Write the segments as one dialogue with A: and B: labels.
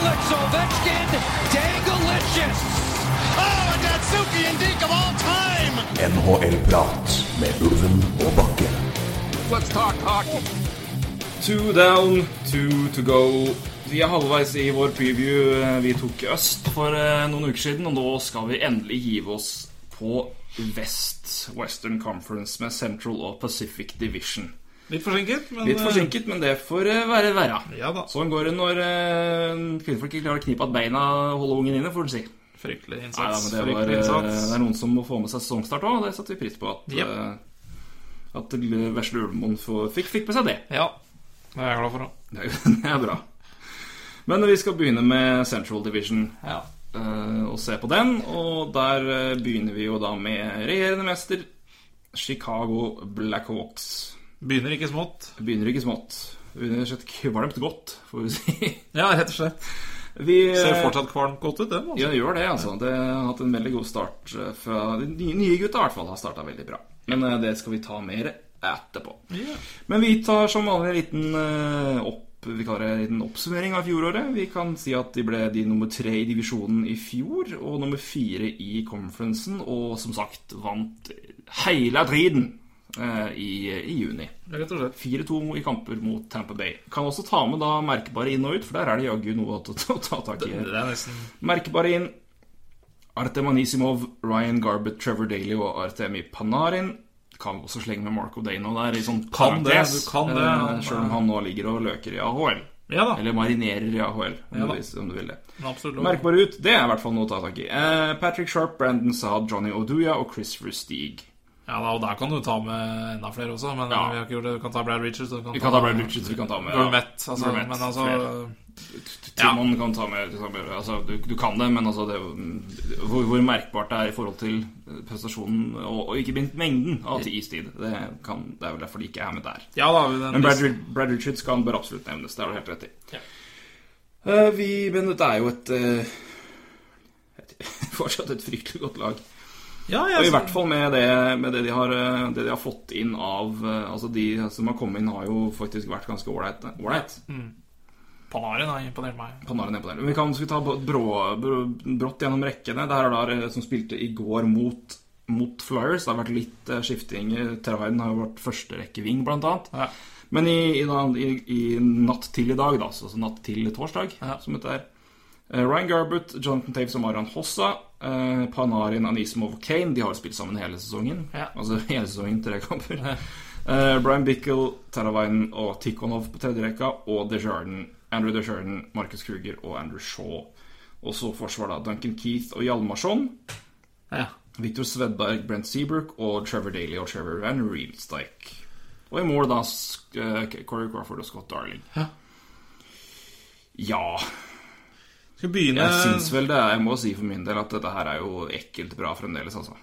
A: Alex Ovechkin, Dangalicious!
B: Oh, and Datsuki and Deke of all time!
C: NHL-prat med Ulven og Bakke.
D: Two down, two to go. Vi er halvveis i vår preview eh, vi tok øst for eh, noen uker siden, og nå skal vi endelig give oss på vest. Western Conference med Central og Pacific Division.
E: Litt forsinket, men
D: Litt forsinket, men det får eh, være verra.
E: Ja da.
D: Sånn går det når eh, kvinnfolk ikke klarer å knipe at beina og holde ungen inne, får du si.
E: eh, fryktelig
D: Nei, da,
E: innsats.
D: men det, var,
E: fryktelig
D: eh, det er
E: innsats.
D: noen som må få med seg sesongstart òg, og det setter vi pris på. At,
E: Jep.
D: eh, at vesle Ulvemoen får- fikk, fikk med seg det.
E: Ja, det er jeg glad for. da.
D: Det er- det er bra. Men vi skal begynne med Central Division
E: Ja.
D: eh, og se på den. Og der eh, begynner vi jo da med regjerende mester Chicago Blackhawks.
E: Begynner ikke smått.
D: Begynner ikke smått. Begynner rett og slett kvalmt godt, får vi si.
E: Ja, rett og slett.
D: Vi eh,
E: Ser fortsatt kvalmt godt ut, den. Altså.
D: ja, det gjør det, altså. Det har hatt en veldig god start eh, fra De nye, nye gutta i hvert fall har starta veldig bra. Men eh, det skal vi ta mer etterpå.
E: Ja.
D: Men vi tar som vanlig en liten, eh, opp, vi kaller det en liten oppsummering av fjoråret. Vi kan si at de ble de nummer tre i divisjonen i fjor, og nummer fire i conferencen, og som sagt vant hele driten eh, i, i juni.
E: Rett og slett.
D: 4-2 i kamper mot Tamper Bay. Kan også ta med da merkbare inn og ut, for der er det jaggu noe å ta, ta, ta tak i.
E: Det er nesten
D: Merkbare inn Artem Anisimov, Ryan Garbett, Trevor Daly og Artemi Panarin. Kan også slenge med Marco Dano der. I sånn
E: Kan det,
D: parentes,
E: du kan det.
D: eh,
E: Han er-
D: Selv om han nå ligger og løker i AHL.
E: Ja da.
D: Eller marinerer i AHL, om,
E: Ja
D: du,
E: da.
D: vis- om du vil det.
E: men absolutt lov.
D: Merkbare ut, det er i hvert fall noe å ta tak i. Eh, Patrick Sharp, Brandon Saad, Johnny Oduya og Christopher Steig.
E: Ja da, og der kan du ta med enda flere også, men
D: Ja.
E: vi har ikke gjort det. Du kan ta Brad Richards. og Du
D: Vi kan ta Brad Richards, vi kan ta med
E: Gourmet, altså,
D: Gourmet,
E: men altså
D: flere.
E: Ja.
D: Timon kan ta med, ta med altså, du, du kan det, men altså det, hvor, hvor merkbart det er i forhold til eh, prestasjonen og, og ikke minst mengden av til istid. Det, kan, det er vel derfor de ikke er med der.
E: Ja da. Den,
D: Men Brad, Ri- Brad Richards kan bør absolutt nevnes. Det har du helt rett i.
E: Ja.
D: Eh, vi, men dette er jo et, eh, et fortsatt et fryktelig godt lag.
E: ja, ja,
D: Og i
E: så-
D: hvert fall med det, med det, de, har, eh, det de har fått inn av eh, Altså De som har kommet inn, har jo faktisk vært ganske ålreite. ålreit.
E: Panarin har imponert meg.
D: Panarin er på den. Vi kan skal vi ta brå, brå, brått gjennom rekkene. Det her er da eh, som spilte i går mot, mot Flyers. Det har vært litt eh, skifting. Terhaiden har jo vært førsterekkeving, blant annet.
E: Ja.
D: Men i, i, da- i, i natt til i dag, da, så, så natt til torsdag,
E: Ja.
D: som dette er eh, Ryan Garbut, Jonathan Taves og Marian Hossa. eh, Panarin, Anisimov og Kane. De har jo spilt sammen hele sesongen.
E: Ja.
D: Altså hele sesongen, tre kamper. Eh, Brian Bickle, Taravainen og Tikhonov på tredje rekka, og DeJarden, Andrew DeJarden, Marcus Kruger og Andrew Shaw. Og så forsvar, da. Duncan Keith og Hjalmarsson.
E: Ja.
D: Victor Svedberg, Brent Seabrook og Trevor Daly og Trevor Van Riemsdyk. Og i mål, da, sk- eh, Corey Crawford og Scott Darling.
E: Ja.
D: Ja
E: Skal vi begynne
D: Jeg syns vel det er Jeg må si for min del at dette her er jo ekkelt bra fremdeles, altså.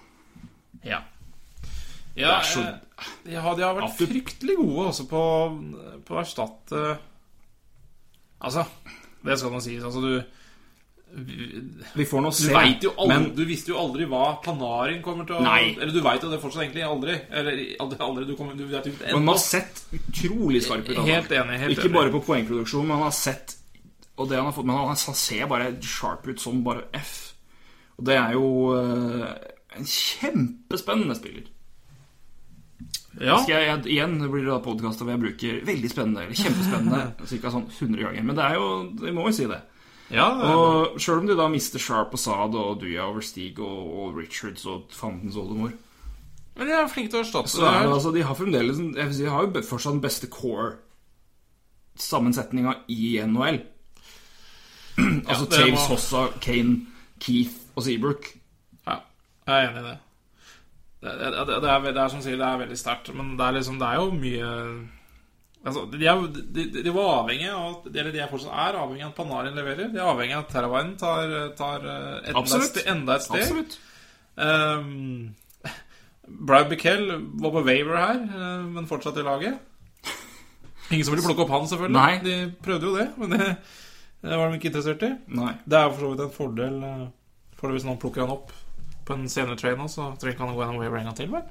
E: Ja.
D: Det
E: Ja,
D: er så
E: eh, ja, de har vært
D: At du-
E: fryktelig gode også på, på å erstatte Altså, det skal man sies. Altså, du
D: Vi får nå
E: du,
D: se.
E: vet jo aldri,
D: men
E: du visste jo aldri hva Panarin kommer til å
D: Nei.
E: Eller du veit jo det fortsatt egentlig aldri. Eller aldri, aldri du kommer, du vet jo ikke
D: Men man har sett utrolig skarp ut. han.
E: Helt enig, helt
D: Ikke
E: enig.
D: bare på poengproduksjon, men han har sett Og det han har fått Men han, han ser bare sharp ut som bare F. Og det er jo eh, en kjempespennende spiller.
E: Ja,
D: Skal jeg, jeg, igjen det blir det da podkast hvor jeg bruker veldig spennende, eller kjempespennende, ca. sånn 100 ganger. Men det er jo Jeg må jo si det.
E: ja,
D: Og sjøl om de da mister Sharp og Saad og Duya over Stig og, og Richards og fandens oldemor,
E: men de er flinke til å erstatte
D: så
E: det.
D: er det
E: her.
D: altså De har fremdeles en- jeg vil si, De har jo be- fortsatt den beste core-sammensetninga i NHL. altså
E: det
D: Taves,
E: må-
D: Hossa, Kane, Keith og Seabrook.
E: Ja, jeg er enig i det. Det, det, det, det, er, ve- det er som sier, det er veldig sterkt, men det er liksom, det er jo mye Altså, de, er, jo- de, de- de var avhengig av at- Eller de er fortsatt er avhengig av at Panarin leverer. De er avhengig av at Terrawainen tar, tar eh, enda, et
D: Absolutt.
E: ste, enda et steg.
D: Absolutt.
E: eh, Ehm, Brad Bickell var på waiver her, eh, men fortsatt i laget. Ingen som ville plukke opp han, selvfølgelig.
D: Nei.
E: De prøvde jo det, men det, det var de ikke interessert i.
D: Nei.
E: Det er jo for så vidt en fordel eh, for hvis noen plukker han opp på en senere train nå, så trenger ikke han å gå gjennom waiver en gang til, vel?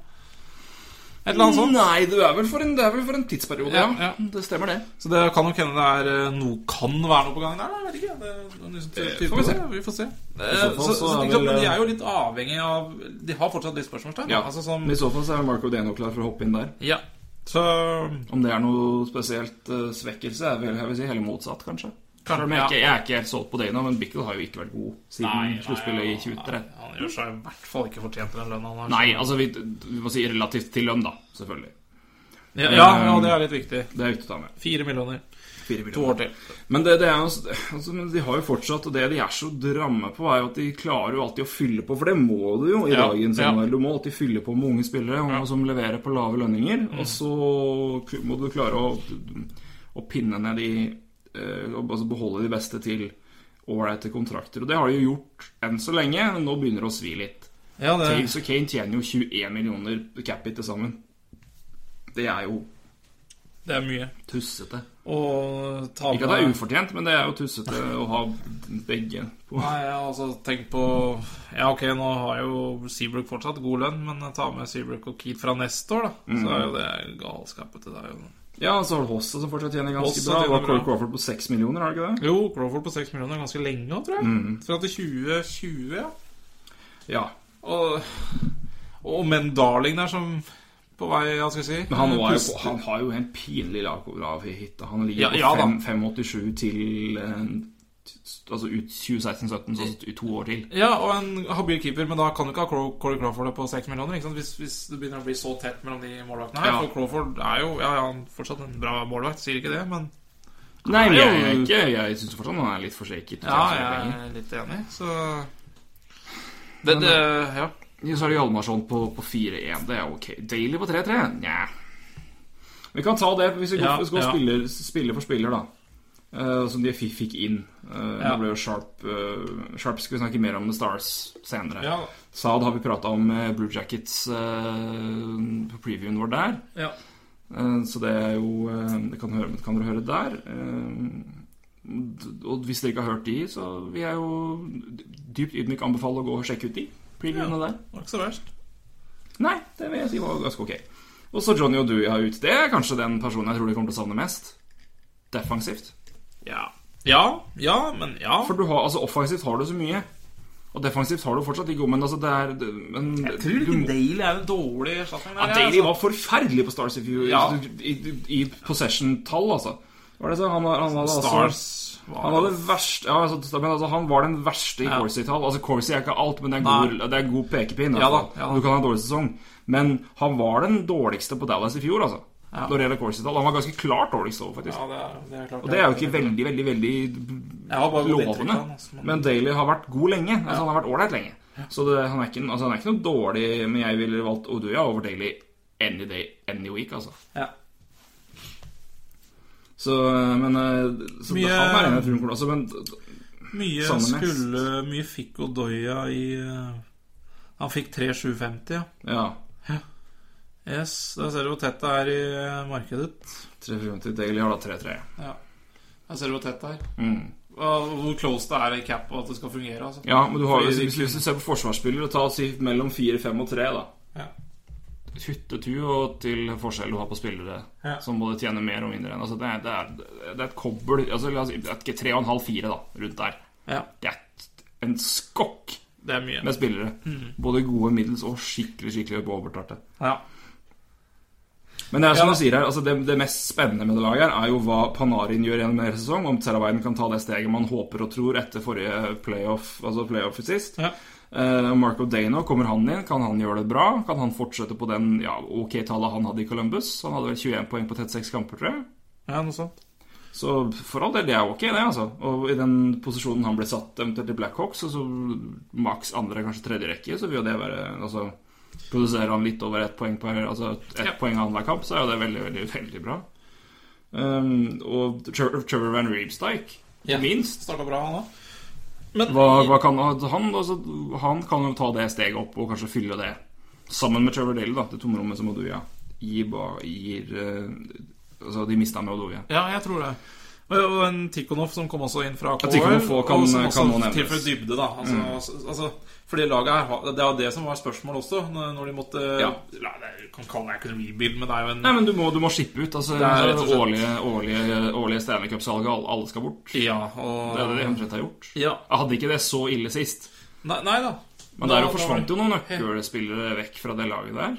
E: Et eller annet sånt.
D: Nei, det er vel for en, det er vel for en tidsperiode, ja,
E: Sånn. Ja, ja.
D: Det stemmer, det.
E: Så det kan nok hende det er eh, noe kan være noe på gang der. da, Jeg vet ikke. Det, er noen som
D: Eh,
E: tyder
D: får vi se.
E: på det, Vi får se. Eh,
D: så fall så er
E: så, så, ikke sant,
D: vel,
E: men de
D: eh,
E: er jo litt avhengig av De har fortsatt litt spørsmålstegn.
D: Ja.
E: Altså, som,
D: Men I så fall så er Marco Deno klar for å hoppe inn der.
E: ja. Så
D: Om det er noe spesielt eh, svekkelse, er vel jeg vil si, heller motsatt, kanskje. Selv
E: Kanskje,
D: om jeg,
E: ja.
D: ikke, jeg er ikke helt solgt på Dano, men Bickle har jo ikke vært god
E: Nei, nei,
D: siden sluttspillet i
E: ja,
D: 2013.
E: nei, Han gjør seg i hvert fall ikke fortjent til den lønna han har.
D: Nei, altså vi, vi må si relativt til lønn, da. Selvfølgelig.
E: ja, ja, ja, det er litt viktig.
D: Det er viktig å ta med.
E: Fire millioner. To år til.
D: Men det, det er jo altså, men de har jo fortsatt Og det de er så dramme på, er jo at de klarer jo alltid å fylle på. For det må du jo i
E: Ja,
D: dagens
E: ja.
D: NHL. Du må alltid fylle på med unge spillere og- som leverer på lave lønninger. Og
E: Mm.
D: så ku- må du klare å, å pinne ned de eh, Altså beholde de beste til ålreite kontrakter. Og det har de jo gjort enn så lenge. Men nå begynner det å svi litt.
E: Ja, det,
D: Taves og Kane tjener jo 21 millioner cap-it til sammen. Det er jo
E: det er mye.
D: tussete.
E: Og ta
D: Ikke at det er ufortjent, men det er jo tussete å ha begge på.
E: Nei, jeg har altså tenkt på Ja, ok, nå har jo Seabrook fortsatt god lønn, men ta med Seabrook og Keat fra neste år, da. Så
D: Mm.
E: er jo det galskapet til deg. jo.
D: Ja, og så har du Hossa som fortsatt tjener ganske
E: Hossa
D: bra. Du
E: tjener
D: har Cole
E: bra.
D: Crawford på 6 millioner, har du ikke det?
E: Jo, Crawford på 6 millioner ganske lenge nå, tror jeg.
D: Mm.
E: Fra til 2020, ja.
D: Ja.
E: Og, og men Darling der som på vei, hva skal jeg si
D: Men han, var jo,
E: puster-
D: på- han har jo en pinlig lav hit. Han ligger
E: Ja, ja da.
D: på fem- 5,87 til eh, t- Altså ut 2016-17, så i to år til.
E: Ja, og en habil keeper, men da kan du ikke ha Crow- Corey Crawford på 6 millioner. Ikke sant? Hvis, hvis det begynner å bli så tett mellom de målvaktene her.
D: Ja.
E: For Crawford er jo ja, ja, han er fortsatt en bra målvakt, sier ikke det, men
D: Nei, men jeg,
E: jo-
D: er ikke, jeg syns fortsatt han er litt forsaket.
E: Ja, jeg er litt enig, så eh, det, det, ja.
D: Så er det Hjalmarsson på, på 4-1. Det er ok. Daily på 3-3? Nja. Vi kan ta det hvis vi går,
E: Ja,
D: hvis vi går
E: ja.
D: spiller, spiller for spiller, da. Eh, som de fikk, fikk inn. Eh,
E: Ja.
D: Det ble jo Sharp eh, Sharp skal vi snakke mer om The Stars senere.
E: Ja,
D: Saad har vi prata om eh, Blue Jackets eh, på previewen vår der.
E: ja.
D: Eh, så det er jo eh, Det kan, høre, kan dere høre der. Eh, d- og hvis dere ikke har hørt de, så vil jeg jo dypt ydmyk anbefale å gå og sjekke ut de previewene der.
E: Det var ikke så verst.
D: Nei, det vil jeg si var ganske ok. Og så Johnny Oduya ut. Det er kanskje den personen jeg tror de kommer til å savne mest. Defensivt.
E: Ja. Ja, ja, men ja.
D: For du har, altså offensivt har du så mye. Og defensivt har du fortsatt ikke, men altså det er det- men, du må-
E: Daly er en dårlig erstatning.
D: ja, altså. Daly var forferdelig på Stars i fjor.
E: Ja.
D: I, i, i possession-tall, altså. Hva er det så? Han, var- han hadde altså-
E: Stars
D: Han
E: var
D: var, verste, ja, altså, men altså, han var den verste i
E: Ja.
D: Corsi-tall. Altså, Corsi er ikke alt, men det er en god, det er en god pekepinn. i
E: Ja
D: hvert fall.
E: da, ja da.
D: Du kan ha en dårlig sesong. Men han var den dårligste på Dallas i fjor, altså. Når det gjelder Corsi-tall. Han var ganske klart dårligst òg, faktisk.
E: Ja, det er, det er klart.
D: Og det er jo ikke veldig, veldig, veldig
E: Jeg har bare gått inntrykk av
D: lovende.
E: han, altså, men-
D: Men Daly har vært god lenge. Altså, han har vært ålreit lenge. Så det, han, er ikke, altså, han er ikke noe dårlig, men jeg ville valgt Oduya over Daly any day, any week, altså.
E: Ja.
D: Så, men eh, så
E: Mye-
D: han er en jeg tror kommer til å- altså, Men
E: Mye
D: Savner mest.
E: skulle Mye fikk Odoya i eh, Han fikk 3750, ja.
D: ja.
E: Yes, der ser du hvor tett det er i eh, markedet.
D: 350 Daly har da 3-3.
E: Ja. Der ser du hvor tett det er. Og hvor close det er i cap og at det skal fungere, altså.
D: Ja, men du har,
E: Fordi
D: hvis,
E: de
D: hvis, hvis du ser på forsvarsspillere, ta og si mellom 4, 5 og 3, da.
E: Ja.
D: Kuttet du og til forskjell du har på spillere
E: Ja.
D: som både tjener mer og mindre enn altså, det, er- det, er, det er et kobbel altså, La oss si 3,5-4, da, rundt der.
E: Ja,
D: Det er en skokk
E: det er mye.
D: med spillere. Både gode, middels og skikkelig skikkelig på overtarte.
E: Ja.
D: Men det er som
E: Ja.
D: du sier her, altså det, det mest spennende med det laget her er jo hva Panarin gjør gjennom en hel sesong. Om Teravainen kan ta det steget man håper og tror etter forrige playoff, altså playoffet sist.
E: Ja.
D: Eh, Marco Dano, kommer han inn? Kan han gjøre det bra? Kan han fortsette på den ja, ok tallet han hadde i Columbus? Han hadde vel 21 poeng på 36 kamper, tror jeg.
E: ja, noe sånt.
D: Så for all del, det er ok, det, altså. Og i den posisjonen han ble satt eventuelt i Blackhawks, og så maks andre, kanskje tredje rekke, så vil jo det være Altså produserer han litt over ett poeng per, altså ett
E: Ja.
D: poeng annenhver kamp, så er jo det veldig, veldig, veldig bra. Um, og Trevor, Trevor Van Reemstike,
E: Ja.
D: minst.
E: Starta bra, han òg. Men
D: Hva, hva kan han, altså, han kan jo ta det steget opp og kanskje fylle det. Sammen med Trevor Daly, da, det tomrommet som Oduya gir, ba- gir eh, altså, de mista med Odovia.
E: Ja, jeg tror det. Og- Og en Tikhonov som kom også inn fra KL,
D: Tikhonov får- kan-
E: og som
D: kan nå nevnes. Mm.
E: tilfører dybde, da. Altså, altså- altså, fordi laget her har- Det var det som var spørsmålet også, når når de måtte
D: Ja.
E: Nei, det kan kalle det økonomibil, men det er jo en
D: Nei, men du må, du må skippe ut. Altså,
E: Det er rett og slett-
D: årlige, årlige, årlige Stanley Cup-salget. Alle, alle skal bort.
E: Ja, og
D: Det er det de omtrent har gjort.
E: ja.
D: Jeg hadde ikke det så ille sist.
E: Nei, nei da.
D: Men
E: Da-
D: der
E: da var
D: forsvant
E: det-
D: jo noen nøkkelspillere vekk fra det laget der.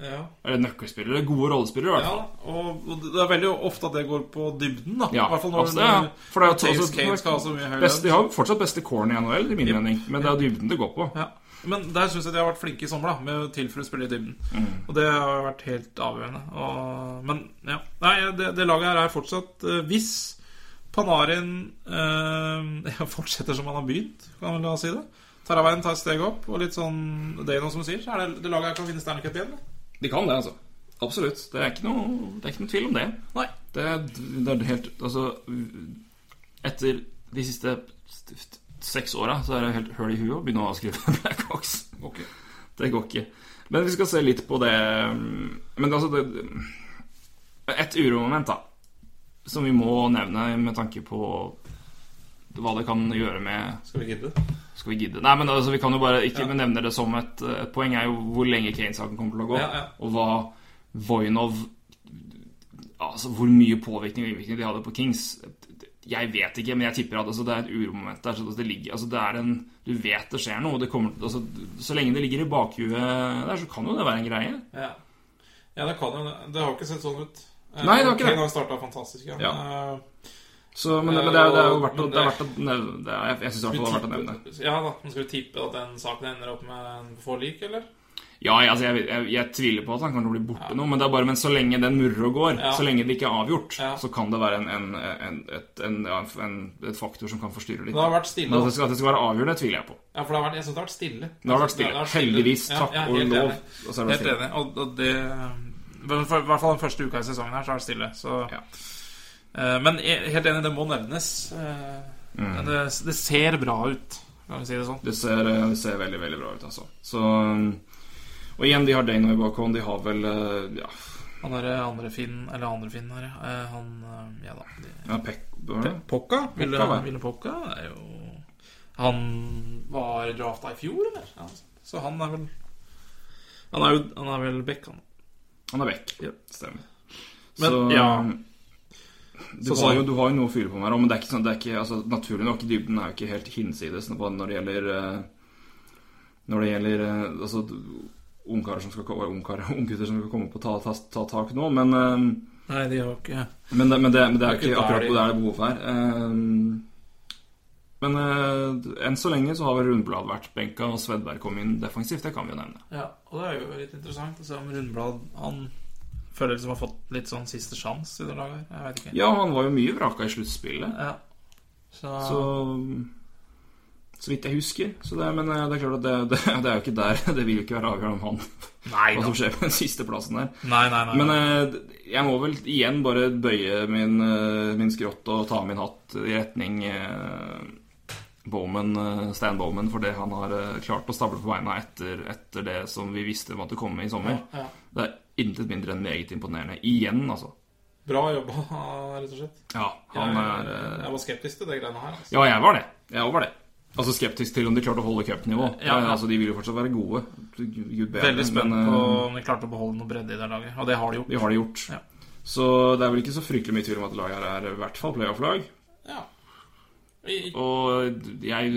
E: Ja.
D: Eller nøkkelspillere, gode rollespillere, i hvert
E: Ja,
D: fall.
E: og og det er veldig ofte at det går på dybden, da.
D: Ja,
E: I hvert fall når,
D: absolutt, ja. For det er jo
E: Matheus
D: også-
E: Kane skal ha så mye høy
D: Best, de
E: lønn.
D: har jo fortsatt beste corn i NHL, i min
E: Ja.
D: mening, men det er dybden det går på.
E: Ja. Men der syns jeg de har vært flinke i sommer, da, med å tilføre spillere i dybden.
D: Mm.
E: Og det har vært helt avgjørende. Og, men ja. Nei, det, det laget her er fortsatt eh, Hvis Panarin eh, ja, fortsetter som han har begynt, kan vi la oss si det Taravainen tar et steg opp, og litt sånn Det er noe som sier, så er det, det laget her kan vinne Stanley Cup igjen. da.
D: De kan det, altså. Absolutt. Det er ikke noe, det er ikke noe tvil om det.
E: Nei.
D: Det, det er helt Altså, etter de siste stift- seks åra så er det helt høl i huet å begynne å avskrive Blackhawks. Det går ikke. Men vi skal se litt på det Men altså det, Et uromoment, da, som vi må nevne med tanke på hva det kan gjøre med
E: Skal vi gidde?
D: Skal vi gidde? Nei, men altså, vi kan jo bare ikke men nevne det som et, et poeng, er jo hvor lenge Kane-saken kommer til å gå,
E: Ja, ja.
D: og hva Voinov Altså hvor mye påvirkning og innvirkning de hadde på Kings. Jeg vet ikke, men jeg tipper at altså, det er et uromoment der. Så det ligger, altså, det er en, du vet det skjer noe. og Det kommer, altså, så lenge det ligger i bakhuet der, så kan jo det være en greie.
E: Ja. ja, det kan jo det. Det har jo ikke sett sånn ut. Eh,
D: Nei, det har ikke det.
E: Kane har starta fantastisk. Ja.
D: Ja.
E: Eh,
D: Så, men, det- men det er, det er jo verdt å, det er verdt å nevne det. Er, jeg jeg syns i hvert fall det er verdt å nevne det.
E: Ja da, men Skal du tippe at den saken ender opp med en forlik, eller?
D: Ja, jeg, altså, jeg, jeg, jeg tviler på at han kommer til å bli borte nå, men det er bare, men så lenge den murrer og går,
E: Ja.
D: så lenge det ikke er avgjort,
E: Ja.
D: så kan det være en, en, en, et, en, ja, en, et faktor som kan forstyrre litt.
E: Det har vært stille.
D: Men at det
E: da.
D: skal, at det skal være avgjørende, tviler jeg på.
E: Ja, for det har vært, jeg synes det har vært stille.
D: Det har vært stille. Heldigvis. Takk
E: ja,
D: og
E: helt
D: lov.
E: Enig.
D: Og så er det
E: Helt
D: stille.
E: enig. Og, og det eh, men for, I hvert fall den første uka i sesongen her, så er det stille. Så,
D: Ja.
E: Eh, men jeg- helt enig, det må nevnes. Eh, det, det ser bra ut, kan vi si det sånn.
D: Mm. Det ser, eh, det ser veldig, veldig bra ut, altså. Så, og igjen, de har Dano i bakhånd. De har vel eh, Ja,
E: Han derre andre Finn, eller andre Finn her, ja. Eh, han eh, Ja da. det-
D: ja Peck hva er det?
E: Pokka? Ville,
D: Pokka, ja.
E: Ville Pokka er jo Han var drafta i fjor, eller? Ja, altså. så han er vel Han er, jo, han er vel back, han.
D: Han er vekk. Stemmer.
E: Men,
D: så um,
E: ja.
D: Du,
E: Så-
D: har jo, du har jo noe å fyre på med her også, men det er ikke sånn det er ikke, altså, Naturlig nok, dybden er jo ikke helt hinsides på- når det gjelder eh, Når det gjelder eh, altså, ungkarer som skal ko- ungkarer, Unggutter som skal komme opp og ta, ta, ta tak nå, men, eh,
E: Nei, de har jo ikke
D: men, det, men, det, men det er
E: Det er
D: ikke
E: ikke der
D: akkurat
E: de-
D: hvor det er det behov her. Eh, Men eh, enn så lenge så har vel Rundblad vært benka, og Svedberg kom inn defensivt. Det kan vi jo nevne.
E: Ja, og det er jo litt interessant å se om Rundblad Han føler liksom har fått litt sånn siste sjanse i det laget her. Jeg vet ikke.
D: Ja, han var jo mye vraka i sluttspillet.
E: Ja. Så,
D: Så så vidt jeg husker. Så det, men eh, det er klart at det, det, det er jo ikke der Det vil jo ikke være avgjørende om han
E: Nei
D: hva
E: da.
D: som skjer på den siste plassen der.
E: Nei, nei, nei.
D: Men eh, jeg må vel igjen bare bøye min, eh, min skrått og ta min hatt i retning eh, Bowman, eh, Stan Bowman for det han har eh, klart å stable på beina etter, etter det som vi visste måtte komme i sommer.
E: ja.
D: Det er intet mindre enn meget imponerende. Igjen, altså.
E: Bra jobba, rett og slett.
D: Ja, han er
E: jeg,
D: eh,
E: jeg var skeptisk til det greiene her. Altså.
D: Ja, jeg var det. Jeg var det. Altså skeptisk til om de klarte å holde cupnivå. Ja,
E: Ja, ja.
D: Altså, de vil jo fortsatt være gode. Gud bedre,
E: Veldig spent
D: men, eh,
E: på om de klarte å beholde noe bredde i det laget, og det har de gjort.
D: De har det gjort.
E: Ja.
D: Så det er vel ikke så fryktelig mye tvil om at laget her er i hvert fall playoff-lag.
E: Ja. I,
D: Og jeg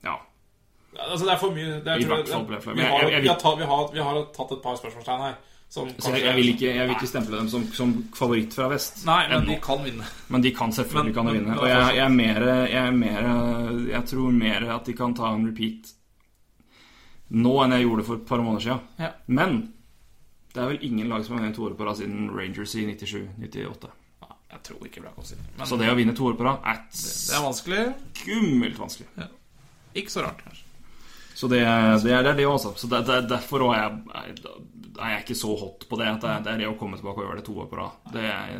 D: Ja.
E: Ja, Altså det er for mye det er,
D: I
E: tror jeg-
D: hvert fall ble det flere.
E: Vi
D: Men
E: har,
D: jeg- jeg- jeg-
E: vi har, tatt, vi har, vi har tatt et par spørsmålstegn her. Som
D: Så jeg,
E: kanskje-
D: jeg, vil ikke, jeg vil ikke stemple dem som, som favoritt fra vest.
E: Nei, men
D: ennå.
E: de kan vinne.
D: Men de kan selvfølgelig
E: Men-
D: kan
E: men-
D: vinne.
E: men
D: Og jeg,
E: fortsatt.
D: jeg er mer jeg, er mer- jeg tror mer at de kan ta en repeat nå enn jeg gjorde for et par måneder siden.
E: Ja.
D: Men det er vel ingen lag som har vunnet to år på rad siden Rangers i 97-98.
E: Nei, Jeg tror ikke Blackhawks vinner. Men
D: Så det å vinne to år på rad er
E: det er vanskelig.
D: skummelt vanskelig.
E: Ikke så rart, kanskje.
D: Så det, det, er, det er det også. Så det, det, er derfor også er jeg, er jeg ikke så hot på det. At det, er- det er det å komme tilbake og gjøre det to år på rad. Det er,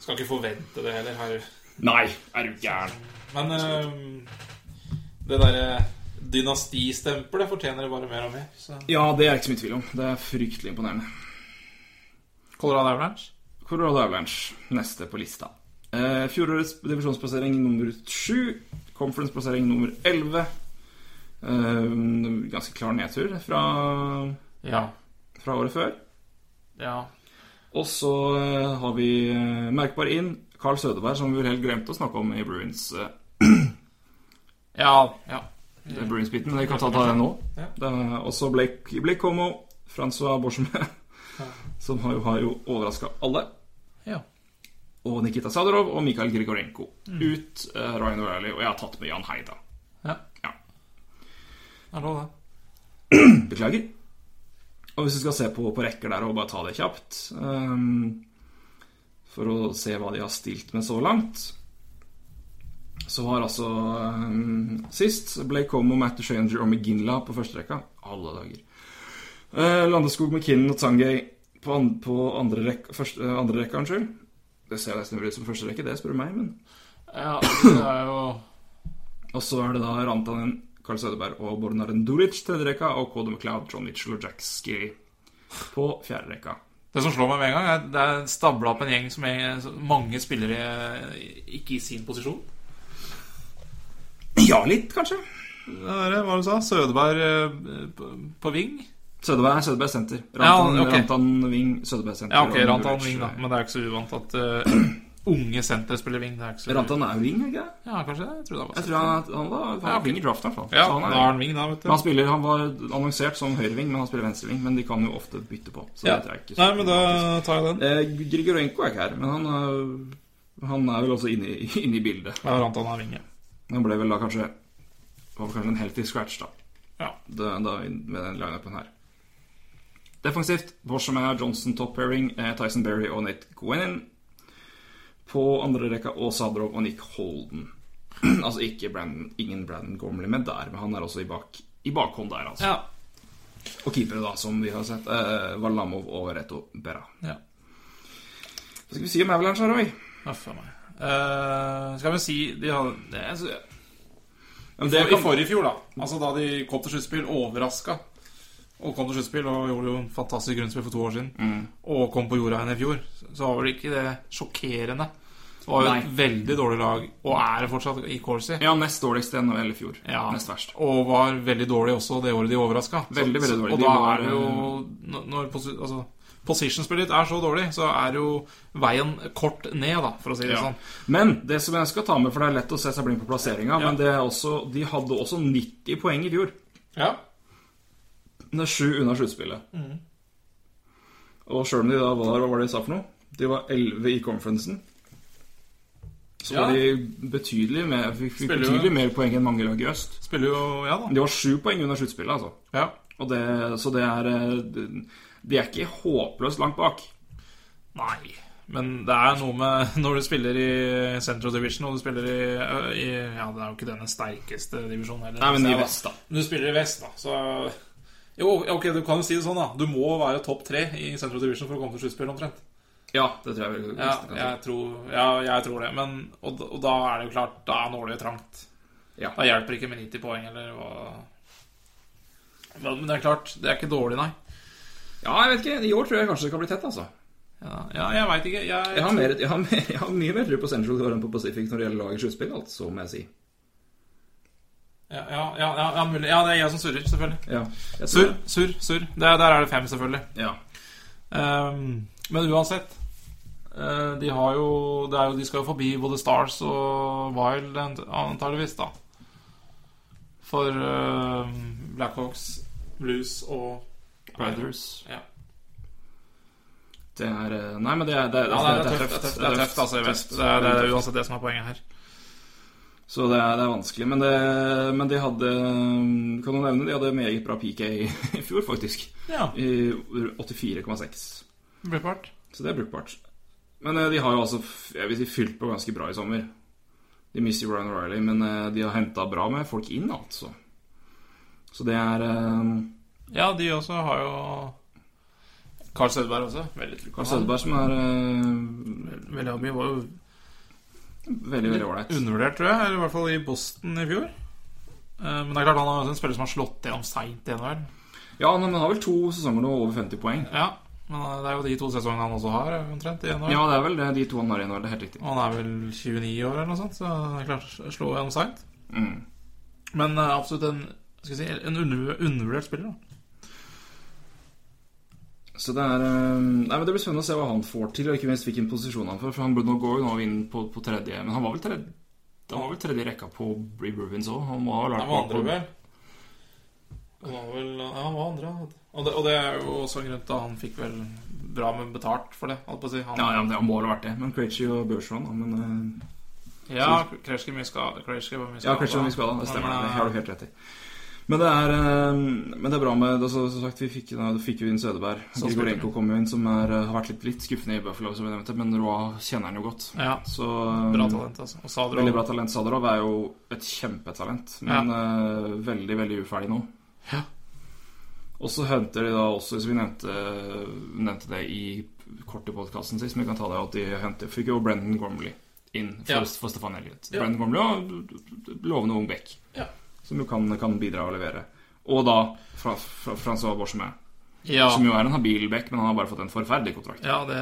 E: Skal ikke forvente det heller. Her.
D: nei, er du gæren?
E: Men øhm, det derre dynastistempelet fortjener det bare mer og mer. Så.
D: Ja, det er jeg ikke så mye tvil om. Det er fryktelig imponerende.
E: Colorado Avalanche?
D: Colorado Avalanche, neste på lista. Eh, fjorårets divisjonsplassering nummer sju. Conference-plassering nummer elleve. Eh, ganske klar nedtur fra,
E: Ja.
D: fra året før.
E: Ja.
D: Og så eh, har vi eh, merkbar inn Carl Sødeberg, som vi vel helt glemte å snakke om i Bruins. Eh,
E: Ja. ja.
D: det er Bruins-biten, men jeg kan ta ta den nå.
E: Ja.
D: Det er også Blake, Blake Como, Francois Borchemé, som har jo, har jo overraska alle.
E: ja. Mm.
D: Og Nikita Sadarov og Mikhail Grigorenko. Ut eh, Ryan O'Reilly, og jeg har tatt med Jan Heida.
E: ja.
D: Ja,
E: Det er lov, det.
D: Beklager. Og hvis vi skal se på, på rekker der og bare ta det kjapt ehm, For å se hva de har stilt med så langt Så har altså ehm, sist Blake Como, Matt Shanger og McGinla på første rekka. Alle dager. Eh, Landeskog, McKinnon og Tangay på, an, på andre, rekk, første, eh, andre rekka. Unnskyld. Det ser nesten ut som første rekke, det spør du meg, men
E: Ja, altså, det er jo
D: Og så er det da Rantanen, Karl Sødeberg og Bornaren Duric tredje rekka, og Cody McLeod, John Mitchell og Jack Skiri på fjerde rekka.
E: Det som slår meg med en gang, er at det er stabla opp en gjeng som er mange spillere ikke i sin posisjon.
D: Ja, litt, kanskje.
E: Hva er det hva du sa? Sødeberg eh, på, på ving?
D: Sødeberg er Sødeberg senter. Rantan,
E: Ja, ok.
D: Rantan Ving, Sødeberg senter.
E: Ja, ok,
D: og
E: Rantan
D: Duric.
E: ving, da. Men det er jo ikke så uvant at eh, unge sentre spiller ving. Det er ikke så
D: Rantan er jo wing, er ikke det?
E: Ja, kanskje det? Jeg tror det var
D: Jeg tror han, han var han var
E: ok.
D: wing i draften, i hvert fall.
E: Ja,
D: Så
E: da
D: han
E: er
D: er-
E: han ving, da, vet
D: Men han
E: du.
D: spiller, han var annonsert som høyreving, men han spiller venstreving. Men de kan jo ofte bytte på. Så
E: Ja.
D: det er ikke så
E: Nei, men da tar jeg den.
D: Eh, Grigorenko er ikke her, men han er, han er vel også inne, i- inne i bildet.
E: Ja, Rantan er ving, ja.
D: Han ble vel da kanskje Var vel kanskje en healthy scratch, da.
E: Ja.
D: det, da, med den lineupen her. Defensivt Borchemeier, Johnson, top pairing, eh, Tyson Berry og Nate Gwenin. På andre rekka og Sadrov og Nick Holden. altså ikke Brandon, ingen Brandon Gormley med der, men han er også i, bak, i bakhånd der, altså.
E: ja.
D: Og keepere, da, som vi har sett. Eh, Varlamov og Reto Berra.
E: ja.
D: Hva skal vi si om Avalanche her, Roy?
E: Huff a meg. Eh, skal vi si de hadde, det, jeg sy-
D: Men
E: Det
D: det
E: I
D: kan-
E: forrige fjor, da. Altså Da de kom til sluttspill, overraska. Og kom til sluttspill og gjorde jo en fantastisk grunnspill for to år siden.
D: Mm.
E: Og kom på jorda igjen i fjor. Så var vel ikke det sjokkerende. Det var jo et veldig dårlig lag, og er det fortsatt i Corsi.
D: Ja, nest dårligst i NHL i fjor.
E: Ja.
D: Nest verst.
E: Og var veldig dårlig også det året de overraska.
D: Veldig, veldig dårlig.
E: Og
D: De
E: da
D: var, eh,
E: er det jo når- Når posi- altså, position-spillet ditt er så dårlig, så er jo veien kort ned, da, for å si det
D: Ja.
E: sånn.
D: Men det som jeg skal ta med, for det er lett å se seg blind på plasseringa, men det er også, de hadde også 90 poeng i fjor.
E: Ja.
D: Det er sju unna sluttspillet. Og sjøl om de da var Hva var det de sa for noe? De var 11 i conferencen. Så
E: Ja.
D: var de betydelig mer, fikk, fikk
E: Spiller jo-
D: betydelig mer poeng enn mange lag i øst.
E: Spiller jo Ja da.
D: De var sju poeng under sluttspillet, altså.
E: Ja.
D: Og det, så det er eh, De er ikke håpløst langt bak.
E: Nei, men det er noe med når du spiller i Central Division, og du spiller i, eh, i Ja, det er jo ikke den sterkeste divisjonen heller.
D: Nei, men
E: Så
D: i
E: jeg-
D: vest, da.
E: Men du spiller i vest, da, så Jo, ok, du kan jo si det sånn, da. Du må være topp tre i Central Division for å komme til sluttspill, omtrent.
D: Ja, det tror jeg vel.
E: Ja, jeg tror, ja, jeg tror det. Men, og, og da er det jo klart, da er nåløyet trangt.
D: Ja.
E: Da hjelper det ikke med 90 poeng, eller hva Men det er klart, det er ikke dårlig, nei.
D: ja, jeg vet ikke. I år tror jeg kanskje det kan bli tett, altså.
E: Ja, ja jeg veit ikke. Jeg,
D: Jeg har, mer, jeg, har mer, jeg har mye mer tro på Central Core enn på Pacific når det gjelder lag i sluttspill, altså, må jeg si.
E: ja, ja, ja, ja, ja, mulig. ja, det er jeg som surrer, selvfølgelig.
D: Ja. Jeg tror
E: Surr,
D: det.
E: surr, surr. Der, der er det fem, selvfølgelig.
D: Ja.
E: Ehm, men uansett eh, De har jo, det er jo De skal jo forbi både Stars og Wild ant- antageligvis, da. For eh, Blackhawks, Blues og
D: Riders.
E: Ja.
D: Det er eh, Nei, men det er, det er,
E: Ja,
D: altså,
E: det, er tøft, det, er tøft, det er tøft, altså, i vest. Det er, det er uansett det som er poenget her.
D: Så det er, det er vanskelig. Men, det, men de hadde um, Kan du nevne de hadde meget bra PK i i fjor, faktisk.
E: Ja,
D: I 84,6.
E: det blir part.
D: Så det er brukbart. Men eh, de har jo altså f- jeg vil si, fylt på ganske bra i sommer. De mister Ryan O'Reilly, men eh, de har henta bra med folk inn, altså. Så det er eh,
E: Ja, de også har jo Carl Sødberg også. Veldig trykk.
D: Karl Sødberg som er eh,
E: Veldig mye var jo
D: veldig, veldig ålreit.
E: Undervurdert, tror jeg. Eller i hvert fall i Boston i fjor. Eh, Men det er klart han er også en spiller som har slått gjennom seint i NHL.
D: Ja, nei, men han har vel to sesonger nå over 50 poeng.
E: Ja. Men eh, det er jo de to sesongene han også har, eh, omtrent. i januar.
D: Ja, det er vel det, de to han har igjen, det er helt riktig.
E: Og han er vel 29 år eller noe sånt, så han er klart å slå gjennom seint.
D: Mm.
E: Men eh, absolutt en, skal jeg si, en under, undervurdert spiller. da
D: Så det er eh, Nei, men Det blir spennende å se hva han får til, og ikke minst hvilken posisjon han får. For han burde nå gå nå er vi inn på, på tredje Men han var vel tredje Han var vel tredje i rekka på Bree Bruins òg? Han må ha lært
E: Han var andre, vel? Han var vel ja, han var andre. ja. Og det, og det er jo også en grunn til at han fikk vel bra med betalt for det. Holdt på å si. Han,
D: Ja, ja, men det han må ha vært det. Men Krejci og Bergeron da, men eh,
E: ja, Krejci mye skade. Krejci var mye eh,
D: Ja, Krejci var mye skada. Det stemmer. Det har du helt rett i. Men det er, eh, men det er bra med altså, Som sagt, vi fikk, da, fikk jo inn Sødeberg.
E: Så
D: Grigorenko
E: spiller.
D: kom jo inn, som er, eh, har vært litt, litt skuffende i Buffalo, som vi nevnte. Men Roa kjenner han jo godt.
E: Ja,
D: Så
E: bra
D: eh,
E: talent, altså. Og Sadro
D: Veldig bra talent. Sadarov er jo et kjempetalent, men eh, veldig, veldig uferdig nå.
E: Ja.
D: Og så henter de da også, som vi nevnte, nevnte det i kort i podkasten sist, men vi kan ta det at de henter, fikk jo Brendan Gormley inn for,
E: Ja.
D: for Stefan Elliot.
E: Ja.
D: Brendan Gormley og lovende ung back,
E: Ja.
D: som jo kan, kan bidra og levere. Og da fra, fra Francois Borchemet,
E: Ja.
D: som jo er en habil back, men han har bare fått en forferdelig kontrakt.
E: Ja, det,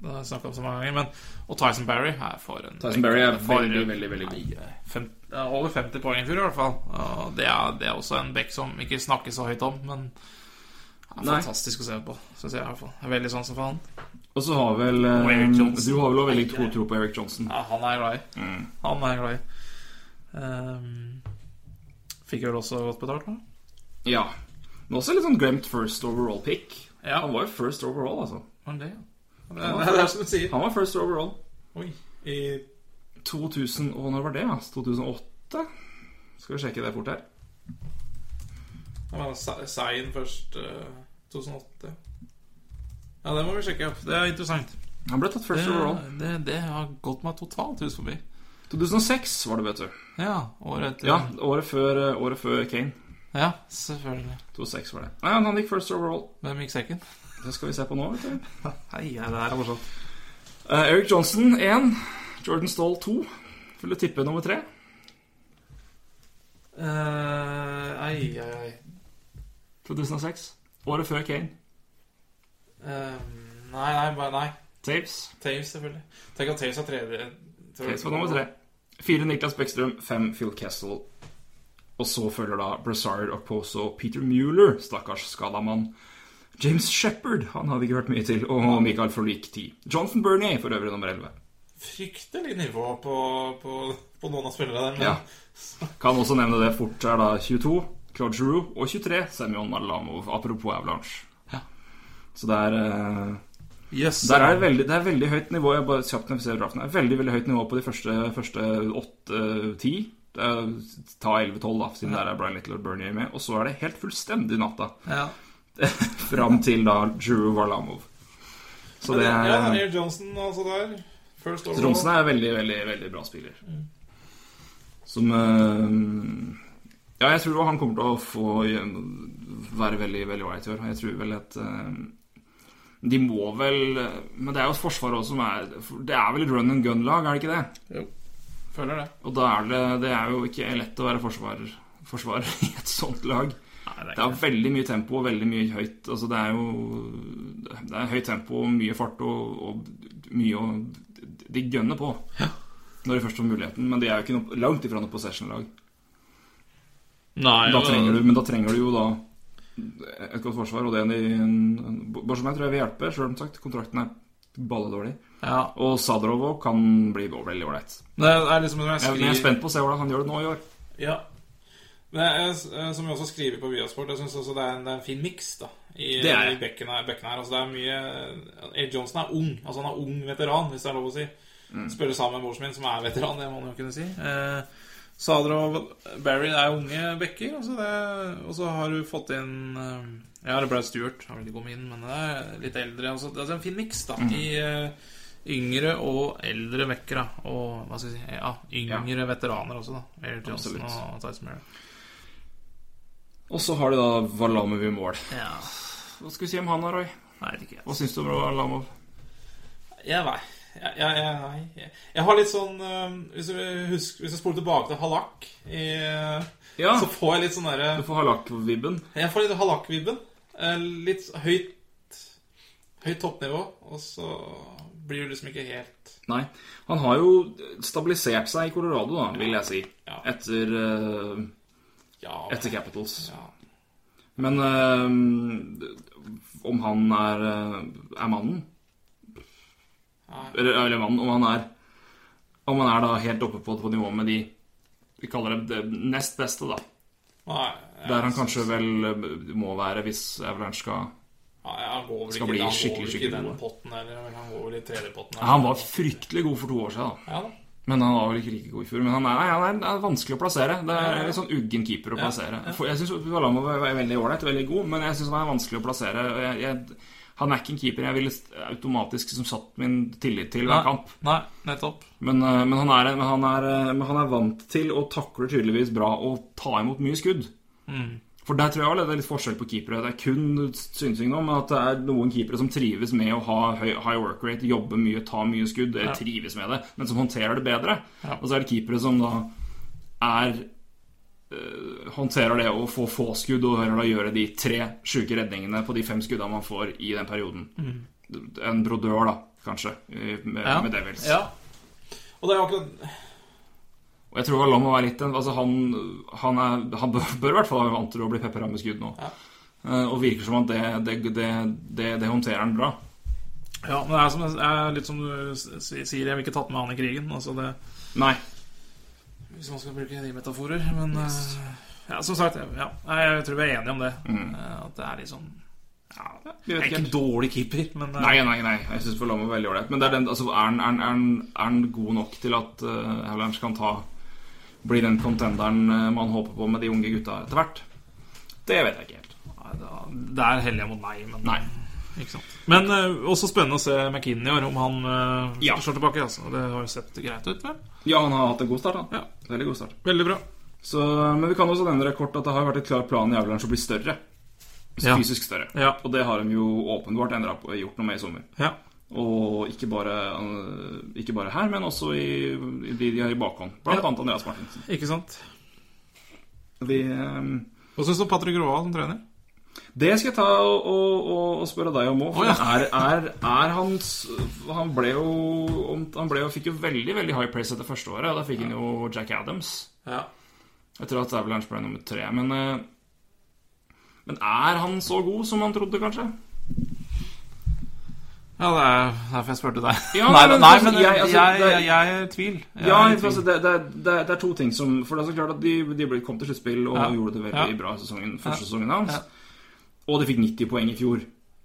E: det har jeg snakka om så mange ganger. Men, og Tyson Barry er for en
D: Tyson Barry er
E: for-
D: veldig, veldig, veldig god.
E: Nei, fem- ja, Over 50 poeng i fjor, i hvert fall. Og det er, det er også en back som ikke snakkes så høyt om, men er
D: Nei.
E: fantastisk å se på. Synes jeg, i hvert fall. Jeg er veldig sånn som faen.
D: Og så har vel eh,
E: Og Eric Johnson.
D: Du har vel også veldig god tro på Eric Johnson.
E: Ja, han er jeg glad i.
D: Mm.
E: Han er jeg glad i. Ehm, fikk vel også godt betalt, da?
D: Ja. Men også litt sånn glemt first overall pick.
E: Ja,
D: Han var jo first overall, altså.
E: var det, ja. Det, det, det er som du sier.
D: Han var first overall.
E: Oi. I
D: 2000 og når var det? ass? 2008? Skal vi sjekke det fort her.
E: Han var Se- Sein først eh, 2008. Ja, det må vi sjekke opp. Det er interessant.
D: Han ble tatt
E: Det,
D: first overall.
E: det, det har gått meg totalt hus forbi.
D: 2006 var det, vet du.
E: Ja, året etter.
D: Ja, året før, eh, året før Kane.
E: Ja, selvfølgelig.
D: 2006 var det. Nei, han gikk first overall.
E: Hvem gikk sekken?
D: Det skal vi se på nå, vet du.
E: Hei, ja, det her er morsomt.
D: Eh, Eric Johnson 1. Jordan Stall 2. Skulle tippe nummer 3.
E: Uh, ei, ei, ei.
D: 2006. Året før Kane.
E: Eh, nei, nei, bare nei.
D: Taves.
E: Taves, selvfølgelig. Tenk at Taves er tredje. tredje-
D: Taves var nummer 3. 4. Niklas Bäckström. 5. Phil Kessel. Og så følger da Brassard og Poso Peter Mueller, stakkars skada mann. James Shepherd, han har vi ikke hørt mye til. Og Michael Forlik 10. Jonathan Bernie, for øvrig nummer 11.
E: Fryktelig nivå på, på, på noen av spillerne der. Men
D: Ja. Kan også nevne det fort er da 22, Claude Giroux, og 23, Semyon Alamov. Apropos Avalanche.
E: Ja.
D: Så det er eh,
E: Yes.
D: Der er det veldig, det er veldig høyt nivå. Jeg bare kjapt når vi ser draften her. Veldig veldig høyt nivå på de første, første 8-10. Ta 11-12, da, siden der er Brian Little og Bernie med. Og så er det helt fullstendig natta
E: Ja.
D: fram til da Drew Varlamov. Så det
E: Ja, det er
D: er
E: Neil Johnson altså der. First overall.
D: Johnson er veldig, veldig, veldig bra spiller. Som eh, Ja, jeg tror jo han kommer til å få gjen- være veldig, veldig ålreit i år. Jeg tror vel at eh, de må vel Men det er jo et forsvar også som er Det er vel et run and gun-lag, er det ikke det?
E: Føler det.
D: Og da er det Det er jo ikke lett å være forsvarer, forsvarer i et sånt lag.
E: Nei, det
D: Det er veldig mye tempo og veldig mye høyt Altså det er jo Det er høyt tempo og mye fart og, og mye å De gønner på når de først får muligheten. Men de er jo ikke noe, langt ifra noe possession-lag.
E: Nei,
D: Da trenger du- Men da trenger du jo da et godt forsvar, og det er en Borsomei tror jeg vil hjelpe, sjøl om sagt, kontrakten er balledårlig.
E: Ja.
D: Og Sadrovo kan bli veldig ålreit.
E: Det er liksom som jeg
D: Jeg, men jeg er
E: skriver
D: spent på å se hvordan han gjør det nå i år.
E: Ja. Men jeg, jeg, som jeg også skriver på Viasport, jeg syns også det er en, det er en fin miks da i,
D: Det er det.
E: i bekken her. Bekken her. Altså, det er mye eh, Air Johnson er ung. Altså Han er ung veteran, hvis det er lov å si.
D: Mm.
E: Spiller sammen med broren min, som er veteran. Det må man jo kunne si. Eh, Sadr og Barry er unge bekker, altså det, og så har du fått inn eh, Ja, det ble Stuart, han ville ikke komme inn, men det er litt eldre. Altså, det er en fin miks da
D: Mm.
E: i eh, yngre og eldre bekker. Da, og hva skal jeg si Ja, yngre veteraner også, da. Air Johnson
D: Absolutt.
E: og Tyson Barry.
D: Og så har de da Valamov i mål.
E: Ja,
D: Hva skal vi si om han, da, Roy?
E: nei, det er ikke
D: Hva syns du om Valamov?
E: Jeg vei. Jeg, jeg, jeg, nei, jeg, jeg har litt sånn eh, Hvis du husker Hvis du spoler tilbake til Hallak, eh,
D: Ja,
E: så får jeg litt sånn derre
D: du får halak-vibben.
E: Jeg får litt Hallak-vibben. Eh, litt høyt høyt toppnivå, og så blir du liksom ikke helt
D: Nei. Han har jo stabilisert seg i Colorado, da, vil jeg si.
E: Ja.
D: Etter, eh,
E: Ja,
D: etter Capitals.
E: ja.
D: Men eh, om han er, eh, er mannen eller, eller mannen, om han er Om han er da helt oppe på, på nivå med de vi kaller det det nest beste, da.
E: Nei,
D: Der han kanskje vel eh, må være hvis Avalanche skal
E: ja, han går vel
D: skal
E: ikke,
D: bli
E: han
D: skikkelig,
E: går vel ikke i
D: skikkelig
E: den
D: gode.
E: potten eller vel, han går vel i tredjepotten.
D: Ja, Han var fryktelig god for to år siden, da.
E: Ja da.
D: Men han var vel ikke like god i fjor. Men han er, nei, han er, han er vanskelig å plassere. Det
E: Ja,
D: er
E: ja.
D: litt sånn uggen keeper å
E: Ja,
D: plassere. For jeg syns Valamo var var veldig ålreit, veldig god, men jeg syns han er vanskelig å plassere. Og Jeg, jeg, han er ikke en keeper jeg ville st- automatisk liksom satt min tillit til hver kamp.
E: Nei, nettopp.
D: Men, eh, men, han er, men, han er, eh, men han er vant til å takle tydeligvis bra og ta imot mye skudd.
E: Mm.
D: For der tror jeg også det er litt forskjell på keepere. Det er kun synsing nå, men at det er noen keepere som trives med å ha høy, high work rate, jobbe mye, ta mye skudd, eller trives med det, men som håndterer det bedre.
E: Ja.
D: Og så er det keepere som da er eh, håndterer det å få få skudd og hører da gjøre de tre sjuke redningene på de fem skudda man får i den perioden. En brodør, da, kanskje, i- med,
E: Mm. Ja.
D: med Devils.
E: Ja. Og det er jo akkurat
D: Og jeg tror Valamo er litt en altså han, han, er, han bør, bør i hvert fall være vant til å bli peppera med skudd nå. Eh, og virker som at det, det, det, det, det håndterer han bra.
E: Ja, men det er, som, det er litt som du s- sier, jeg vil ikke tatt med han i krigen. Altså det,
D: Nei.
E: hvis man skal bruke de metaforer. Men eh, ja, som sagt, ja, Nei, jeg tror vi er enige om det. Eh, At det er liksom ja,
D: vi vet
E: Jeg er ikke en
D: ikke.
E: dårlig keeper, men eh,
D: Nei, nei, nei. Jeg syns Valamo er veldig ålreit. Men det er, den, altså, er, han, er, han, er, han, er han god nok til at uh, Avalanche kan ta bli den contenderen eh, man håper på med de unge gutta etter hvert? Det vet jeg ikke helt.
E: nei, da- det er hellig mot meg, men
D: Nei.
E: Ikke sant? Men eh, også spennende å se McKinnon i år, om han uh,
D: Ja.
E: slår tilbake. Altså. Det har jo sett greit ut, vel?
D: Ja, han har hatt en god start, da.
E: Ja.
D: Veldig god start.
E: Veldig bra.
D: Så, eh, men vi kan også nevne kort at det har vært et klar plan i Avalanche å bli større.
E: Ja.
D: Fysisk større.
E: Ja.
D: Og det har de jo åpenbart endret på, gjort noe med i sommer.
E: Ja.
D: Og ikke bare, øh, ikke bare her, men også i, i de de har i bakhånd. Blant
E: Ja.
D: annet Andreas Martinsen.
E: Ikke sant?
D: De, øh,
E: Hva syns du om Patrick Roa som trener?
D: det skal jeg ta og, og, og- og spørre deg om òg.
E: Å, ja.
D: er, er, er hans Han ble jo Han ble jo, fikk jo veldig veldig high praise etter første året. Da fikk han jo Jack Adams.
E: Ja.
D: Jeg tror at Avalanche ble nummer tre, men eh, Men er han så god som han trodde, kanskje?
E: Ja, det er derfor jeg spurte deg.
D: Ja,
E: nei,
D: men
E: nei,
D: altså,
E: men jeg,
D: jeg- altså,
E: jeg,
D: det-
E: jeg, jeg er i tvil. Jeg
D: Ja,
E: er i
D: altså,
E: tvil.
D: det, det, det, det er to ting som For det er så klart at de, de ble- kom til sluttspill og
E: Ja.
D: gjorde det veldig
E: Ja.
D: bra i sesongen, første
E: Ja.
D: sesongen hans.
E: Ja.
D: Og de fikk 90 poeng i fjor.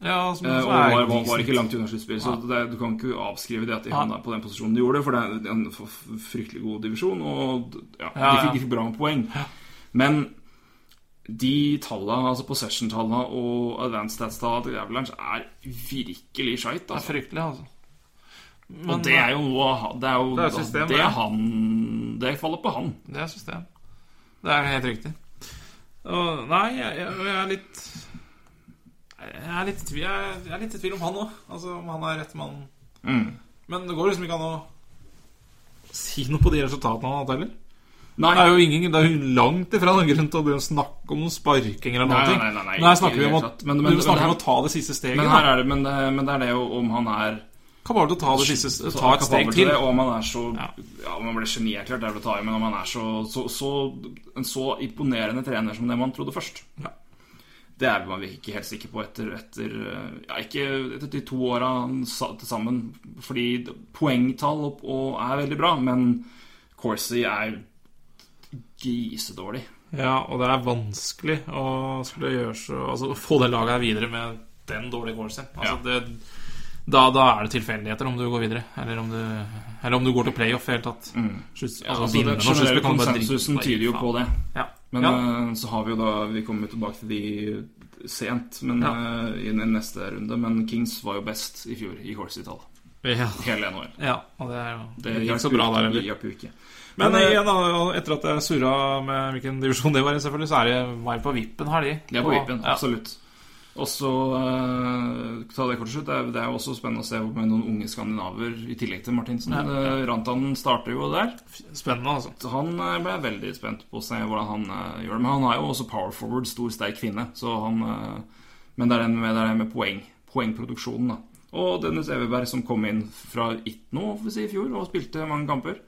E: ja, som,
D: eh,
E: som
D: Og
E: er
D: var, var, var
E: decent.
D: ikke langt unna sluttspill, så det, du kan ikke avskrive det at de
E: Nei.
D: havna på den posisjonen de gjorde, for det er en f- f- fryktelig god divisjon, og ja, de,
E: Ja, ja.
D: fikk, de fikk bra med poeng. Men de tallene, altså possession-tallene og advanced stats-tallene til Avalanche er virkelig skeit.
E: Det er
D: Altså.
E: fryktelig, altså. Men,
D: Og det er jo noe han- Det er jo
E: Det er et system,
D: det,
E: det.
D: han Det faller på han.
E: Det er system. Det er helt riktig. Og, nei, jeg, jeg, jeg er litt Jeg er litt, i tvil- jeg, er- jeg er litt i tvil om han òg. Altså, om han er rett mann.
D: Mm.
E: Men det går liksom ikke an å si noe på de resultatene han har hatt heller.
D: Nei,
E: Det er jo ingen, det er jo langt ifra noen grunn til å begynne å snakke om noen sparking eller
D: Nei, nei,
E: noe.
D: nei, nei,
E: Men her snakker vi om å,
D: ikke i det hele tatt. Men- men-
E: vi snakker
D: men-
E: om å ta det siste steget.
D: men
E: da.
D: her er det, men, det, men det er det jo om han er
E: Kapabel til å ta, det siste,
D: så
E: ta et
D: kapabel
E: steg
D: til
E: til.
D: det, og om han er så
E: Ja.
D: ja. om han ble genierklært, det er vel å ta i, men om han er så, så, så en så imponerende trener som det man trodde først.
E: Ja.
D: Det er man ikke helt sikker på etter, etter ja, ikke etter de to åra han sa- til sammen, fordi poengtall og, og er veldig bra, men Corsi er grisedårlig.
E: Ja, og det er vanskelig å skulle gjøre så Altså få det laget her videre med den dårlige goalsen. Altså,
D: Ja.
E: det, da, da er det tilfeldigheter om du går videre, eller om du, eller om du går til playoff i det hele tatt. Slutts-
D: Ja,
E: altså,
D: altså,
E: vinne
D: den
E: noe sluttspill
D: generelle
E: kan du bare
D: konsensusen
E: drite deg i,
D: tyder jo
E: faen.
D: på det.
E: Ja.
D: Men
E: ja.
D: eh, så har vi jo da Vi kommer jo tilbake til de sent men,
E: Ja.
D: eh, i den neste runde. Men Kings var jo best i fjor i Horsey-tall.
E: ja.
D: Hele ene året.
E: ja, og det er jo
D: eh, Det
E: det gikk
D: hjalp
E: så bra
D: jo-
E: der heller.
D: det hjalp jo ikke.
E: Men,
D: Men, eh,
E: igjen, da, etter at jeg surra med hvilken divisjon det var i, selvfølgelig, så er det var på vippen, har de.
D: Det er på vippen,
E: ja.
D: absolutt. Og så eh, ta det kort til slutt. Det er, det er jo også spennende å se med noen unge skandinaver i tillegg til Martinsen.
E: Ja, ja.
D: Eh, Rantanen starter jo der.
E: Spennende, altså.
D: Så Han eh, ble veldig spent på å se hvordan han eh, gjør det. Men han er jo også power forward, stor, sterk kvinne. Så han, eh, men det er den med, det er den med poeng. poengproduksjonen. da. Og Dennis Everberg, som kom inn fra It nå, får vi si, i fjor, og spilte mange kamper,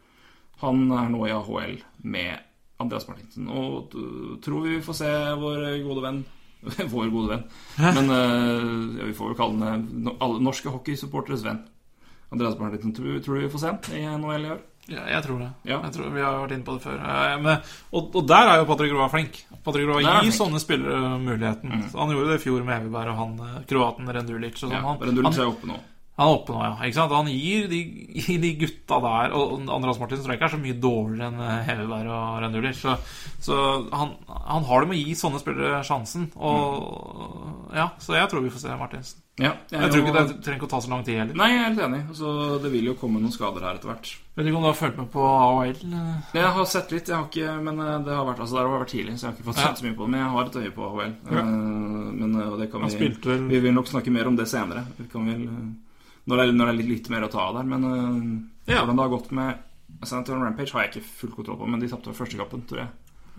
D: han er nå i AHL med Andreas Martinsen. Og t- tror vi vi får se vår gode venn Vår gode venn. Men eh, ja, vi får jo kalle ham det no- alle norske hockeysupporteres venn. Andreas Martinsen, tror, tror du vi får se ham i NHL i år?
E: Ja, jeg tror det.
D: Ja.
E: Jeg tror, vi har vært inne på det før. Eh, Men, og, og der er jo Patrick Roa flink. Patrick Roa
D: Der er han
E: gir
D: flink. Mm.
E: sånne spillere muligheten. Så han gjorde det i fjor med Heveberg og han eh, kroaten Rendulic. Og sånn.
D: Ja,
E: han,
D: Rendulic
E: han,
D: er oppe nå.
E: han er oppe nå, ja. Ikke sant? Han gir de, gir de gutta der Og Andreas Martin tror jeg ikke er så mye dårligere enn eh, Heveberg og Rendulic. Så, så han, han har det med å gi sånne spillere sjansen. Og, ja, så jeg tror vi får se Martinsen.
D: Mm. Ja,
E: Jeg tror ikke det trenger ikke å ta så lang tid heller.
D: Nei, jeg er helt enig. Så det vil jo komme noen skader her etter hvert.
E: Vet ikke om du har fulgt med på AHL? eh?
D: Jeg har sett litt, jeg har ikke, men eh, det har vært, altså det har vært tidlig, så jeg har ikke fått
E: Ja.
D: sett så mye på det. Men jeg har et øye på AHL. eh, Men eh, og det kan
E: Han
D: vi,
E: spilte vel-
D: vi vil nok snakke mer om det senere. Vi kan vel, eh, når, det er, når det er litt, litt mer å ta av der. Men eh,
E: Ja.
D: hvordan det har gått med Sanitarium Rampage, har jeg ikke full kontroll på, men de tapte første kampen, tror jeg.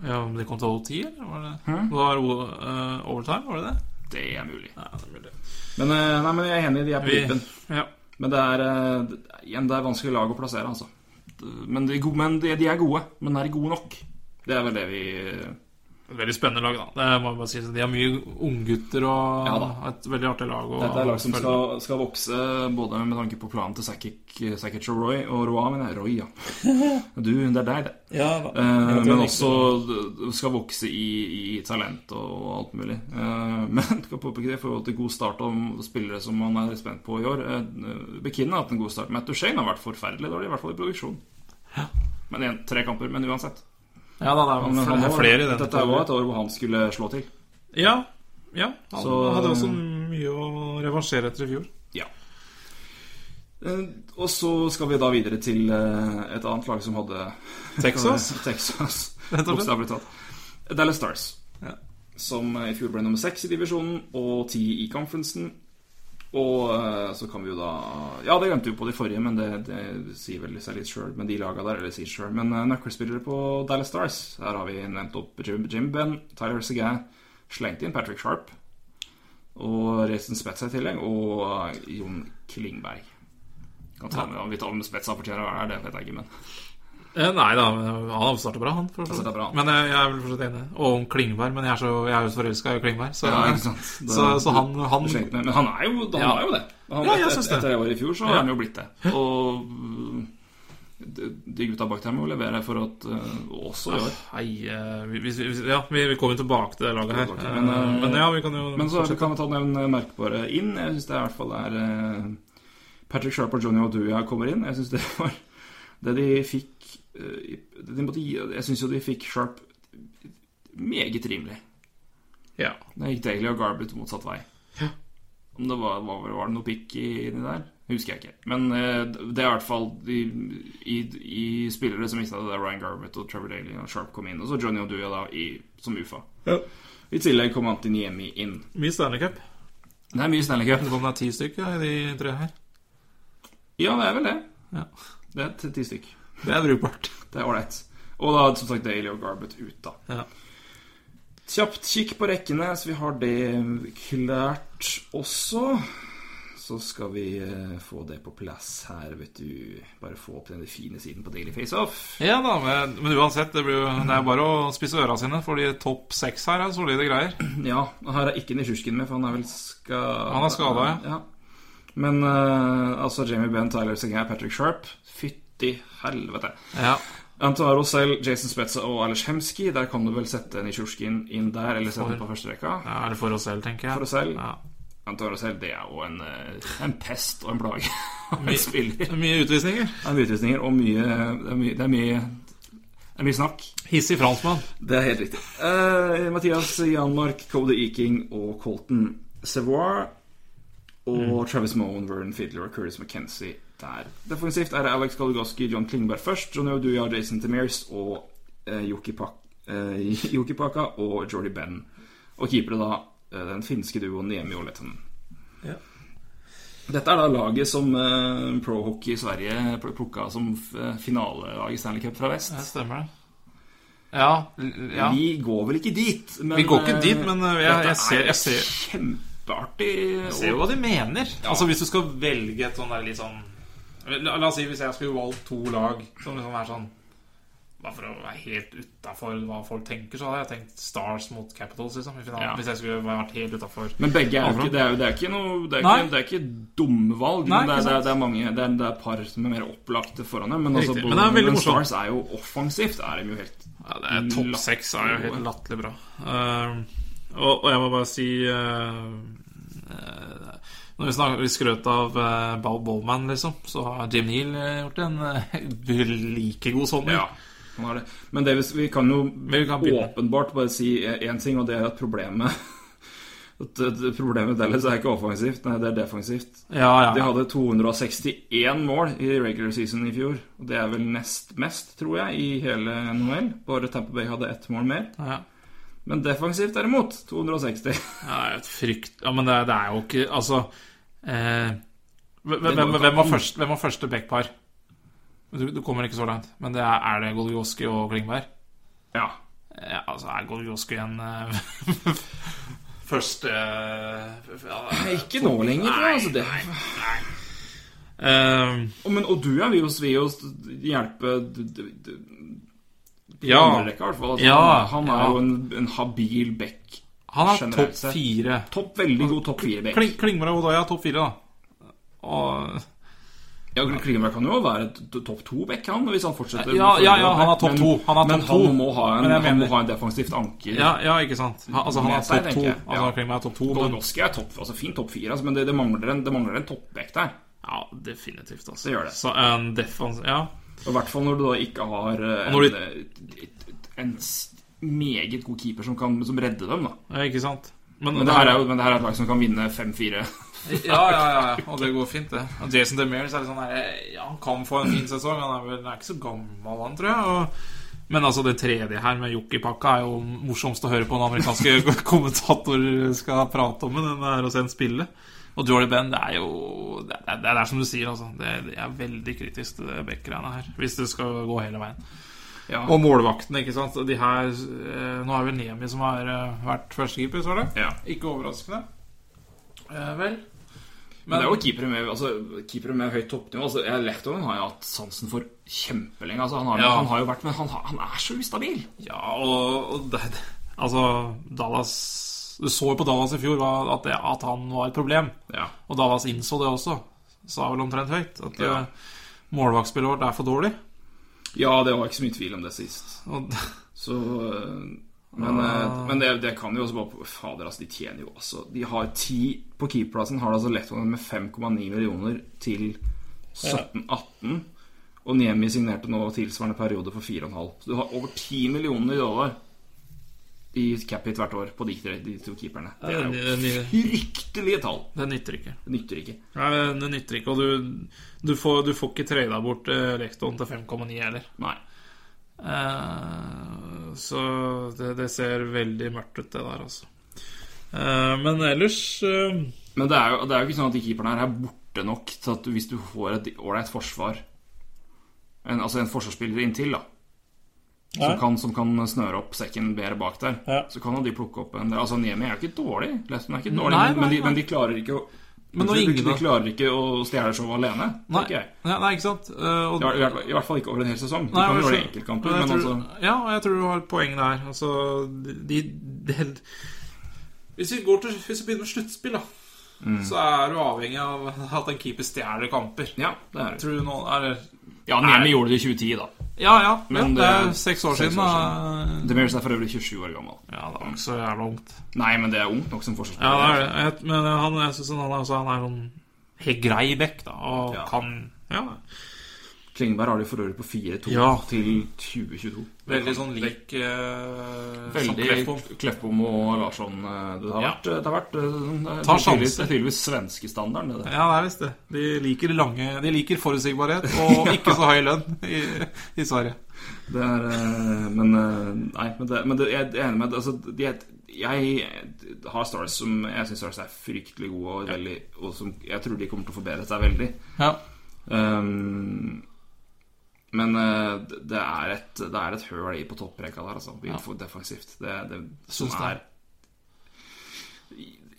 E: Ja, om det kom til OT, eller var det
D: Hæ?
E: Det var eh, overtime, var det det?
D: Det er mulig.
E: Nei, det er mulig.
D: Men, eh, nei, men jeg er enig, de er på
E: Vi-
D: vippen.
E: Ja.
D: Men det er, eh, det- igjen, det er vanskelig lag å plassere, altså. Men de, er gode- men de, de er gode. Men er de gode nok? Det er vel det vi
E: Et Veldig spennende lag, da. Det må jeg bare si. Så De har mye unggutter og
D: Ja da.
E: et veldig artig lag. Og,
D: Dette er lag som skal, skal vokse, både med tanke på planen til Sakic Sakic og Roy Og Roy, mener jeg. Roy, ja. Du, det er deg, det.
E: ja,
D: Eh, men også d- skal vokse i, i talent og, og alt mulig. Eh, men skal påpeke det i forhold til god start om spillere som man er spent på i år. Uh, Bekinn har hatt en god start. Matt Duchene har vært forferdelig dårlig, i hvert fall i produksjon. Men igjen, Tre kamper, men uansett.
E: Ja da, det er,
D: Men
E: flere,
D: han
E: det er
D: var-
E: flere i den.
D: Dette var et år hvor han skulle slå til.
E: Ja. ja. Han
D: Så-
E: hadde også mye å revansjere etter i fjor.
D: Ja. Eh, Og så skal vi da videre til eh, et annet lag som hadde
E: Texas?
D: Texas,
E: Rett og slett.
D: Bokstavelig talt. Dallas Stars.
E: Ja.
D: Som eh, i fjor ble nummer seks i divisjonen og ti i conferencen. Og eh, så kan vi jo da Ja, det glemte vi på de forrige, men det, det sier vel seg litt sjøl. Men de laga der, eller sier sjøl. Men eh, nøkkelspillere på Dallas Stars. Her har vi nevnt opp Jim, Jim Ben, Tyler Segan, slengt inn Patrick Sharp. Og Reisen Spetz er i tillegg, og Jon Klingberg. Kan ta med, om vi tar med Spetz han fortjener å være der, det vet jeg ikke, men
E: Eh, nei da, men han starta bra, han. For så vidt.
D: startet bra, han.
E: Men eh, jeg, jeg er vel fortsatt enig. Og om Klingberg, men jeg er, så, jeg er jo så forelska i Klingberg. Så,
D: Ja, ikke sant. Det-
E: så, så han, han
D: Du skjønte meg, Men han er jo, han
E: Ja.
D: er jo det. Han,
E: Ja, jeg
D: etter,
E: synes det.
D: etter det året i fjor så
E: Ja.
D: har han jo blitt det. Og mm, de de gutta bak der må jo levere for at eh, også i år.
E: Hei, eh, vi, vi, vi, ja, vi, vi kommer tilbake til det laget her.
D: Tilbake, men,
E: Eh,
D: eh,
E: men ja, vi kan jo
D: Men så
E: fortsette.
D: kan vi ta nevne merkbare inn. Jeg syns det i hvert fall er eh, Patrick Sharp og Johnny Oduya kommer inn. Jeg syns det var det de fikk eh, i- de måtte, gi- Jeg syns jo de fikk Sharp meget rimelig.
E: Ja.
D: Da gikk Daly og Garbett motsatt vei. Om det var, var, var det noe pikk i- inni der? Husker jeg ikke. Men eh, det er i hvert fall de, i, i spillere som ikke hadde det, Ryan Garbett og Trevor Daly og Sharp kom inn. Og så Johnny Oduya da i, som UFA.
E: Ja.
D: I tillegg kom Antiniemi inn.
E: Mye Stanley Cup.
D: Det er mye Stanley Cup.
E: Lurer på om det er ti stykker ja, i de tre her.
D: Ja, det er vel det.
E: Ja.
D: Det er t- ti stykk.
E: Det er brukbart.
D: Det er ålreit. Og da som sagt Daily og Garbett ut, da.
E: Ja.
D: Kjapt kikk på rekkene, så vi har det klart også. Så skal vi eh, få det på plass her, vet du. Bare få opp den fine siden på Daily Faceoff.
E: Ja da, men, men uansett, det, blir jo, det er bare å spisse øra sine, for de topp seks her er solide greier.
D: Ja, og her er ikke Nisjurskin med, for han er vel skada
E: Han er skadet, ja.
D: ja. Men eh, altså Jamie Benn, Tyler Singer, Patrick Sharp Fytti helvete.
E: Ja.
D: Antaro selv, Jason Spetza og Alex Hemski. Der kan du vel sette Nisjurskin inn der, eller sette den på første rekka.
E: ja er det for oss selv, tenker jeg.
D: For oss selv.
E: Ja.
D: Antaro selv, det er jo en, eh, en pest og en plage. Han spiller.
E: Det er Mye utvisninger.
D: Det er mye utvisninger og mye Det er mye, det er mye, det er mye snakk.
E: Hissig franskmann.
D: Det er helt riktig. Eh, Mathias Janmark, Cody Eking og Colton Sevoir. Og Travis Moen, Vernon Fiddler og Curtis McKenzie der. Defensivt er det Alex Goligoski, John Klingberg først, Johnny Oduya, Jason Temirs og eh, Yuki Pak- eh, Yuki Paka og Jordy Benn. Og keepere da eh, den finske duoen Niemi og Letten.
E: Ja.
D: Dette er da laget som eh, Pro Hockey i Sverige pl- plukka som eh, finalelag i Stanley Cup fra vest.
E: Det stemmer, det. Ja. l- ja.
D: Vi går vel ikke dit, men
E: Vi går ikke
D: eh,
E: dit, men eh, jeg,
D: dette
E: jeg ser,
D: er
E: jeg ser
D: et kjempeartig.
E: ser jo hva de mener. Altså Hvis du skal velge et sånn der litt sånn La, la oss si hvis jeg skulle valgt to lag som liksom er sånn Bare for å være helt utafor hva folk tenker, så hadde jeg tenkt Stars mot Capitals liksom, i finalen.
D: Ja.
E: Hvis jeg skulle vært helt utafor.
D: Men begge er jo ikke Det er, jo- det er ikke noe Det er
E: Nei.
D: ikke, det er ikke dumme valg.
E: Nei,
D: men det er,
E: ikke
D: det, er,
E: sant.
D: det er mange Det er, det er par som er mer opplagte foran dem. Men, altså,
E: Riktig.
D: både-
E: Men det er veldig
D: men
E: morsomt.
D: Stars er jo offensivt. Er de jo helt
E: Ja, det er topp
D: Latterlig
E: seks er jo helt
D: gode.
E: latterlig bra. Ehm, og, og jeg må bare si eh, eh, Når vi, snakker, vi skrøt av uh, Bow Bowman, liksom, så har Jim Neal eh, gjort en eh, like god sommer.
D: Ja. Han har det. Men Davis, vi kan jo
E: Vi kan begynne.
D: åpenbart bare si én ting, og det er at problemet at at Problemet til Dallas er ikke offensivt, nei, det er defensivt.
E: Ja, ja.
D: De hadde 261 mål i regular season i fjor. Og det er vel nest mest, tror jeg, i hele NHL. Bare Tamper Bay hadde ett mål mer.
E: ja.
D: Men defensivt, derimot, 260.
E: Ja, det er jo et frykt Ja, men det, det er jo ikke Altså eh, hvem,
D: Det går
E: hvem,
D: ikke
E: hvem, var
D: an.
E: først, hvem var første backpar? Du, du kommer ikke så langt. Men det er, er det Golgoski og Klingberg?
D: Ja.
E: Ja, altså, er Golgoski en eh, første eh, ja,
D: Nei, ikke nå lenger, tror jeg, altså, det-
E: Eh,
D: Og, men, og du ja, vil jo svi oss hjelpe d- d- d-
E: ja,
D: andrerekka, i hvert fall. Altså,
E: Ja,
D: han er
E: ja.
D: jo en, en habil back.
E: han er
D: generelt
E: topp
D: sett.
E: fire.
D: Topp, veldig god topp fire-back.
E: Kling, Klingberg og Odoya topp fire, da. Og
D: Ja, Klingenberg kan jo være t- topp to-back, han, hvis han fortsetter.
E: Ja,
D: med
E: ja,
D: forrige
E: ja, han er
D: back,
E: topp
D: men-
E: to. Han er
D: Men
E: topp
D: han
E: to.
D: må ha en,
E: Men jeg
D: han må
E: mener-
D: ha en defensivt anker.
E: Ja, ja ikke sant? Han, altså, han er
D: Med seg,
E: topp to.
D: tenker jeg.
E: Altså,
D: Ja.
E: Klingberg er topp to, men
D: Golgoski er topp, altså fin topp fire, altså, men det, det mangler en, det mangler en toppback der.
E: Ja, definitivt, altså.
D: Det gjør det.
E: Så en defensiv Ja.
D: Og I hvert fall når du da ikke har eh,
E: Og når
D: en, eh, en s- meget god keeper som kan som redde dem. da
E: Ja, ikke sant?
D: Men det her er jo men det her er et lag som kan vinne 5-4.
E: ja, ja, ja, ja, og det går fint, det. Og Jason DeMears er litt sånn der, ja, han kan få en fin sesong. Han er vel han er ikke så gammel, han, tror jeg. Og, men altså, det tredje her med Jokkipakka er jo morsomst å høre på når amerikanske kommentatorer skal prate om det enn det er å se en spille. Og Jordy Ben, det er jo Det er, det er, det er som du sier, altså. Det, det er veldig kritisk til det Beck-greiene her. Hvis det skal gå hele veien.
D: Ja.
E: Og målvaktene, ikke sant. De her, eh, nå er vel Nemi som har eh, vært førstekeeper, så var det?
D: Ja.
E: Ikke overraskende. Eh, vel.
D: Men det er jo keepere med, altså, keepere med høyt toppnivå. Altså, jeg- Lehtonen har jeg hatt sansen for kjempelenge. Altså, han, har,
E: Ja.
D: han har jo vært Men han, har- han er så ustabil.
E: Ja, og, og det, det- Altså, Dallas Du så jo på Dallas i fjor hva- at, det, at han var et problem.
D: Ja.
E: Og Dallas innså det også. Sa vel omtrent høyt at
D: Ja.
E: eh, målvaktspillet vårt er for dårlig.
D: ja, det var ikke så mye tvil om det sist.
E: Og,
D: Så øh, Men, øh, men det, det kan jo også bare Fader, altså, de tjener jo også De har ti på keeperplassen, har det altså Lettonen med 5,9 millioner til 17-18. Og Niemi signerte nå tilsvarende periode for 4,5. Så du har over 10 millioner dollar i cap hit hvert år på de, tre- de to keeperne. Det er jo
E: det
D: fryktelige tall.
E: nytter ikke.
D: Det nytter ikke.
E: Nei, det det nytter ikke, og du, du, får, du får ikke trada bort eh, Lekton til 5,9 heller.
D: Nei.
E: Eh, Så det, det ser veldig mørkt ut, det der, altså. Eh, Men ellers eh,
D: Men det er, jo, det er jo ikke sånn at de keeperne her er borte nok til at du- hvis du får et ålreit forsvar en, Altså en forsvarsspiller inntil, da. Som
E: Ja.
D: kan, som kan snøre opp sekken bedre bak der.
E: Ja.
D: Så kan jo de plukke opp en Altså Niemi er jo ikke dårlig. Leston er ikke dårlig,
E: Nei,
D: men,
E: nei,
D: men, de,
E: nei.
D: men de klarer ikke å
E: Men når
D: de, de,
E: ingen da-
D: klarer ikke å stjele showet alene.
E: Nei,
D: tenker jeg.
E: ja, nei ikke sant? Eh, og-
D: I hvert- I hvert fall- i hvert fall ikke over en hel sesong. Du
E: Nei,
D: kan
E: men
D: gjøre det
E: jeg
D: i
E: tror-
D: enkeltkamper,
E: jeg
D: men
E: tror,
D: altså
E: Ja, og jeg tror du har et poeng der. Altså, de, de, Hvis vi går til Hvis vi begynner med sluttspill, da, så er du avhengig av at en keeper stjeler kamper.
D: Mm. Ja, det er det.
E: Tror du nå er,
D: Ja, Niemi gjorde det i 2010, da.
E: Ja, ja.
D: Men
E: det er
D: det-
E: seks år
D: seks
E: siden,
D: år
E: da.
D: Demirs er for øvrig 27 år gammel.
E: Ja, det var ikke så jævla ungt.
D: Nei, men det er ungt nok som
E: Ja, det
D: forsvarsspiller.
E: er det. Jeg- Men han, jeg synes han, er- altså, han er sånn helt grei bekk, da, og
D: Ja.
E: kan Ja.
D: Klingberg har de for øvrig på 4-2
E: Ja.
D: til 2022.
E: Veldig sånn lik uh,
D: Veldig Kleppom og Larsson. eh, Det har
E: Ja.
D: vært, det har vært eh, det er
E: Ta
D: tydeligvis-
E: sjansen.
D: Det er tydeligvis svenskestandarden, det der.
E: Ja, det er visst det. De liker, lange, de liker forutsigbarhet og ikke så høy lønn i, i Sverige.
D: Det er, eh, men eh, Nei, men, det, men det, jeg er enig med deg. altså, de, er- Jeg har Stars som Jeg syns Stars er fryktelig gode, og, veldig, og som jeg tror de kommer til å forbedre seg veldig.
E: Ja.
D: Ehm, men eh, det- det er et Det er et høl i på topprekka der, altså. Info- Defensivt. Det, det, som
E: Syns det.
D: er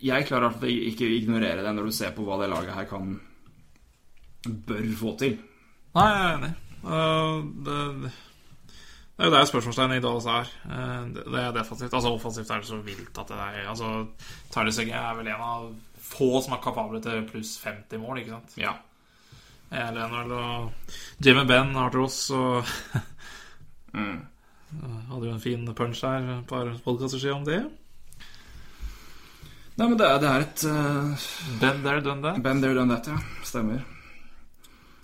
D: jeg klarer i hvert fall ikke å ignorere det når du ser på hva det laget her kan bør få til.
E: Nei, jeg er enig. Eh, det, det er jo der spørsmålstegnet i Dallas er. Eh, det, det er defensivt. Altså Offensivt er det så vilt at det er altså, Tarjei Søgge er vel en av få som er kapable til pluss 50 mål, ikke sant?
D: Ja.
E: Eh, Leonard og Jimmy Ben har til oss, og
D: Mm.
E: hadde jo en fin punch her et par podkaster siden om det.
D: Nei, men det er, det er et uh,
E: Ben there, done that.
D: Been there, done that, ja. Stemmer.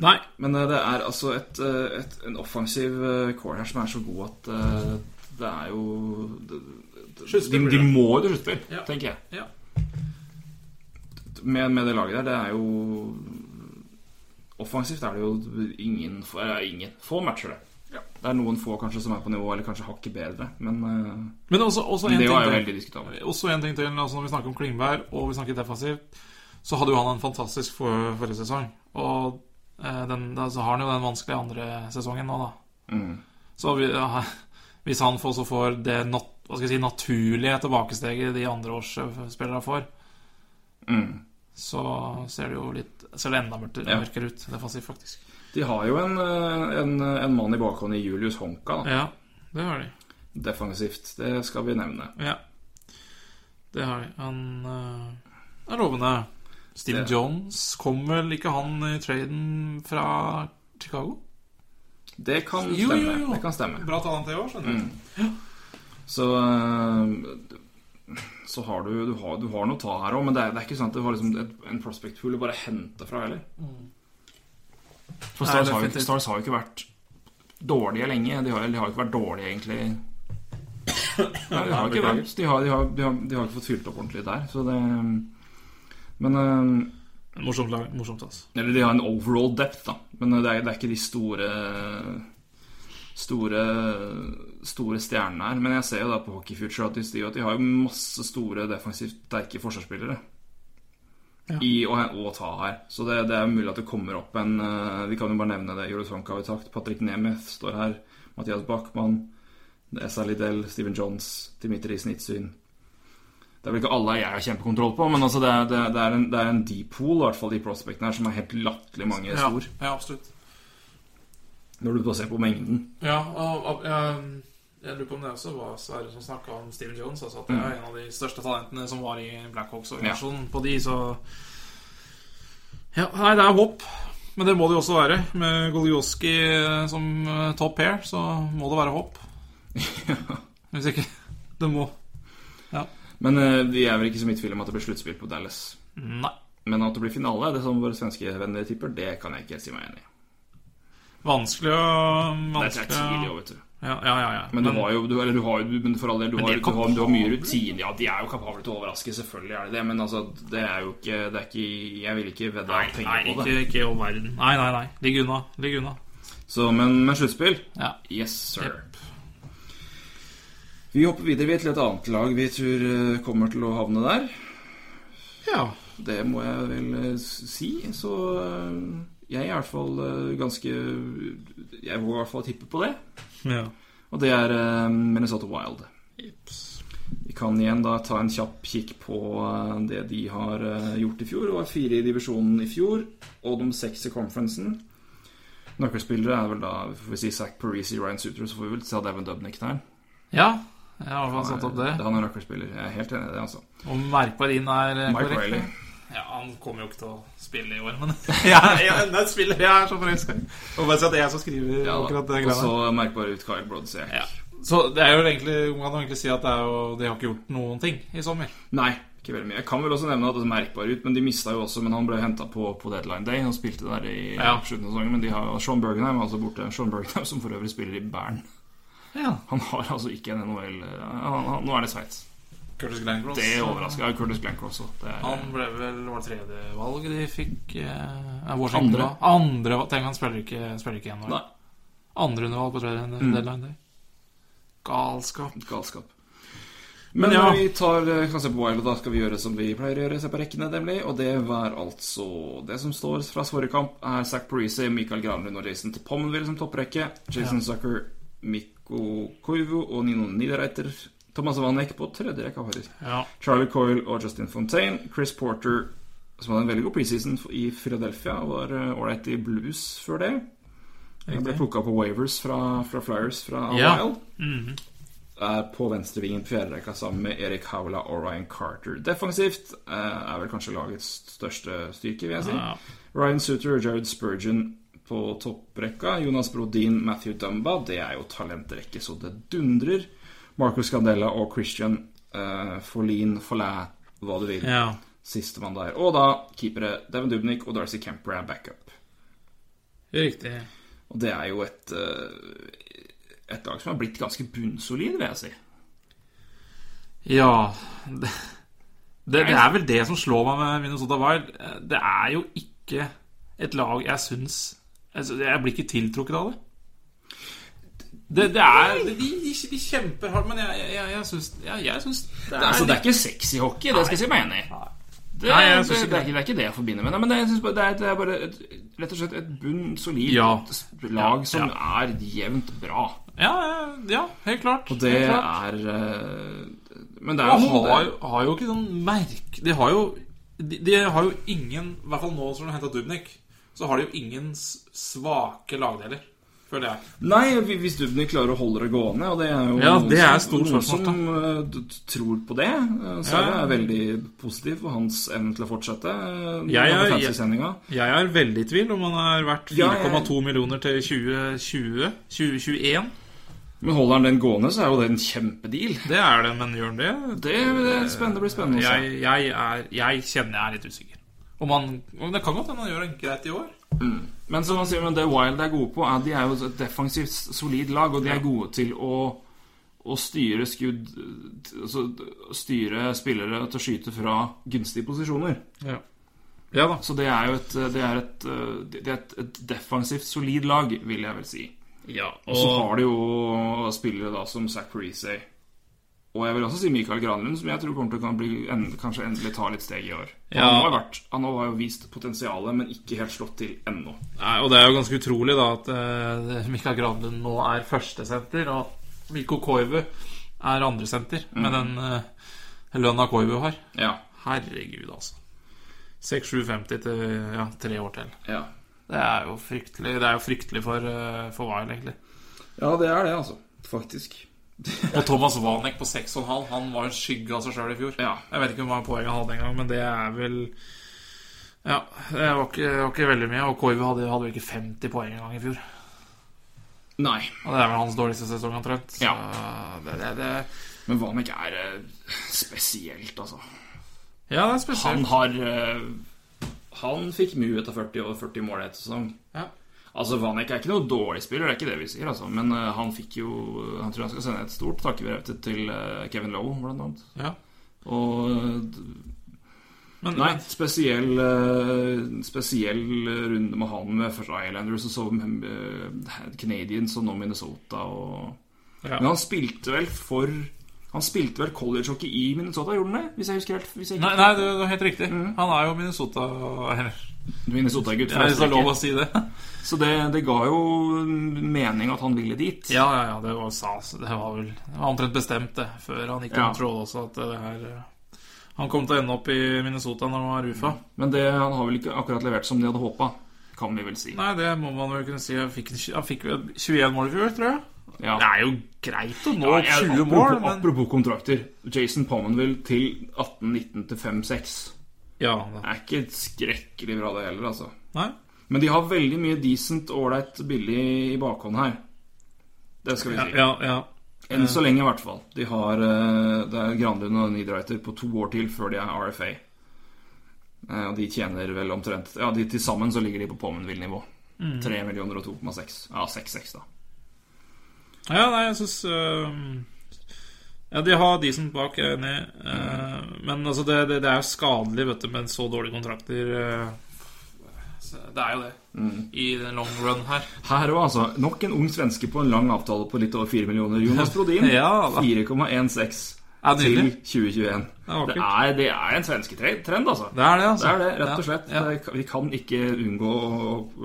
E: Nei.
D: Men eh, det er altså et, eh, et, en offensiv eh, core her som er så god at eh, det er jo det- det- De,
E: Sluttspill blir
D: de
E: det.
D: må jo til sluttspill,
E: Ja.
D: tenker jeg.
E: Ja.
D: Med, med det laget der, det er jo Offensivt er det jo ingen, få- eh, ingen få matcher, det.
E: Ja.
D: Det er noen få kanskje som er på nivå, eller kanskje hakket bedre, men eh,
E: Men også, også en
D: det
E: ting
D: var jo
E: til.
D: veldig diskutabelt.
E: Også en ting til, altså når vi snakker om Klingberg og vi snakker defensivt, så hadde jo han en fantastisk for, forrige sesong. Og eh, den, da, så har han jo den vanskelige andre sesongen nå, da.
D: Mm.
E: Så vi, ja, hvis han får, så får det nat, hva skal jeg si, naturlige tilbakesteget de andreårsspillerne får,
D: Mm.
E: så ser det jo litt Ser det enda mørkere,
D: Ja.
E: mørkere ut defensivt, faktisk.
D: De har jo en, eh, en, en mann i bakhånd i Julius Honka, da.
E: Ja, det har de.
D: defensivt. Det skal vi nevne.
E: Ja. Det har de. Han eh, er lovende. Steve
D: Det-
E: Jones kom vel ikke han i traden fra Chicago?
D: Det kan
E: Jo,
D: stemme.
E: jo, jo.
D: Det kan stemme.
E: Bra talent det òg, skjønner du.
D: Så, eh, så har du, du, har, du har noe å ta her òg, men det er, det er ikke sånn at det var liksom et, en prospect pool å bare hente fra heller. For
E: Mm. Nei,
D: Stars, har, jo,
E: definitivt.
D: Stars har jo ikke vært dårlige lenge. De har, de har jo ikke vært dårlige, egentlig. Nei, de har ikke vært De har, de har, de har, de har ikke fått fylt opp ordentlig der, så det Men eh,
E: Morsomt lag. Morsomt, altså.
D: Eller de har en overall depth, da. Men eh, det er, det er ikke de store Store Store stjernene her. Men jeg ser jo da på Hockey Future at de, sier at de har jo masse store defensivt sterke forsvarsspillere.
E: Ja.
D: I å, å ta her. Så det, det er mulig at det kommer opp en eh, Vi kan jo bare nevne det. Joris Honka har vi takt. Patrick Nemeth står her. Mathias Bachmann. Essa Liddell. Steven Johns. Dimitri Snitsyn. Det er vel ikke alle jeg har kjempekontroll på, men altså det, er, det, er, det, er en, det er en deep pool, i hvert fall de prospectene her, som er helt latterlig mange
E: Ja,
D: stor.
E: ja, absolutt.
D: Når du bare ser på mengden.
E: Ja, og, og jeg, jeg lurer på om det også var Sverre som snakka om Steven Jones. Altså at det er en av de største talentene som var i Blackhawks-organisasjonen. På de, så Ja, nei, det er håp. Men det må det jo også være. Med Golioski som eh, top pair, så må det være håp. Hvis ikke Det må
D: Men eh, vi er vel ikke så mye i tvil om at det blir sluttspill på Dallas.
E: Nei.
D: Men at det blir finale, det som våre svenske venner tipper, det kan jeg ikke si meg enig i.
E: Vanskelig å
D: Det er
E: vanskelig å-
D: tidlig òg, vet du.
E: Ja, ja, ja, ja.
D: Men du har jo du, Eller du har jo Men for all del, du,
E: Men
D: har,
E: de er
D: du, har, du har mye
E: kapable.
D: rutine. Ja, de er jo kapable til å overraske, selvfølgelig er de det. Men altså, det er jo ikke Det er ikke Jeg vil ikke vedde
E: Nei,
D: alt
E: nei,
D: penger på
E: ikke,
D: det.
E: ikke i all verden. Nei, nei, nei. Ligg unna. Ligg unna.
D: Så, men, men sluttspill
E: Ja.
D: Yes, sir.
E: Jep.
D: Vi hopper videre vi, til et annet lag vi tror eh, kommer til å havne der.
E: ja.
D: Det må jeg vel eh, s- si. Så eh, jeg er i hvert fall eh, ganske Jeg våger i hvert fall tippe på det.
E: ja.
D: Og det er eh, Minnesota Wild.
E: Ips.
D: Vi kan igjen da ta en kjapp kikk på eh, det de har eh, gjort i fjor. Det var fire i divisjonen i fjor, og de seks i conferencen. Nøkkelspillere er vel da får vi si Zack Parisi, Ryan Suter, så får vi vel ta Devin Dubnik der.
E: Ja, jeg har i hvert fall satt opp det.
D: Det er Han er nøkkelspiller. Jeg er helt enig i det, altså.
E: Og merkverdien er eh,
D: Mike
E: korrekt.
D: Riley.
E: Ja, Han kommer jo ikke til å spille i år, men ja, ja, det er spiller jeg er så forelska i. Og bare si at det er jeg som
D: Ja,
E: skriver
D: da.
E: akkurat det
D: og
E: greia.
D: så merkbar ut Kyle Brodsek.
E: Ja. Så det er jo egentlig man kan jo egentlig si at det er jo, de har ikke gjort noen ting i sommer.
D: Nei, ikke veldig mye. Jeg kan vel også nevne at det er merkbar ut, men de mista jo også Men han ble henta på, på deadline day. Han spilte der i
E: Ja.
D: slutten av sesongen, men de har og Sean Bergenheim er altså borte. Sean Bergenheim som for øvrig spiller i Bern.
E: Ja.
D: Han har altså ikke en NHL han, han, Nå er det Sveits.
E: Curtis Glencross.
D: Det overrasker. Ja, Curtis Blank også. Det er,
E: Han ble vel var det tredje valg de fikk eh,
D: Andre.
E: Washington, da. Andre valg. Tenk, han spiller ikke, spiller ikke igjen nå.
D: Nei.
E: Andre undervalg på tredje deadline day. Galskap.
D: Galskap. Men,
E: Men ja.
D: vi tar, eh, kan se på Wild, og da skal vi gjøre som vi pleier å gjøre, se på rekkene, nemlig. Og det var altså Det som står fra forrige kamp, er Zack Parisi, Michael Granlund og Jason Pommenville som topprekke. Jason Zucker, Mikko Koivu og Nino Niederreiter Thomas Vanek på tredje rekka, faktisk.
E: Ja.
D: Charlie Coyle og Justin Fontaine. Chris Porter, som hadde en veldig god preseason i Philadelphia, var ålreit i blues før det. Han ble plukka på Wavers fra, fra Flyers fra
E: Ja. Mhm.
D: Wild. Er på venstrevingen på fjerderekka sammen med Erik Haula og Ryan Carter. Defensivt eh, er vel kanskje lagets største styrke, vil jeg si.
E: Ja.
D: Ryan Suter og Jared Spurgeon på topprekka. Jonas Brodin, Matthew Dumba. Det er jo talentrekke så det dundrer. Marcus Candela og Christian eh, Forlin, Forlæ, hva du vil.
E: ja.
D: Sistemann der. Og da keepere Devin Dubnik og Darcy Kemper er backup.
E: Riktig.
D: Og det er jo et eh, Et lag som har blitt ganske bunnsolid, vil jeg si.
E: Ja det, det, det er vel det som slår meg med Minnesota Wild. Det er jo ikke et lag jeg syns altså, Jeg blir ikke tiltrukket av det. Det, det er De, de, de kjemper hardt, men jeg, jeg, jeg, jeg syns jeg, jeg syns det er,
D: Altså, det er ikke sexy hockey, det skal jeg si meg enig i. Det,
E: Nei, jeg
D: det,
E: synes
D: det,
E: ikke
D: er ikke, det er ikke det jeg forbinder med det, men det, jeg synes bare, det, er, det er bare et, rett og slett et bunn solid
E: Ja.
D: lag som
E: Ja.
D: er jevnt bra.
E: ja, ja, ja, helt klart.
D: Og det
E: helt klart.
D: er eh, Men det er jo
E: De
D: sånn
E: har,
D: det
E: jo- har jo ikke sånn merk De har jo De, de har jo ingen I hvert fall nå som de har henta Dubnik, så har de jo ingen s- svake lagdeler, føler jeg.
D: Nei, hvis Dubnik klarer å holde det gående, og det er jo
E: Ja, det
D: noen
E: er et stort
D: som-
E: spørsmål,
D: noen som eh, d- d- tror på det, eh, så
E: Ja.
D: er jeg veldig positiv for hans evne til å fortsette. eh,
E: Jeg er-
D: med fantasy-sendinga.
E: Jeg er veldig i tvil om han er verdt
D: Ja,
E: 4,2 millioner til 2020 2021.
D: Men holder han den gående, så er jo det en kjempedeal.
E: Det er det, men gjør han det? Eh,
D: Det, det er spennende, blir spennende å se.
E: Jeg, jeg, er, jeg kjenner jeg er litt usikker. Om han, om det kan godt hende han gjør det greit i år.
D: Men som man sier, men det Wild er gode på, er de er jo et defensivt solid lag, og de er gode til å, å styre skudd altså, Styre spillere til å skyte fra gunstige posisjoner.
E: Ja, ja da.
D: Så det er jo et, det er et, det er et, et defensivt solid lag, vil jeg vel si. Og så har de jo spillere da som Zack Parise. Og jeg vil også si Mikael Granlund, som jeg tror kommer til å kan bli, en, kanskje endelig ta litt steg i år.
E: Ja.
D: Han, har vært, han har jo vist potensialet, men ikke helt slått til ennå.
E: Nei, og det er jo ganske utrolig da at eh, Mikael Granlund nå er førstesenter, og at Mikko Koivu er andresenter
D: Mm.
E: med den uh, lønna Koivu har.
D: Ja,
E: Herregud, altså. 6-7,50 til ja, tre år til.
D: ja.
E: Det er jo fryktelig, det er jo fryktelig for, eh, for Wild, egentlig.
D: Ja, det er det, altså. Faktisk.
E: Og Thomas Wanek på 6,5 Han var jo en skygge av seg sjøl i fjor.
D: Ja.
E: Jeg vet ikke hvor mange poeng han hadde engang, men det er vel Ja, det var ikke, det var ikke veldig mye. Og Koivu hadde, hadde vel ikke 50 poeng engang i fjor.
D: Nei.
E: Og det er vel hans dårligste sesong, omtrent. Så det, det, det,
D: Men Vanek er eh, spesielt, altså.
E: ja, det er
D: Han
E: spesielt.
D: har eh, Han fikk mye etter 40 og 40 mål i et sesong.
E: Ja.
D: Altså, Vanek er ikke noe dårlig spiller, det er ikke det vi sier, altså. Men eh, han fikk jo Han tror han skal sende et stort takkebrev til, til eh, Kevin Lowe, blant annet.
E: Ja.
D: Og eh,
E: Men,
D: Nei, spesiell, eh, spesiell runde med han med først Islanders og så eh, Canadiens og nå Minnesota og
E: Ja.
D: Men han spilte vel for Han spilte vel collegehockey i Minnesota, gjorde han det? Hvis jeg husker helt hvis jeg ikke...
E: Nei, nei, det det er helt riktig. Han er jo Minnesota Eller
D: Minnesota-gutt
E: ja,
D: fra
E: hvis Mm. det er lov
D: Østerrike.
E: å si det.
D: Så det, det ga jo mening at han ville dit.
E: Ja, ja, ja, det var sas. Det var vel det var omtrent bestemt, det, før han gikk til
D: Ja.
E: Montreal også, at det her eh, Han kom til å ende opp i Minnesota når han var UFA.
D: Men det, han har vel ikke akkurat levert som de hadde håpa, kan vi vel si.
E: Nei, det må man vel kunne si. Han fikk, en tj- han fikk vel 21 mål i fjor, tror jeg.
D: Ja.
E: Det er jo greit å nå
D: Ja, jeg-
E: 20 mål,
D: apropos,
E: men
D: apropos kontrakter. Jason Pommenville til 18-19 til 5-6.
E: Ja.
D: Det er ikke skrekkelig bra, det heller, altså.
E: Nei?
D: Men de har veldig mye decent, ålreit, billig i bakhånd her. Det skal vi si.
E: Ja, ja.
D: Enn så lenge, i hvert fall. De har, eh, det er Granlund og Niederreiter på to år til før de er RFA. Eh, Og de tjener vel omtrent Ja, de til sammen så ligger de på Pommenville-nivå.
E: Mm.
D: 3 millioner og 2,6. Ja, 6,6, da.
E: Ja, nei, jeg syns Ja, de har decent bak, jeg er enig. eh, men altså, det, det, det er jo skadelig, vet du, med så dårlige kontrakter. eh. Mm. Så det er jo det. I the long run her.
D: Her òg, altså. Nok en ung svenske på en lang avtale på litt over 4 millioner. Jonas Brodin.
E: Ja, da.
D: 4,16
E: Ja,
D: til
E: nydelig.
D: 2021.
E: Det er
D: Det
E: vakkert.
D: er, det er en svensketrend, altså.
E: Det er det, altså.
D: Det er det, rett og
E: Ja,
D: slett.
E: ja.
D: Det- Vi kan ikke unngå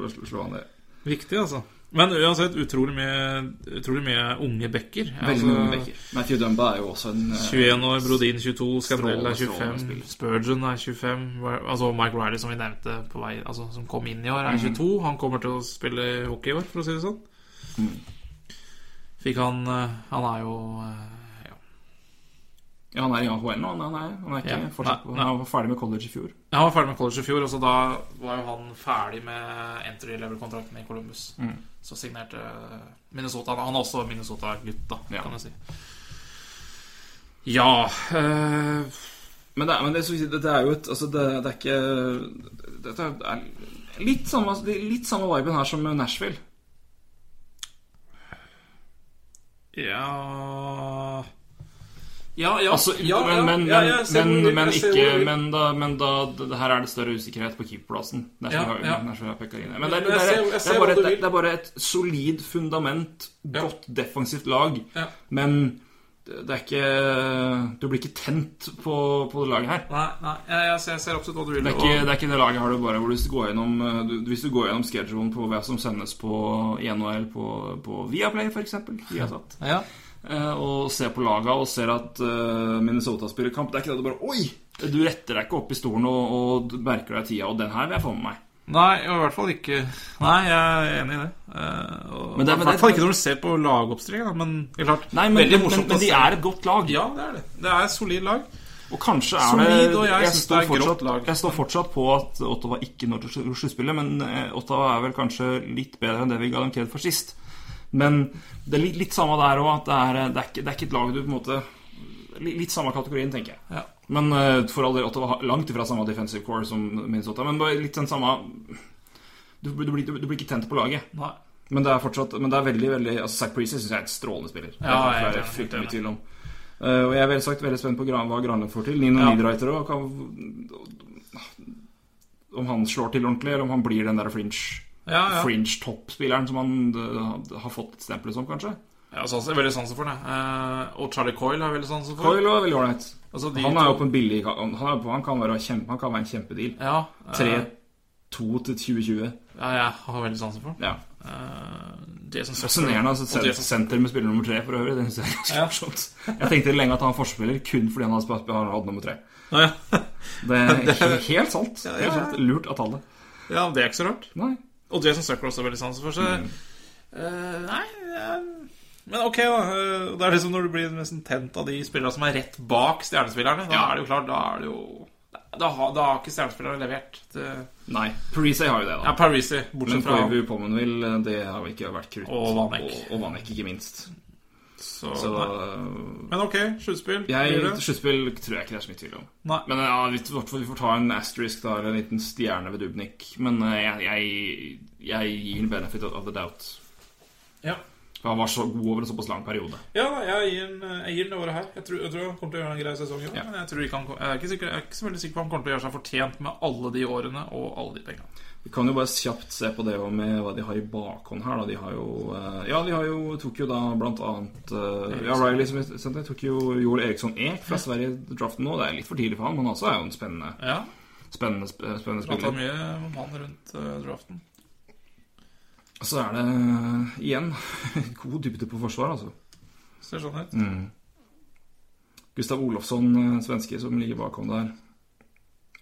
D: å slå han ned.
E: Viktig, altså. Men uansett utrolig mye, utrolig mye unge bekker.
D: Veldig mange bekker. Matthew Dumba er jo også en eh,
E: 21 år, Brodin 22, Scandell
D: Strålende,
E: er
D: strålende
E: 25,
D: spiller.
E: Spurgeon er 25 Ry- Altså Mike Riley, som vi nevnte, på vei, altså, som kom inn i år,
D: Mm.
E: er 22. Han kommer til å spille hockey i år, for å si det sånn.
D: Mm.
E: Fikk han eh, Han er jo eh, ja.
D: Ja, han er i AHL nå. Han er, han er ikke
E: Ja.
D: fortsatt
E: Nei,
D: på, han var ferdig med college i fjor.
E: Han var ferdig med college i fjor, og så da var jo han ferdig med entry level-kontrakten i Columbus.
D: Mm.
E: Så signerte Minnesota. Han er også Minnesota-gutt, da,
D: Ja.
E: kan jeg si. Ja eh,
D: Men det er, men det, er så- det er jo et Altså, det, det er ikke Dette er litt samme, det er litt samme viben her som Nashville.
E: Ja Ja, ja,
D: Altså,
E: ja, ja,
D: men, men,
E: ja, jeg ser
D: men,
E: hvor du
D: men,
E: vil,
D: men
E: jeg ser
D: ikke
E: hvor du vil.
D: Men da, men da det- Her er det større usikkerhet på keeperplassen. Nashville har-
E: Ja, ja.
D: Nashville har pekka inn i det. Men det er-
E: Men jeg
D: det
E: ser-
D: er-
E: jeg
D: det
E: ser
D: er
E: hvor
D: bare
E: du
D: et-
E: vil.
D: det er bare et solid fundament,
E: Ja.
D: godt defensivt lag,
E: Ja.
D: men det det er ikke Du blir ikke tent på, på det laget her.
E: Nei, nei, jeg, jeg, ser, jeg ser absolutt hva du vil.
D: Det er, ikke, det er ikke det laget har du bare hvor du går gjennom, eh, du, Hvis du går gjennom schedulen på hva som sendes på i NHL på, på Viaplay, f.eks. Viasat.
E: og, ja.
D: Eh, og ser på laga og ser at eh, Minnesota spiller kamp. Det er ikke det du bare Oi! Du retter deg ikke opp i stolen og, og merker deg tida, og den her vil jeg få med meg.
E: Nei, og i hvert fall ikke Nei, jeg er enig i det. Eh, og,
D: Men det-
E: I
D: men
E: hvert fall
D: det-
E: ikke når du ser på lagoppstillinga, da, men det er klart,
D: Nei, men,
E: veldig
D: men, men,
E: morsomt å
D: men de
E: se.
D: er et godt lag.
E: Ja, det er det. Det er et solid lag.
D: Og kanskje er
E: Solid,
D: det
E: og jeg synes
D: står
E: det er et
D: fortsatt,
E: grått lag.
D: Jeg står fortsatt på at Ottawa ikke når til slu- sluttspillet, men eh, Ottawa er vel kanskje litt bedre enn det vi ga dem kred for sist. Men det er litt, litt samme der òg, at det er, eh, det, er ikke, det er ikke et lag du på en måte li- Litt samme kategorien, tenker jeg.
E: Ja.
D: Men eh, for all del, Ottawa har langt ifra samme defensive core som Minnesota, men bare litt den samme du, du, blir, du, du blir ikke tent på laget.
E: Nei.
D: Men det er fortsatt Men det er veldig, veldig altså Zack Preece syns jeg er et strålende spiller. Det
E: Ja, jeg
D: kan
E: er
D: ikke være
E: helt
D: fryktelig
E: enig.
D: mye tvil om. Eh, og jeg er veldig, sagt, veldig spent på Gran, hva Granlund får til. Nino
E: Ja.
D: Niederreiter og kan- Om han slår til ordentlig, eller om han blir den der fringe
E: Ja, ja.
D: Fringe toppspilleren som han eh, har fått stempelet som, kanskje.
E: ja så, jeg har veldig sansen for det. Eh, og Charlie Coyle har veldig sansen for det.
D: Coyle var veldig ålreit.
E: Altså, de
D: Han er jo
E: to-
D: på en billig Han, er på, han, kan, være kjempe, han kan være en kjempedeal.
E: ja, eh,
D: 3-2 til 2020.
E: ja, jeg har veldig sansen for det.
D: Ja.
E: Eh, Jason Sutter.
D: Fascinerende. Altså,
E: Og
D: sen-
E: Jason
D: senter med spiller nummer tre, for øvrig. Det synes jeg er ganske
E: Ja.
D: morsomt. Jeg tenkte lenge at han forspiller kun fordi han har spilt- har hatt nummer tre.
E: Nei, ja.
D: Det er he- helt sant.
E: Ja, ja.
D: Helt sant. Lurt av tallet.
E: ja, det er ikke så rart.
D: Nei.
E: Og Jason Sucker også har veldig sansen for seg.
D: Mm.
E: Eh, nei eh, Men ok, da. eh, det er liksom når du blir nesten tent av de spillerne som er rett bak stjernespillerne. Da
D: Ja.
E: er det jo klart, da er det jo Da, har- da har ikke stjernespillerne levert. Det,
D: Nei. Parisi har jo det, da.
E: ja, Parisi,
D: Men
E: bortsett fra
D: Koivu Pommenville, det har jo ikke vært krutt.
E: Og Vanek.
D: Og, og Vanek, ikke minst.
E: så,
D: Så eh,
E: nei. Men ok, sluttspill. blir
D: jeg,
E: det?
D: Sluttspill tror jeg ikke det er så mye tvil om.
E: Nei.
D: Men eh, ja, vi, vi får- vi får ta en asterisk, da, eller en liten stjerne ved Dubnik. Men eh, jeg, jeg, jeg gir benefit of the doubt.
E: Ja.
D: For han var så god over en såpass lang periode.
E: Ja, jeg gir den, eh, jeg gir den det året her. Jeg tror, jeg tror han kommer til å gjøre en grei sesong. i år,
D: Ja.
E: Men jeg, tror ikke han, kom- jeg, er ikke sikker, jeg er ikke så veldig sikker på om han kommer til å gjøre seg fortjent med alle de årene og alle de pengene.
D: Vi kan jo bare kjapt se på det også med hva de har i bakhånd her. Da. De har jo eh, Ja, de har jo, tok jo da blant annet eh, Ja, Riley som vi sendte, tok jo Joel Eriksson Eek fra Sverige i draften nå. Det er litt for tidlig for han, men han også er jo en spennende,
E: Ja,
D: spennende, sp- spennende
E: Prata
D: spiller.
E: mye om han rundt eh, draften.
D: Så er det eh, igjen god dybde på forsvar, altså.
E: Ser sånn ut.
D: Mm. Gustav Olofsson, eh, svenske, som ligger bakom der.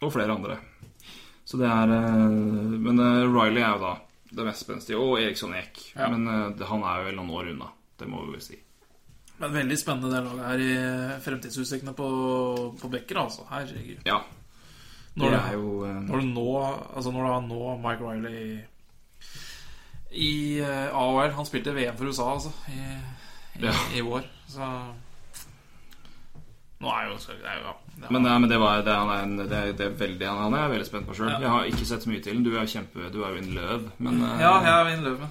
D: Og flere andre. Så det er eh, Men eh, Riley er jo da det mest spenstige. Og Eriksson Eek.
E: Ja.
D: Men eh, det- han er jo vel noen år unna. Det må vi vel si.
E: Men veldig spennende det laget her i eh, fremtidsutsiktene på, på Becker, altså. Herregud.
D: Ja,
E: Når,
D: det
E: du-
D: er jo eh,
E: når du nå Altså, når du har nå Mike Riley i, i eh, AHL Han spilte VM for USA, altså, i, i,
D: Ja.
E: i vår. Så Nå er jo det er jo, ja, det er-
D: Men, nei, men det, var, det, han er en, det, er, det er veldig han, han er jeg veldig spent på sjøl.
E: Ja.
D: Jeg har ikke sett så mye til den. Du er jo kjempe Du er jo en løv. Men, eh,
E: Ja, jeg er in love med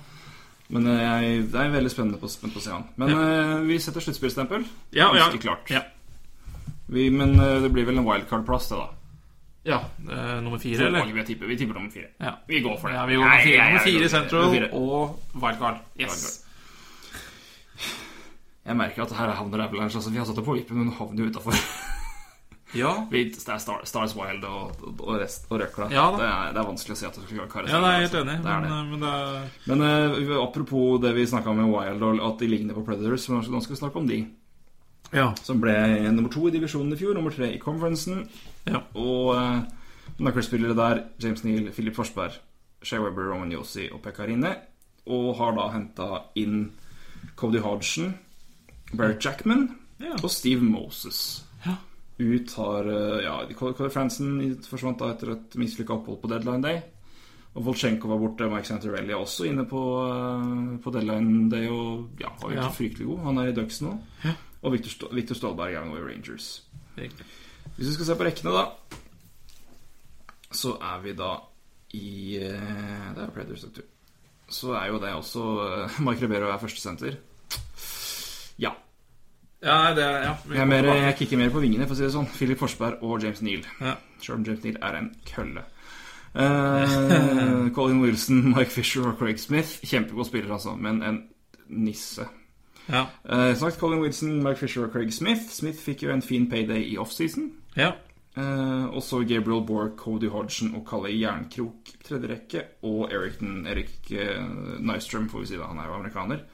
D: men eh, jeg, det er veldig spennende på, spent på å se han. Men eh, vi setter sluttspillstempel.
E: Ja, ja.
D: Ganske klart.
E: Ja.
D: Vi, men eh, det blir vel en wildcard-plass, det, da.
E: Ja, eh, nummer fire,
D: Hvor
E: eller?
D: mange vil jeg tippe? Vi tipper nummer fire.
E: Ja.
D: Vi går for det.
E: Ja, vi går med
D: Nei,
E: fire. Nummer
D: jeg- jeg går
E: fire i
D: for det.
E: Central
D: Nummer fire.
E: og wildcard. Yes.
D: Wildcard. sånn Jeg merker at her havner Avalanche. Altså, vi har satt det på vippen, men hun havner jo utafor.
E: Ja.
D: Vi- Det er Star, Stars Wild og, og, rest, og røkla.
E: Ja da.
D: det, er, det er vanskelig å si at du skal klare
E: Ja, nei, jeg er helt enig,
D: Det er det.
E: men, men det er
D: Men eh, apropos det vi snakka om med Wild, og at de ligner på Predators, så nå skal vi snakke om de.
E: Ja.
D: Som ble nummer to i divisjonen i fjor, nummer tre i conferencen.
E: Ja.
D: Og eh, nøkkelspillere der James Neal, Philip Forsberg, Shea Weber, Roman Yossi og Pekarine. Og har da henta inn Cody Hodgson, Barrett Jackman
E: Ja.
D: og Steve Moses.
E: Ja.
D: Ut har eh, ja, Cody Fransen forsvant da etter et mislykka opphold på deadline day. Og Volchenko var borte. Mike Santarelli er også inne på, eh, på deadline day og ja, var jo
E: Ja.
D: ikke fryktelig god. Han er i Ducks nå.
E: Ja.
D: Og Victor, Sto- Victor Stålberg er nå i Rangers.
E: riktig.
D: Hvis vi skal se på rekkene, da, så er vi da i eh, Det er Predators, vet du. Så er jo det også eh, Mark Ribeiro er førstesenter. Ja.
E: Ja, nei, det er ja,
D: Jeg,
E: vi
D: er
E: kommer
D: mer,
E: tilbake.
D: jeg kikker mer på vingene, for å si det sånn. Philip Forsberg og James Neal.
E: Ja.
D: Selv om James Neal er en kølle. Eh, Colin Wilson, Mike Fisher og Craig Smith. Kjempegode spillere, altså, men en nisse.
E: Ja.
D: Eh, snakket Colin Wilson, Mike Fisher og Craig Smith. Smith fikk jo en fin payday i offseason.
E: ja.
D: Eh, og så Gabriel Borg, Cody Hodgson og Kalle Jernkrok tredje rekke. Og Erikton, Erik eh, Nystrøm, får vi si da, han er jo amerikaner.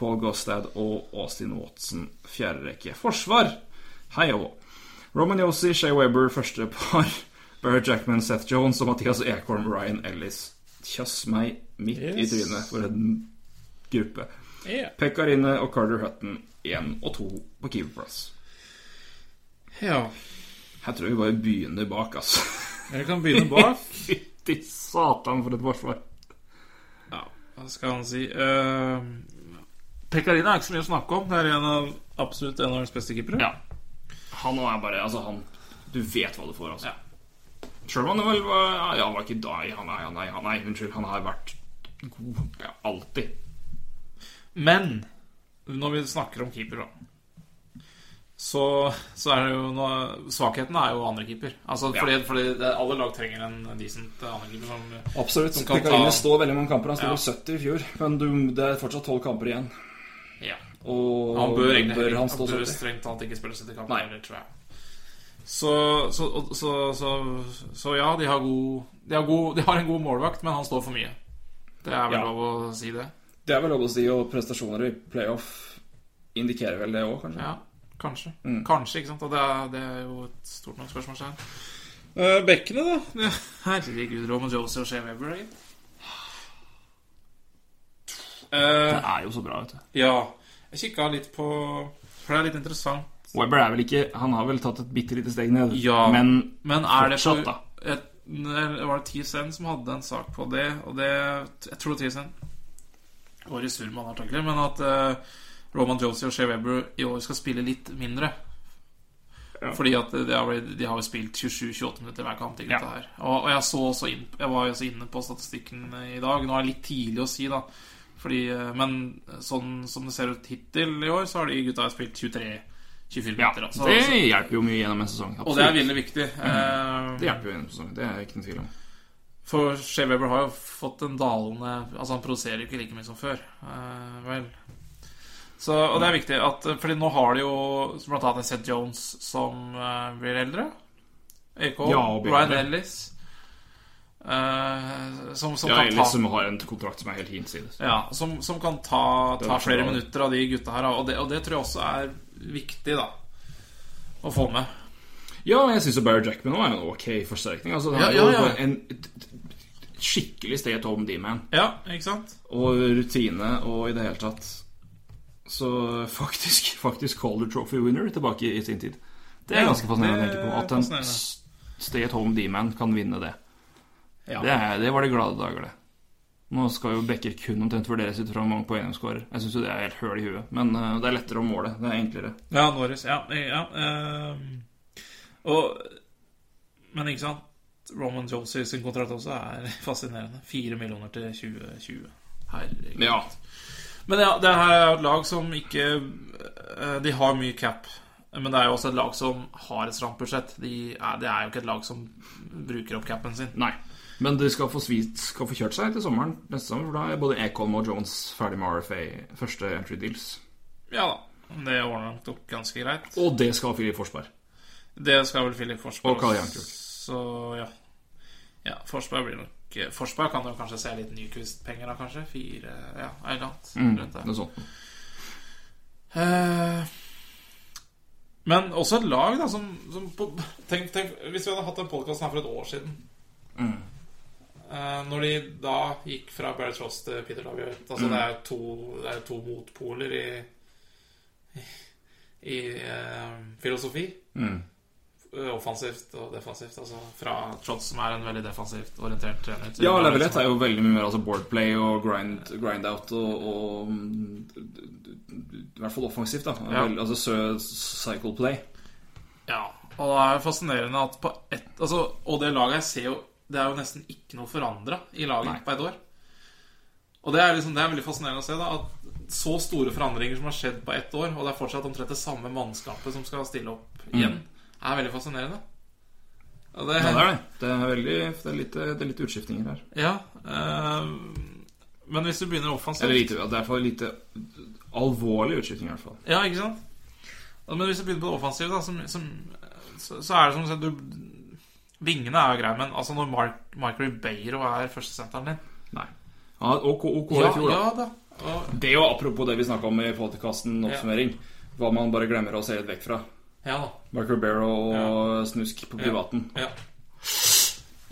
D: Paul Gostad og Austin Watson fjerde rekke. Forsvar! Hei og hå. Roman Yossi, Shea Weber første par. Barrett Jackman, Seth Jones og Mathias Ekorn, Ryan Ellis. Kjass meg midt i
E: Yes.
D: trynet for en gruppe.
E: Ja.
D: Pekkarine og Carter Hutton én og to på keeperplass.
E: ja.
D: Her tror jeg vi bare begynner bak, altså.
E: Jeg kan begynne bak.
D: Fytti satan for et forsvar.
E: Ja, hva skal han si uh, Pekarina er ikke så mye å snakke om. Det er en av, absolutt en av hans beste keepere.
D: Ja. Han nå er bare Altså, han Du vet hva du får, altså. Sjøl om han vel var ja, Han var ikke da i Han er, han er, han er Unnskyld. Han har vært god ja, alltid.
E: Men når vi snakker om keeper, da så, så er det jo nå, Svakheten er jo andre keeper. Altså,
D: Ja.
E: fordi, fordi det, alle lag trenger en decent andre keeper. Som,
D: Absolutt.
E: Som kan Pekarine ta-
D: står veldig mange kamper. Han
E: sto Ja. på
D: 70 i fjor, men det er fortsatt 12 kamper igjen.
E: ja.
D: Og
E: Han bør, egentlig, han sånn? bør strengt tatt ikke spille 70 kamper,
D: Nei.
E: heller, tror jeg. Så, så, og- så, så, så ja, de har, god, de, har god, de har en god målvakt, men han står for mye. Det er vel
D: Ja.
E: lov å si det.
D: Det er vel lov å si, og prestasjoner i playoff indikerer vel det òg, kanskje.
E: Ja, kanskje. Kanskje, ikke sant? Og det er, det er jo et stort nok spørsmålstegn. Uh,
D: Eh,
E: bekkene, da? Ja. Herregud, Roman Josie og Shea Weber. ikke? Eh,
D: Det er jo så bra, vet du.
E: ja. Jeg kikka litt på For det er litt interessant.
D: Webber er vel ikke Han har vel tatt et bitte lite steg ned,
E: Ja,
D: men
E: Men er det
D: fortsatt, da.
E: et, eller Var det TSN som hadde en sak på det? Og det Jeg tror det var TSN. Årets surmann, antakelig. Men at eh, Roman Josie og Shea Weber i år skal spille litt mindre.
D: Ja.
E: Fordi at de har, blitt- de har jo spilt 27-28 minutter hver kamp. de gutta
D: Ja.
E: her Og, og jeg, så også inn, jeg var jo også inne på statistikken i dag. Nå er det litt tidlig å si, da. Fordi, eh, men sånn som det ser ut hittil i år, så har de gutta spilt 23-24
D: Ja,
E: minutter. da. Så,
D: det Mm. hjelper jo mye gjennom en sesong.
E: og det er veldig viktig. Eh,
D: Det hjelper jo gjennom sesongen, det er ikke noe tvil om.
E: For Shea Weber har jo fått en dalende Altså, han produserer ikke like mye som før. Eh, vel. Så, og det er viktig, at, fordi nå har de jo blant annet Seth Jones som eh, blir eldre. AK,
D: Ja, og blir
E: Ryan
D: eldre.
E: Ellis. eh, som, som,
D: Ja,
E: kan
D: Ellis
E: ta,
D: som har en kontrakt som er helt hinsides.
E: ja, som, som kan ta,
D: Det er
E: ta
D: for
E: flere
D: bra.
E: minutter av de gutta her. Og det, og det tror jeg også er viktig, da. Å få med.
D: Ja, jeg syns Barry Jackman også er en ok forsterkning. Altså, han
E: Ja,
D: er jo
E: ja, ja.
D: bare en et skikkelig sted Tom D-man.
E: Ja, ikke sant?
D: Og rutine og i det hele tatt. Så faktisk, faktisk Calder Trophy winner tilbake i sin tid. Det er
E: Ja,
D: ganske fascinerende å
E: det
D: tenke på.
E: er
D: At en
E: fascinerende.
D: s- stay at home D-man kan vinne det.
E: Ja.
D: Det, er, det var de glade dager, det. Nå skal jo Becker kun omtrent vurderes ut fra hvor mange poeng de skårer. Jeg syns jo det er helt høl i huet. Men eh, det er lettere å måle. Det er enklere.
E: Ja, Norris. Ja. eh, ja ehm, og Men ikke sant? Roman Josie sin kontrakt også er fascinerende. Fire millioner til 2020. Herregud.
D: Ja.
E: Men ja, det her er jo et lag som ikke eh, De har mye cap. Men det er jo også et lag som har et stramt budsjett. De er, det er jo ikke et lag som bruker opp capen sin.
D: Nei. Men de skal få, svit, skal få kjørt seg til sommeren neste sommer. For da er både Ekholm og Jones ferdig med RFA. Første entry deals.
E: Ja da. Det ordner nok ganske greit.
D: Og det skal Filip Forsberg.
E: Det skal vel Filip Forsberg
D: Og Karl
E: også.
D: Jankuk.
E: Så ja. ja. Forsberg blir nok eh, Forsberg kan jo kanskje se litt Nyquist-penger, da, kanskje. Fire Ja, et eller annet. rundt der.
D: Noe sånt.
E: Eh, Men også et lag da som, som på, tenk, tenk hvis vi hadde hatt den podkasten her for et år siden.
D: Mm.
E: Eh, når de da gikk fra Barry Tross til Peter Davier
D: Mm.
E: altså, det, er to, det er to motpoler i, i eh, filosofi.
D: Mm.
E: Eh, Offensivt og defensivt. Altså fra Trotz, som er en veldig defensivt orientert trener til
D: Ja,
E: Barry
D: level 1
E: som-
D: er jo veldig mye mer altså boardplay og grind, grind out og, og mm, d- d- d- I hvert fall offensivt, da.
E: Ja.
D: Vel, altså sø- cycle play.
E: Ja, og det er jo fascinerende at på ett altså, Og det laget jeg ser jo Det er jo nesten ikke noe forandra i laget
D: Nei.
E: på ett år. Og det er, liksom, det er veldig fascinerende å se da at så store forandringer som har skjedd på ett år, og det er fortsatt omtrent det samme mannskapet som skal stille opp igjen, er veldig fascinerende. Og det,
D: Mm. Ja, det er det. Det er, veldig, det er, litt, det er litt utskiftninger her.
E: Ja, eh, men hvis du begynner offensivt
D: Eller lite, det er for lite alvorlig utskifting, i hvert fall.
E: Ja, ikke sant? Ja, Men hvis du begynner på det offensive, da, som, som, så, så er det som sagt, du, Vingene er jo greie, men altså når Mark, Mark Ribeiro er førstesenteren din
D: Nei. Ja, OK, OK i fjor, da.
E: ja da. Og,
D: Det er jo apropos det vi snakka om i podkasten Oppsummering. Hva man bare glemmer å se litt vekk fra.
E: ja da.
D: Mark Ribeiro og snusk på privaten.
E: Ja.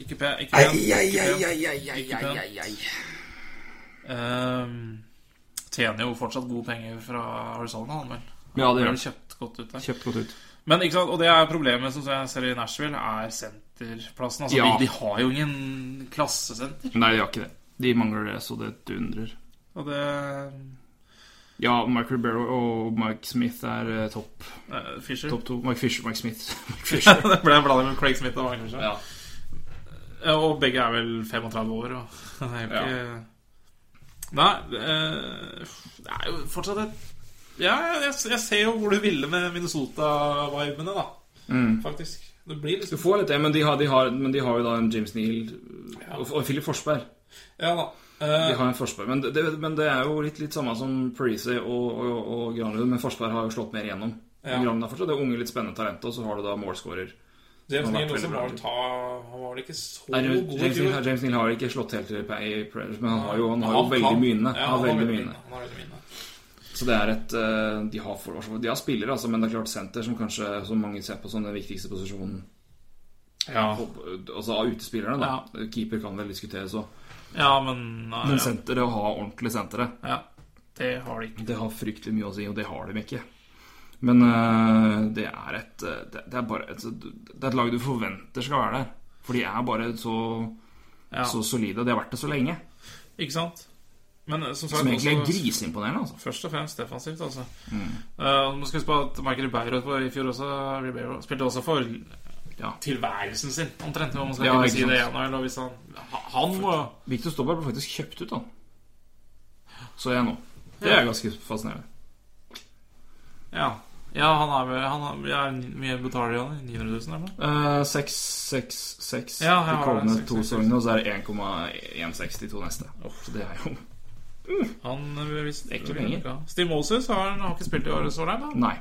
E: Ikke pen. Ikke pen. Ikke pen. Ikke pen. Ehm, tjener jo fortsatt gode penger fra Arizona, han vel.
D: Ja, det
E: Han
D: gjør
E: ble
D: han.
E: kjøpt godt ut der.
D: Kjøpt godt ut.
E: Men ikke sant, Og det er problemet som jeg ser i Nashville, er senterplassen. Altså,
D: Ja.
E: de, de har jo ingen klassesenter.
D: Nei, de har ikke det. De mangler det, så det dundrer.
E: Og det
D: Ja, Mark Ribeiro og Mike Smith er eh, topp
E: Eh, Fisher.
D: topp to. Mike Fisher, Mike Smith. Mike Fisher.
E: det ble en blanding med Craig Smith og Magnus. Ja. Eh, Og begge er vel 35 år. Og det er jo ikke Nei, eh, det er jo fortsatt et Ja, jeg, jeg ser jo hvor du ville med Minnesota-vibene, da. Faktisk. Det blir
D: Mm. Du
E: liksom
D: får litt det, men de har, de har, men de har jo da en James Neal og, og Philip Forsberg.
E: Ja da.
D: De
E: Eh,
D: har en Forsberg, men det, men det er jo litt, litt samme som Parisi og, og, og Granlund, men Forsberg har jo slått mer igjennom.
E: Ja.
D: Granlund er fortsatt det unge, litt spennende talentet, og så har du da målskårer.
E: James
D: han har vært
E: Neal også
D: veldig
E: var
D: bra.
E: vel ta Han var vel ikke så
D: Nei,
E: god i
D: James, Neal-
E: fjor.
D: James Neal har ikke slått helt til i Predators, men han har jo, han har jo
E: Han
D: veldig
E: kan-
D: mye inne.
E: Ja,
D: Han har veldig mye inne.
E: Han har veldig mye inne.
D: Så det er et eh, De har, forsvar- de har spillere, altså, men det er klart senter som kanskje som mange ser på som den viktigste posisjonen.
E: Ja.
D: Altså av utespillerne, da. Keeper kan vel diskuteres òg.
E: ja, men nei,
D: Men
E: ja.
D: senteret, å ha ordentlige sentre,
E: ja. Det har de ikke.
D: det har fryktelig mye å si, og det har de ikke. Men eh, det er et eh, det, det er bare et, Det er et lag du forventer skal være der. For de er bare så,
E: Ja.
D: så solide. De har vært det så lenge.
E: Ikke sant? Men eh, som sagt
D: Som egentlig er Mm.
E: også-
D: griseimponerende, altså.
E: Først og fremst defensivt, altså. Eh, man skal huske på at Michael Ribeiro på- i fjor også Ribeiro, spilte også for
D: Ja.
E: tilværelsen sin, omtrent. om Man skal
D: Ja,
E: ikke
D: ikke
E: si det
D: sant.
E: igjen, eller hvis han, ha- han må
D: Victor Stobberg ble faktisk kjøpt ut, da. Så jeg nå. Det er ganske fascinerende.
E: Ja. ja, han er vel han er, ja, mye betaler de han? 900 000, eller? noe?
D: Eh, 666
E: Ja,
D: de
E: ja,
D: kommende
E: det er
D: to
E: 666.
D: sesongene, og så er det 1,160 de to neste. Så det er jo
E: Han eh, visst
D: Ekle penger.
E: Ja. Steve Moses har, han har ikke spilt i året så langt. da.
D: Nei.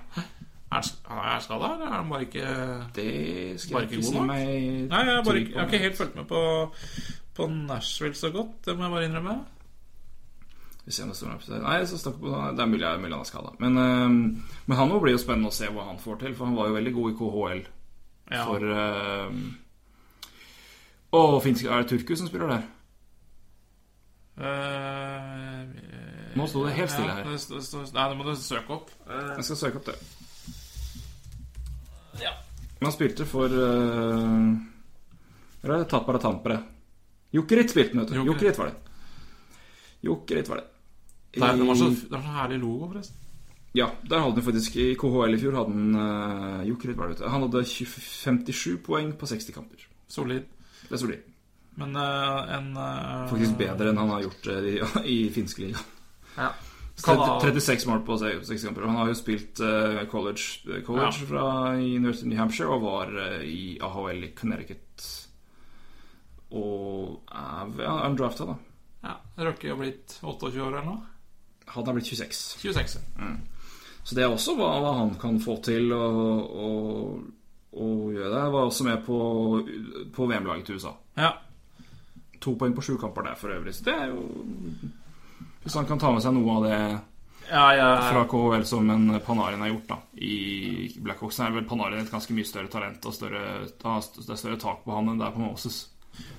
E: Er han sk- han er skada, eller er han bare ikke
D: Det skal
E: Bare
D: jeg
E: ikke
D: ikke si
E: god nok?
D: meg
E: Nei, jeg, har bare,
D: trygg
E: ikke-
D: på.
E: jeg har ikke helt fulgt med på, på Nashville så godt, det må jeg bare innrømme.
D: Vi ser om det står noe på det. Nei, så snakker vi på det er mulig mulig han er skada. Men, eh, men han også blir jo spennende å se hva han får til, for han var jo veldig god i KHL
E: Ja.
D: for uh, Å, finske Er det Turku som spiller der?
E: Eh,
D: Nå sto det helt stille
E: Ja,
D: her.
E: det sto- sto- nei, det må du søke opp. Eh,
D: Jeg skal søke opp det.
E: Ja.
D: Men han spilte for uh, Eller Tapara Tampere. Jokerit spilte han, vet du.
E: Jokerit.
D: Jokerit var det. Jokerit var det.
E: Nei, det var så,
D: I-
E: det var så herlig logo, forresten.
D: Ja, der hadde han faktisk I KHL i fjor hadde han uh, Jokerit var det, vet du. Han hadde 20 57 poeng på 60 kamper.
E: Solid.
D: Det er solid.
E: Men eh, en eh,
D: Faktisk bedre enn han har gjort eh, i, i finske liga.
E: Ja. Kan ha-
D: 36 mål på 60 kamper. Og Han har jo spilt eh, college, college
E: Ja.
D: fra University of New Hampshire og var eh, i AHL i Connecticut. Og er, ja, er han drafta, da.
E: Ja, Røkke har blitt 28 år eller noe.
D: Han er blitt 26.
E: 26.
D: Så det er også hva, hva han kan få til, og, og, Og Ueda var også med på, på VM-laget til USA.
E: Ja.
D: To poeng på sju kamper der for øvrig. Så det er jo Hvis han kan ta med seg noe av det
E: Ja,
D: fra
E: jeg,
D: KHL som en Panarin har gjort, da. I Blackhawks er vel Panarin et ganske mye større talent og større, har st- det er større tak på han enn det er på Moses.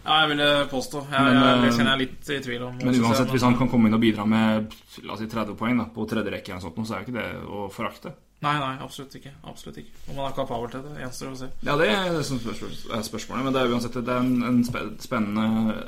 E: ja, jeg ville påstå. Jeg,
D: Men,
E: jeg, det
D: eh,
E: kjenner jeg er litt i tvil om.
D: Men uansett, hvis han kan komme inn og bidra med la oss si 30 poeng da, på tredje rekke, eller noe sånt, så er jo ikke det å forakte.
E: Nei, nei, absolutt ikke. Absolutt ikke. Om han er kapabel til det, gjenstår å se.
D: Ja, det er det som spørsmål- er spørsmålet, men det er uansett det er en, en spe- spennende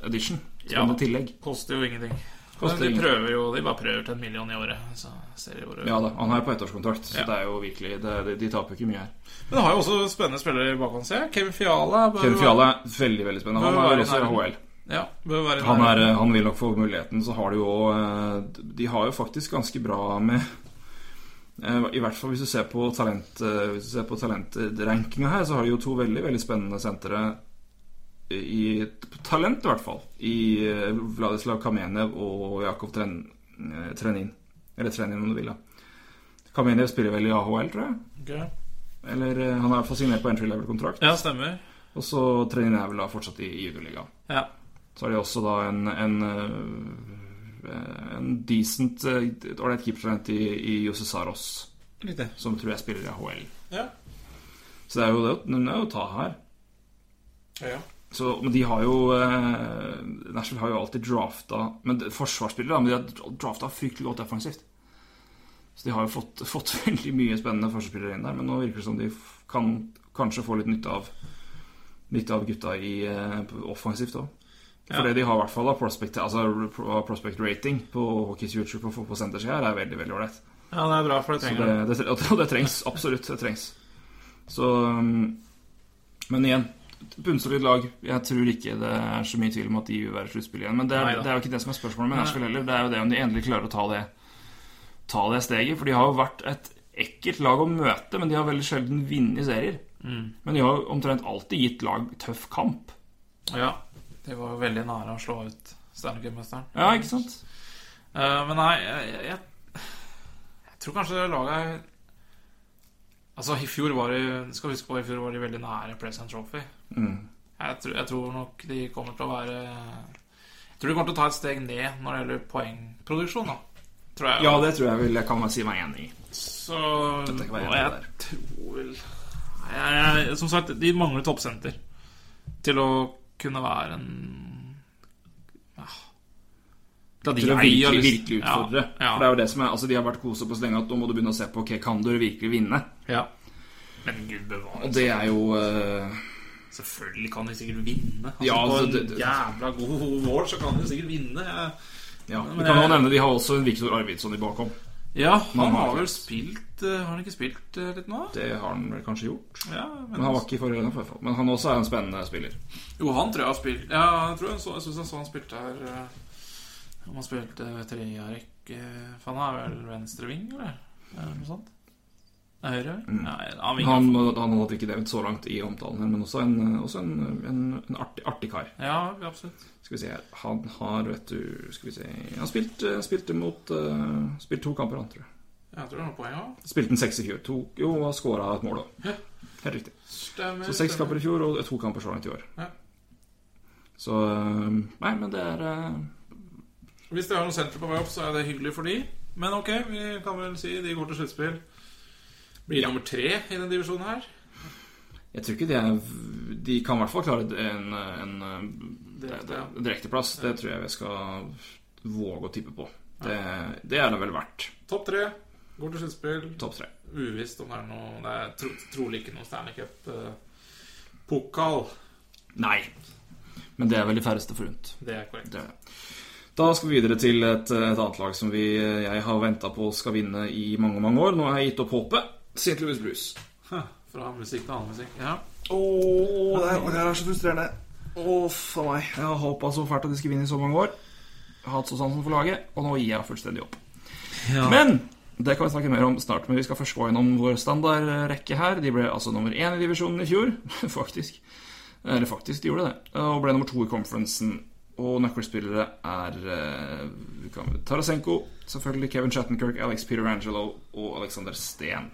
D: edition. Spennende
E: Ja.
D: tillegg.
E: Koster jo ingenting.
D: Koster
E: Men de
D: ingenting.
E: prøver jo, de bare prøver til en million i året. Så ser de hvor det-
D: Ja da, han er jo på ettårskontrakt, så
E: Ja.
D: det er jo virkelig det, de, de taper jo ikke mye her.
E: Men han har jo også spennende spillere bakom seg. Kevin Fiala. Bør,
D: Kevin Fiala er veldig veldig spennende.
E: Bør
D: Han er
E: være
D: jo også
E: nær.
D: HL.
E: Ja, bør være
D: Han, er, eh, han vil nok få muligheten, så har de jo eh, De har jo faktisk ganske bra med eh, I hvert fall hvis du ser på talent eh, Hvis du ser på talentrankinga her, så har de jo to veldig veldig spennende sentre i talent, i hvert fall. I eh, Vladislav Kamenev og Jakov Tren, eh, Trenin. Eller Trenin, om du vil. da Kamenev spiller vel i AHL, tror jeg.
E: Ok.
D: Eller eh, Han er i hvert fall signert på entry level-kontrakt.
E: Ja, stemmer.
D: Og så Trenin er vel da fortsatt i, i juniorligaen.
E: Ja.
D: Så har de også da en, en, øh, en decent øh, ålreit keepertalent i, i Jose Saros,
E: Litt det.
D: som tror jeg spiller i HL.
E: Ja.
D: Så det er jo det, å- det er jo å ta her.
E: Ja.
D: Så, men de har jo eh, Nashville har jo alltid drafta Men det- forsvarsspillere, da, men de har drafta fryktelig godt defensivt. Så de har jo fått, fått veldig mye spennende forsvarsspillere inn der, men nå virker det som de f- kan kanskje få litt nytte av Nytte av gutta i eh, offensivt òg.
E: Ja.
D: Fordi de har i hvert fall da prospect, altså, pro- prospect rating på Hockey's Future på, på sentersida her, er veldig veldig ålreit.
E: ja, det er bra, for det
D: Så
E: trenger
D: det,
E: det.
D: det, og det trengs. Absolutt. Det trengs. Så um, Men igjen, bunnsolid lag. Jeg tror ikke det er så mye tvil om at de vil være i sluttspillet igjen. Men det er,
E: Neida.
D: det er jo ikke det som er spørsmålet med
E: Nei.
D: Nashville heller. Det er jo det om de endelig klarer å ta det, ta det steget. For de har jo vært et ekkelt lag å møte, men de har veldig sjelden vunnet serier.
E: Mm.
D: Men de har jo omtrent alltid gitt lag tøff kamp.
E: Ja. De var jo veldig nære å slå ut Stanley Cup-mesteren.
D: Ja, ikke sant?
E: Eh, men nei, jeg, jeg, jeg tror kanskje laget er Altså, i fjor var de Skal huske på, i fjor var de veldig nære President Trophy.
D: Mm.
E: Jeg tror, jeg tror nok de kommer til å være Jeg tror de kommer til å ta et steg ned når det gjelder poengproduksjon, da. Tror jeg.
D: Ja, det tror jeg vel jeg kan si meg enig i.
E: Så
D: Dette kan være
E: og jeg
D: det
E: tror vel Nei, jeg, jeg, Som sagt, de mangler toppsenter til å kunne være en
D: Da de
E: Til å
D: er
E: virkelig,
D: virkelig,
E: virkelig
D: utfordre.
E: Ja, ja.
D: For det er jo det som er, altså De har vært kose på så lenge at nå må du begynne å se på ok, kan du virkelig vinne.
E: Ja. Men gud bevare.
D: Og det er jo eh,
E: Selvfølgelig kan de sikkert vinne. Altså,
D: Ja, altså,
E: på en
D: det- det-
E: jævla god vår så kan de sikkert vinne. Jeg,
D: Ja, Vi
E: men
D: kan jo
E: jeg-
D: nevne de har også en Viktor Arvidsson i bakhånd.
E: ja,
D: har
E: han har vel
D: faktisk-
E: spilt eh, Har han ikke spilt eh, litt nå?
D: Det har han vel kanskje gjort.
E: Ja,
D: Men han var ikke i forrige runde, i hvert fall. Men han også er en spennende spiller.
E: Jo, han tror jeg har spilt Ja, jeg tror jeg, så, jeg synes jeg så han spilte her eh, Om han spilte Veteriarek eh, For han er vel venstreving, eller? Eller noe sånt? Nei, høyre? Mm. Nei, han vinger.
D: Han, han hadde ikke nevnt så langt i omtalen her, men også en, også en, en, en artig, artig kar.
E: Ja, absolutt
D: Skal vi se her Han har, vet du Skal vi se Han spilte, spilte mot eh, Spilte to kamper, han, tror jeg.
E: Jeg tror han har poeng også
D: Spilte en seks i fjor. To, jo, og skåra et mål, da.
E: Ja.
D: Helt riktig.
E: Stemmer,
D: Så seks
E: stemmer.
D: kamper i fjor og to kamper så langt i år.
E: Ja.
D: Så eh, Nei, men det er eh,
E: Hvis dere har noen senter på vei opp, så er det hyggelig for de Men ok, vi kan vel si De går til sluttspill Blir nummer tre i den divisjonen her
D: Jeg tror ikke det er v- De kan i hvert fall klare en, en, eh,
E: Direkte,
D: det-
E: ja.
D: det- direkteplass. Det tror jeg vi skal våge å tippe på. Det, det er det vel verdt.
E: Topp tre Går til sluttspill
D: Topp tre.
E: Uvisst om det er noe Det er tro, trolig ikke noe Stanley Cup eh, Pokal
D: Nei. Men det er vel de færreste forunt.
E: Det er korrekt
D: Det er det. Da skal vi videre til et, et annet lag som vi, eh, jeg har venta på skal vinne i mange, mange år. Nå har jeg gitt opp håpet. St. Louis Blues.
E: Hæ, Fra musikk til annen musikk. Ja.
D: Åh, det, er, det er så frustrerende. Åh, faen meg. Jeg har håpa så fælt at de skulle vinne i så mange år. Jeg har Hatt så sansen for laget, og nå gir jeg fullstendig opp. Men det kan vi snakke mer om snart. Men vi skal først gå gjennom vår standardrekke her. De ble altså nummer én i divisjonen i fjor, faktisk. Eller faktisk, de gjorde det. Og ble nummer to i conferencen. Og nøkkelspillere er eh, vi kan- Tarasenko, selvfølgelig Kevin Shattenkirk, Alex Peter Angelo og Alexander Steen.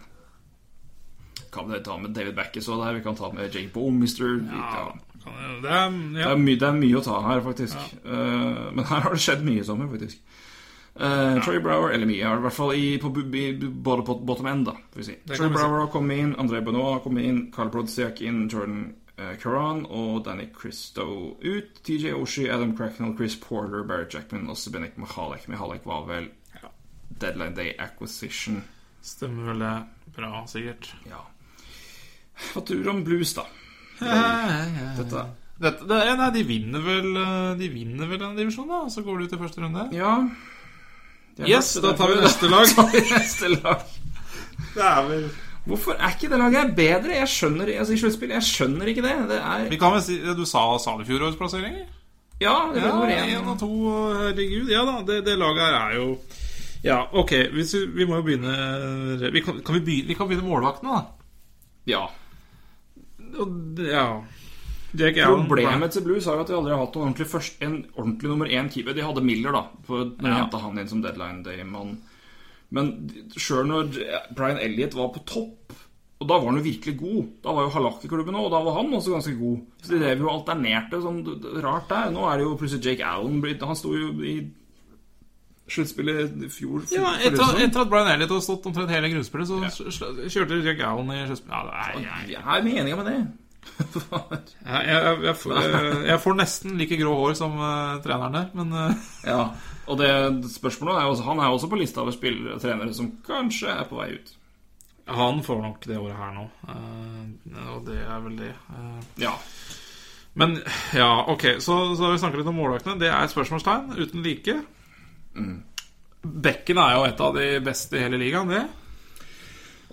D: kan vi ta med David Backes og der, vi kan ta med Jake Bommister ja.
E: Kan- Det er,
D: Det,
E: ja.
D: er mye, det er mye å ta her, faktisk. Eh, men her har det skjedd mye i sommer, faktisk. Eh, Troy Brower, eller mye, i hvert fall i, på, bu- bu- bu- både på bottom end, da. Får vi si. Troy
E: kan vi si.
D: Brower har kommet inn, André Benoit har kommet inn, Carl Brodziak inn, Jordan eh, Curran og Danny Christo ut. TJ Oshie, Adam Cracknell, Chris Porter, Barrett Jackman og Sebenik Mihalek. Mihalek var vel
E: Ja.
D: Deadline Day Acquisition.
E: Stemmer vel det bra, sikkert.
D: Ja. Hva tror du om blues, da?
E: Eh,
D: Dette
E: Dette, det, nei, de vinner vel eh, De vinner vel den divisjonen, da? Og så går de ut i første runde?
D: Ja.
E: Yes, da tar vi neste
D: lag. tar vi neste lag.
E: Det er vel
D: Hvorfor er ikke det laget her bedre? Jeg skjønner, altså, i sluttspill, jeg skjønner ikke det. det er,
E: Vi kan vel si Du sa, sa det fjorårets plasseringer?
D: ja, det ble
E: Ja,
D: nummer
E: én og
D: én.
E: to, og herregud. Ja da, det, det laget her er jo Ja, ok, hvis vi, vi må jo begynne eh, vi kan, kan vi begynne Vi kan begynne med målvaktene, da.
D: Ja.
E: Og, det- ja Jake Allen
D: Problemet til Blues er jo at de aldri har hatt noen ordentlig først, en ordentlig nummer én keeper. De hadde Miller, da, for når de
E: Ja.
D: hentet han inn som deadline day-mann. Men sjøl når Brian Elliot var på topp, og da var han jo virkelig god Da var jo Halak i klubben òg, og da var han også ganske god. Så de drev jo og alternerte sånn d- d- rart der. Nå er det jo plutselig Jake Allen blitt Han sto jo i sluttspillet i fjor. for-
E: Ja,
D: for
E: etter,
D: Russland.
E: etter at Brian Elliot hadde stått omtrent hele grunnspillet, så sl- sl- kjørte Jack Allen i sluttspillet. Ja, det er- jeg-
D: Jeg er meninga med det.
E: jeg- jeg- jeg får- jeg- Jeg får nesten like grå hår som eh, treneren der, men eh,
D: ja, og det spørsmålet er jo også, Han er jo også på lista over spillere og trenere som kanskje er på vei ut.
E: han får nok det året her nå. Eh, Og det er vel det. Eh,
D: Ja.
E: Men ja, ok, så, så har vi snakket litt om målvaktene. Det er et spørsmålstegn uten like. Bekken er jo et av de beste i hele ligaen, det.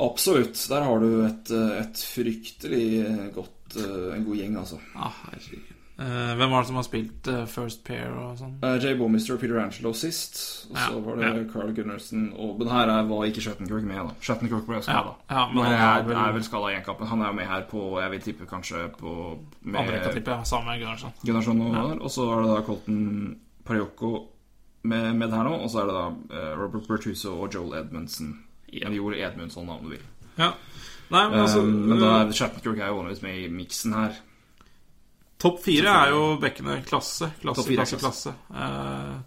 D: Absolutt. Der har du et, eh, et fryktelig godt eh, En god gjeng, altså.
E: Ah, herregud. Eh, hvem var det som har spilt eh, First Pair og sånn?
D: Eh, Jay Bomister og Peter Angelo sist. Og så
E: Ja,
D: var det Carl Gunnarsen og Men her er, var ikke Shattenkirk med, da. Shattenkirk ble skada.
E: Ja, ja, men
D: men han
E: han
D: er,
E: er vel-
D: er vel skada i én kamp. men Han er jo med her på Jeg vil tippe kanskje på med-
E: Andre rekka, tipper jeg. Samme Gunnarsson.
D: Gunnarsson og Håvard, Og så er det da Colton Pariocco med, med her nå. Og så er det da eh, Robert Bertuzzo og Joel Edmundson. Eller Joel Edmundsson, da, om du vil.
E: Ja. Nei, men altså
D: Eh, men da
E: eh,
D: er Shattenkirk er jo vanligvis med i miksen her.
E: Topp fire er jo bekkene klasse, klasse,
D: Topp fire er
E: klasse, klasse. Eh,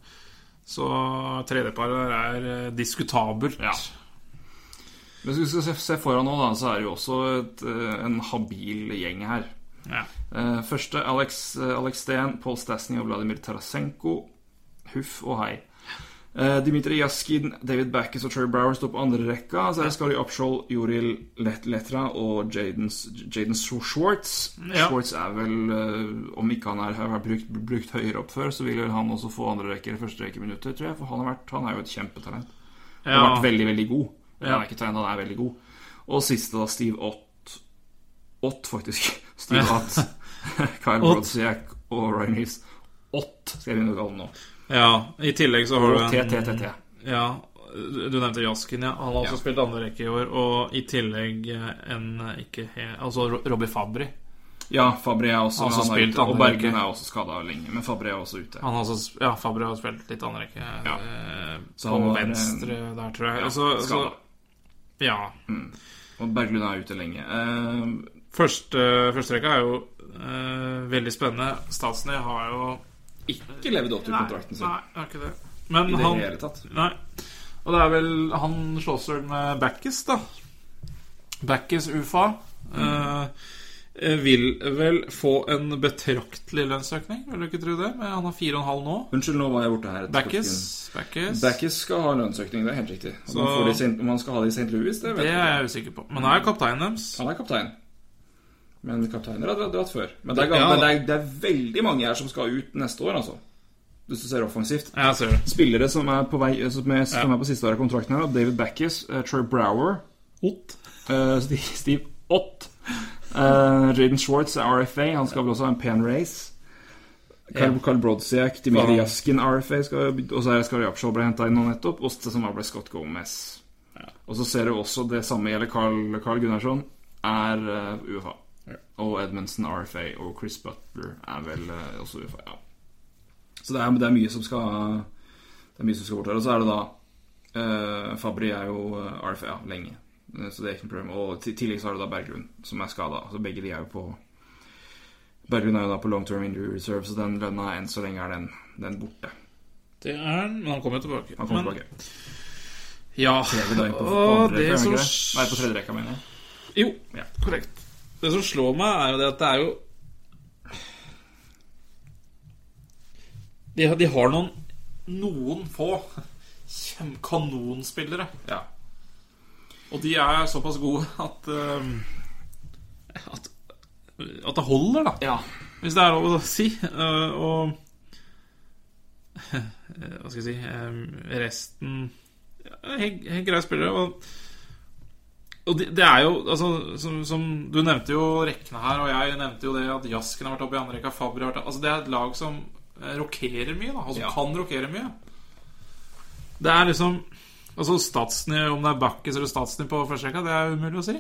E: så tredjeparet der er eh, diskutabelt.
D: Ja. Hvis vi skal se, se foran nå, da, så er det jo også et, eh, en habil gjeng her.
E: Ja.
D: Eh, første Alex, eh, Alex Steen, Paul Stasny og Vladimir Tarasenko. Huff og hei. Eh, Dimitri Jaskin, David Backes og Troy Brower står på andre rekka. Så er det Skari Opsholl, Joril Let Letra og Jaden S- Jaden Sw- Schwartz.
E: Ja.
D: Schwartz er vel, eh, om ikke han er, har vært brukt, brukt høyere opp før, så vil vel han også få andre rekke eller første rekke minutter, tror jeg. For han, har vært, han er jo et kjempetalent. Han har
E: Ja.
D: vært veldig, veldig god. Han
E: Ja.
D: er ikke talent, han er veldig god. Og siste, da, Steve Ott. Ott, faktisk. Steve Ott. Kyle Brodziak og Ryan Reeves. Ott skal jeg begynne å kalle den nå.
E: ja. I tillegg så har
D: Og
E: du en-
D: TTTT.
E: Ja, du nevnte Jaskin, ja. Han har
D: Ja.
E: også spilt andre rekke i år. Og i tillegg eh, en ikke he, Altså Ro- Robbie Fabri.
D: Ja, Fabri er også,
E: Han har
D: han er
E: spilt
D: ute. Og
E: andre
D: Bergen
E: rekke.
D: er også skada lenge, men Fabri er også ute.
E: Han har også, s- ja, Fabri har spilt litt andre rekke.
D: Ja.
E: eh,
D: Så
E: på
D: han var, eh,
E: venstre der, tror jeg.
D: Ja,
E: så, så,
D: skada.
E: ja.
D: Og Berglund er ute lenge. Eh,
E: Første, første rekka er jo eh, veldig spennende. Statsny har jo
D: ikke levd opp til kontrakten sin
E: Nei, er ikke det. Men
D: i det
E: han
D: hele tatt.
E: Nei. Og det er vel Han slåss vel med Backes, da. Backes UFA. Eh, vil vel få en betraktelig lønnsøkning, vil du ikke tro det? Men han har 4,5 nå.
D: Unnskyld, nå var jeg borte her. etter
E: Backes.
D: klokken.
E: Backes.
D: Backes skal ha lønnsøkning, det er helt riktig. Om
E: Så-
D: han, får det i Saint- om han skal ha det i St. Louis, det vet
E: Det
D: jeg
E: er jeg usikker på. Men han er jo kapteinen deres.
D: Han er kaptein. Men kapteiner har dratt, dratt før. Men, det er,
E: Ja,
D: gammel- men
E: da.
D: det, er, det er veldig mange her som skal ut neste år, altså. Hvis du ser offensivt.
E: Jeg ser det.
D: Spillere som er på, vei, som er, som er på siste året av kontrakten her, David Backes, eh, Troy Brower,
E: Ott.
D: eh, Steve- Steve Ott, uh, Jaden Schwartz er RFA, han skal vel også ha en pen race. Carl,
E: Ja.
D: Carl Brodziak, Dimitri
E: Ja.
D: Jaskin, RFA, skal, og så er det Skari Apshaw ble henta inn nå nettopp, og det samme ble Scott Gomez. Og så ser du også det samme gjelder Carl, Carl Gunnarsson, er eh, UFA. Og Edmundsen, RFA, og Chris Butler er vel eh, også UFA. Ja. Så det er, det er mye som skal Det er mye som skal bort her. Og så er det da eh, Fabri er jo eh, RFA lenge. Eh, Så det er ikke noe problem. Og i tillegg så har du da Berglund, som er skada. Så begge de er jo på Berglund er jo da på long term injury reserve, så den lønna enn så lenge er den, den borte.
E: Det er han, men han kommer jo tilbake.
D: Han kommer
E: Men-
D: tilbake.
E: Ja.
D: Er vi da inne på, på
E: og
D: andre
E: det
D: rekka, er vi
E: som
D: ikke det? Nei, på tredje rekka, mener jeg.
E: Jo,
D: Ja.
E: korrekt. Det som slår meg, er jo det at det er jo De, de har noen noen få kjem- kanonspillere.
D: Ja.
E: Og de er såpass gode at ehm, at, at det holder, da.
D: ja.
E: Hvis det er lov å si. Eh, og eh, Hva skal jeg si eh, Resten ja, Helt helt greie spillere. Og, og det, det er jo altså, som, som Du nevnte jo rekkene her, og jeg nevnte jo det at Jasken har vært oppe i andre rekka. Fabri har vært altså, Det er et lag som eh, rokerer mye, da. Altså
D: Ja.
E: kan rokere mye. Det er liksom Altså Statsny, om det er Backes eller Statsny på første rekka, det er umulig å si.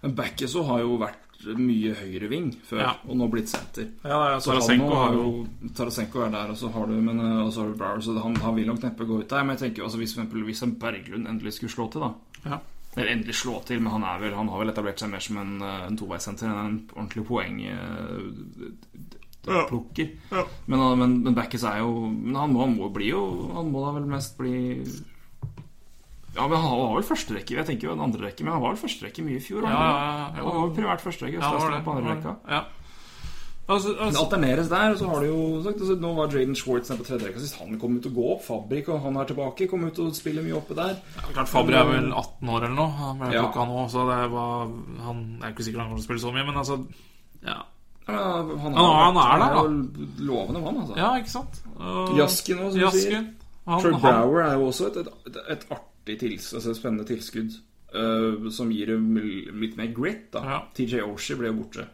D: Men Backeså har jo vært mye høyreving før,
E: Ja.
D: og nå blitt senter.
E: Ja, ja,
D: Så han nå har jo Tarasenko er der, og så har du men, eh, og så har du Brower, så han, han vil nok neppe gå ut der. Men jeg tenker jo, altså, hvis for eksempel hvis en Berglund endelig skulle slå til, da
E: Ja.
D: Eller endelig slå til, men han, er vel, han har vel etablert seg mer som en, eh, en toveissenter enn en ordentlig eh,
E: Ja.
D: poengplukker.
E: Ja.
D: Men, han- men, men Backes er jo Men han må, han må bli jo Han må da vel mest bli Ja, men han var vel førsterekke. Jeg tenker jo en andrerekke, men han var vel førsterekke mye i fjor. var
E: Ja,
D: han ikke det?
E: ja, ja,
D: Ja,
E: ja.
D: det var jo primært første rekka.
E: Ja,
D: så
E: det var
D: resten
E: det.
D: på andre
E: Det
D: rekka.
E: var det. Ja. Altså,
D: Det
E: altså,
D: alterneres der, og så har du jo sagt altså, Nå var Jaden Schwartz nede på tredje rekka sist. Han kom ut og gå opp. Fabrik og han er tilbake. Kom ut og spiller mye oppe der.
E: klart Fabri er vel 18 år eller noe. Han ble
D: Ja.
E: plukka nå, så det var han, Jeg er ikke sikker han kommer til å spille så mye, men altså Ja,
D: Ja, han,
E: han er der, da.
D: jo Lovende mann, altså.
E: ja ikke sant? Uh,
D: Jasken også, som du
E: Jasken. Han,
D: Troy
E: han,
D: Brower er jo også et, et, et artig tilskudd, altså et spennende tilskudd, eh, som gir dem litt mer grit, da.
E: Ja.
D: TJ Oshie ble jo borte,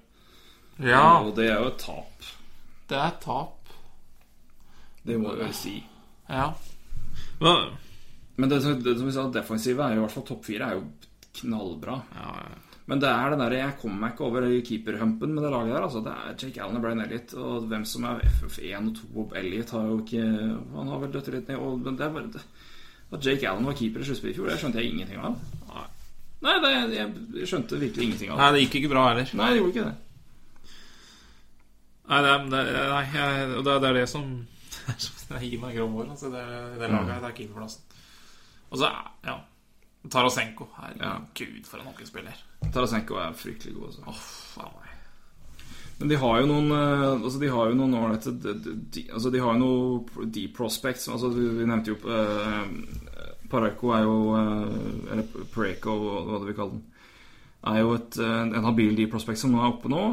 E: ja,
D: og det er jo et tap.
E: det er tap.
D: Det må jeg vel si.
E: Ja. Men,
D: Men det, som- det som vi sa, defensive er jo i hvert fall topp fire, er jo knallbra.
E: ja, ja.
D: Men det er den der, jeg kommer meg ikke over keeperhumpen med det laget der. altså Det er Jake Allen og Brian Elliot, og hvem som er FF1 og 2 og Elliot har jo ikke Han har vel dødd litt ned. Og, men det er bare det. At Jake Allen var keeper i sluttspillet i fjor, det skjønte jeg ingenting av. Nei, det, jeg skjønte virkelig ingenting av.
E: Nei, det gikk ikke bra heller.
D: Nei, det gjorde ikke det.
E: Nei, det, er- det, er- nei jeg, og det, er- det er det som Det gir meg grå hår. Altså, det, det laget her, det er keeperplassen. Og så, er- ja Tarasenko. Herregud, for en hockeyspiller.
D: Tarasenko er fryktelig god, altså.
E: Åh, faen meg.
D: Men de har jo noen eh, Altså, de har jo noen ålreite de, de, de, Altså, de har jo noen deep prospects Altså, vi vi nevnte jo eh, Pareko er jo eh, Eller Pareko, hva det vi kaller den Er jo et, eh, en habil deep prospect som nå er oppe nå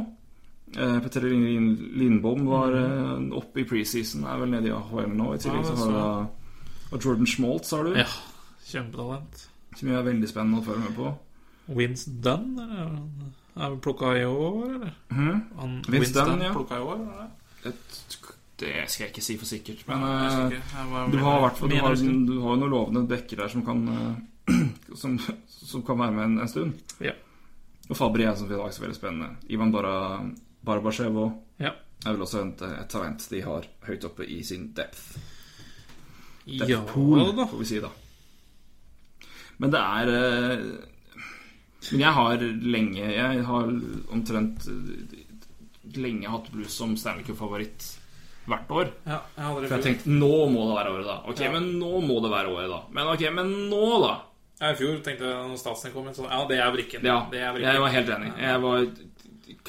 D: Eh, Petter Lin- Lindbom var eh, oppe i preseason Er vel nede i AHL nå I tillegg
E: Mm. Ja,
D: så har
E: det så
D: du da Og Jordan Schmaltz har du
E: Ja, kjempetalent.
D: Som jo er veldig spennende å følge med på
E: Vince Dunn eh, eller? er han- er han plukka i år, eller? Han,
D: Mhm. Vince Dunn, ja.
E: plukka i år, eller?
D: Et, Det skal jeg ikke si for sikkert Men
E: Jeg
D: eh,
E: husker ikke. Jeg bare
D: Du
E: mener-
D: har, i hvert fall- du,
E: mener
D: har,
E: jeg husker.
D: du har jo noen lovende bekker der som kan, eh, som, som kan være med en, en stund.
E: Ja.
D: Og Fabri er som i dag så veldig spennende. Ivan Bara, Barabashev også
E: ja.
D: er vel også et, et talent de har høyt oppe i sin depth.
E: Ja,
D: Depth pool,
E: da.
D: får vi si da. Men det er eh, Men jeg har lenge Jeg har omtrent eh, lenge hatt blues som Stanley Cup-favoritt hvert år.
E: Ja, jeg hadde
D: For jeg
E: det i fjor.
D: tenkte nå må det være året, da. Ok,
E: Ja.
D: men nå må det være året, da. Men ok, men nå, da.
E: Ja, I fjor tenkte jeg når Statsen kom inn, sånn Ja, det er brikken.
D: Ja,
E: det er brikken.
D: jeg var helt enig. Jeg var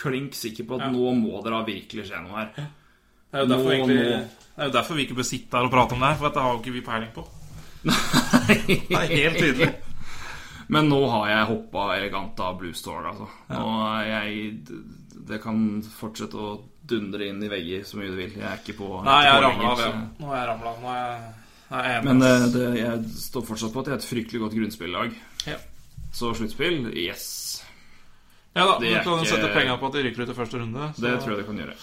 D: klink sikker på at
E: Ja.
D: nå må dere ha virkelig skje noe her.
E: Det er jo derfor,
D: Nå,
E: egentlig,
D: nå.
E: det er jo derfor vi ikke bør sitte her og prate om det her, for dette har jo ikke vi peiling på. Det er helt tydelig.
D: Men nå har jeg hoppa elegant av Blue Store, altså. Nå er jeg Det kan fortsette å dundre inn i vegger så mye du vil. Jeg er ikke på
E: Nei, jeg
D: på
E: ramla
D: lenger,
E: av, ja.
D: så-
E: Nå er jeg ramla. Nå er jeg, jeg er enig.
D: Men eh, det, jeg står fortsatt på at jeg er et fryktelig godt grunnspillag.
E: Ja.
D: Så sluttspill, yes.
E: ja da, du
D: det er
E: kan jo
D: ikke-
E: sette penger på at de rykker ut i første runde. så-
D: Det tror jeg du kan gjøre.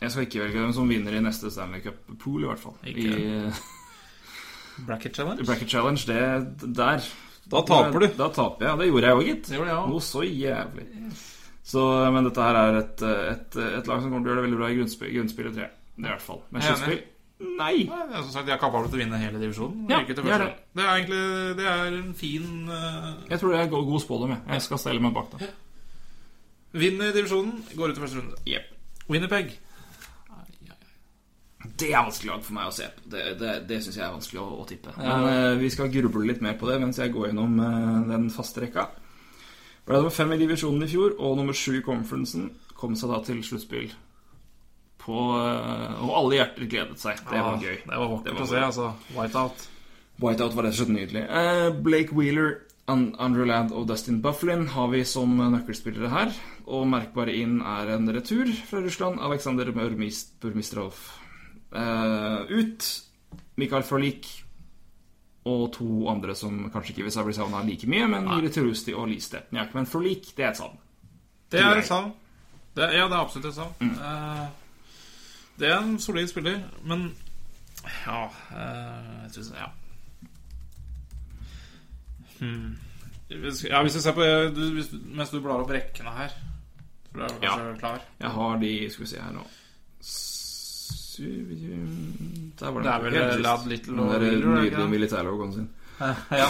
D: Jeg skal ikke velge dem som vinner i neste Stanley Cup-pool, i hvert fall.
E: Ikke.
D: I
E: Bracket challenge.
D: Bracket Challenge, det der
E: Da taper du.
D: Da taper jeg. Det gjorde jeg òg, gitt.
E: Det gjorde jeg også.
D: Noe så jævlig. Så, men dette her er et, et, et lag som kommer til å gjøre det veldig bra i grunnspill, grunnspillet, tror jeg. Det er i hvert fall. Men
E: Jeg er
D: sluttspill Nei.
E: Nei, det er som sagt, De er kapable til å vinne hele divisjonen.
D: Ja,
E: virker til
D: de er
E: første.
D: det.
E: det er egentlig det er en fin eh,
D: Jeg tror det er go- god spådom. Jeg. jeg skal stelle meg bak det.
E: Vinner divisjonen, går ut i første runde.
D: Jep.
E: Winnerpeg.
D: Det er vanskelig lag for meg å se på. Det, det, det syns jeg er vanskelig å, å tippe. Men eh, vi skal gruble litt mer på det mens jeg går gjennom eh, den faste rekka. Ble nummer fem i divisjonen i fjor og nummer sju i conferencen. Kom seg da til sluttspill. På, eh, og alle hjerter gledet seg. Det var gøy.
E: Det var
D: Ah.
E: vakkert
D: Det var
E: å se, altså. Whiteout.
D: Whiteout var rett og slett nydelig. Eh, Blake Wheeler, An- Andrew Ladd og Dustin Bufflin har vi som nøkkelspillere her. Og merkbare inn er en retur fra Russland, Aleksander Burmistrov. Eh, ut Mikael Frolik og to andre som kanskje ikke vil bli savna like mye, men Jiri Turusti og Lee Stepniak. Men Frolik, det er et savn.
E: Det
D: Tror
E: er
D: jeg.
E: et savn. Det, ja, det er absolutt et savn.
D: Mm.
E: Eh, det er en solid spiller, men ja eh, jeg synes, Ja. Hmm. Hvis, ja, hvis du ser på du, hvis, Mens du blar opp rekkene her Tror jeg kanskje
D: Ja.
E: er klar.
D: Jeg har de Skal vi se her nå Syv- Der var
E: Det er vel
D: Helt sist.
E: Ladd, Little
D: Den
E: og
D: der
E: Wheeler, er det ikke
D: Nydelige
E: det?
D: militærlogoen sin.
E: ja.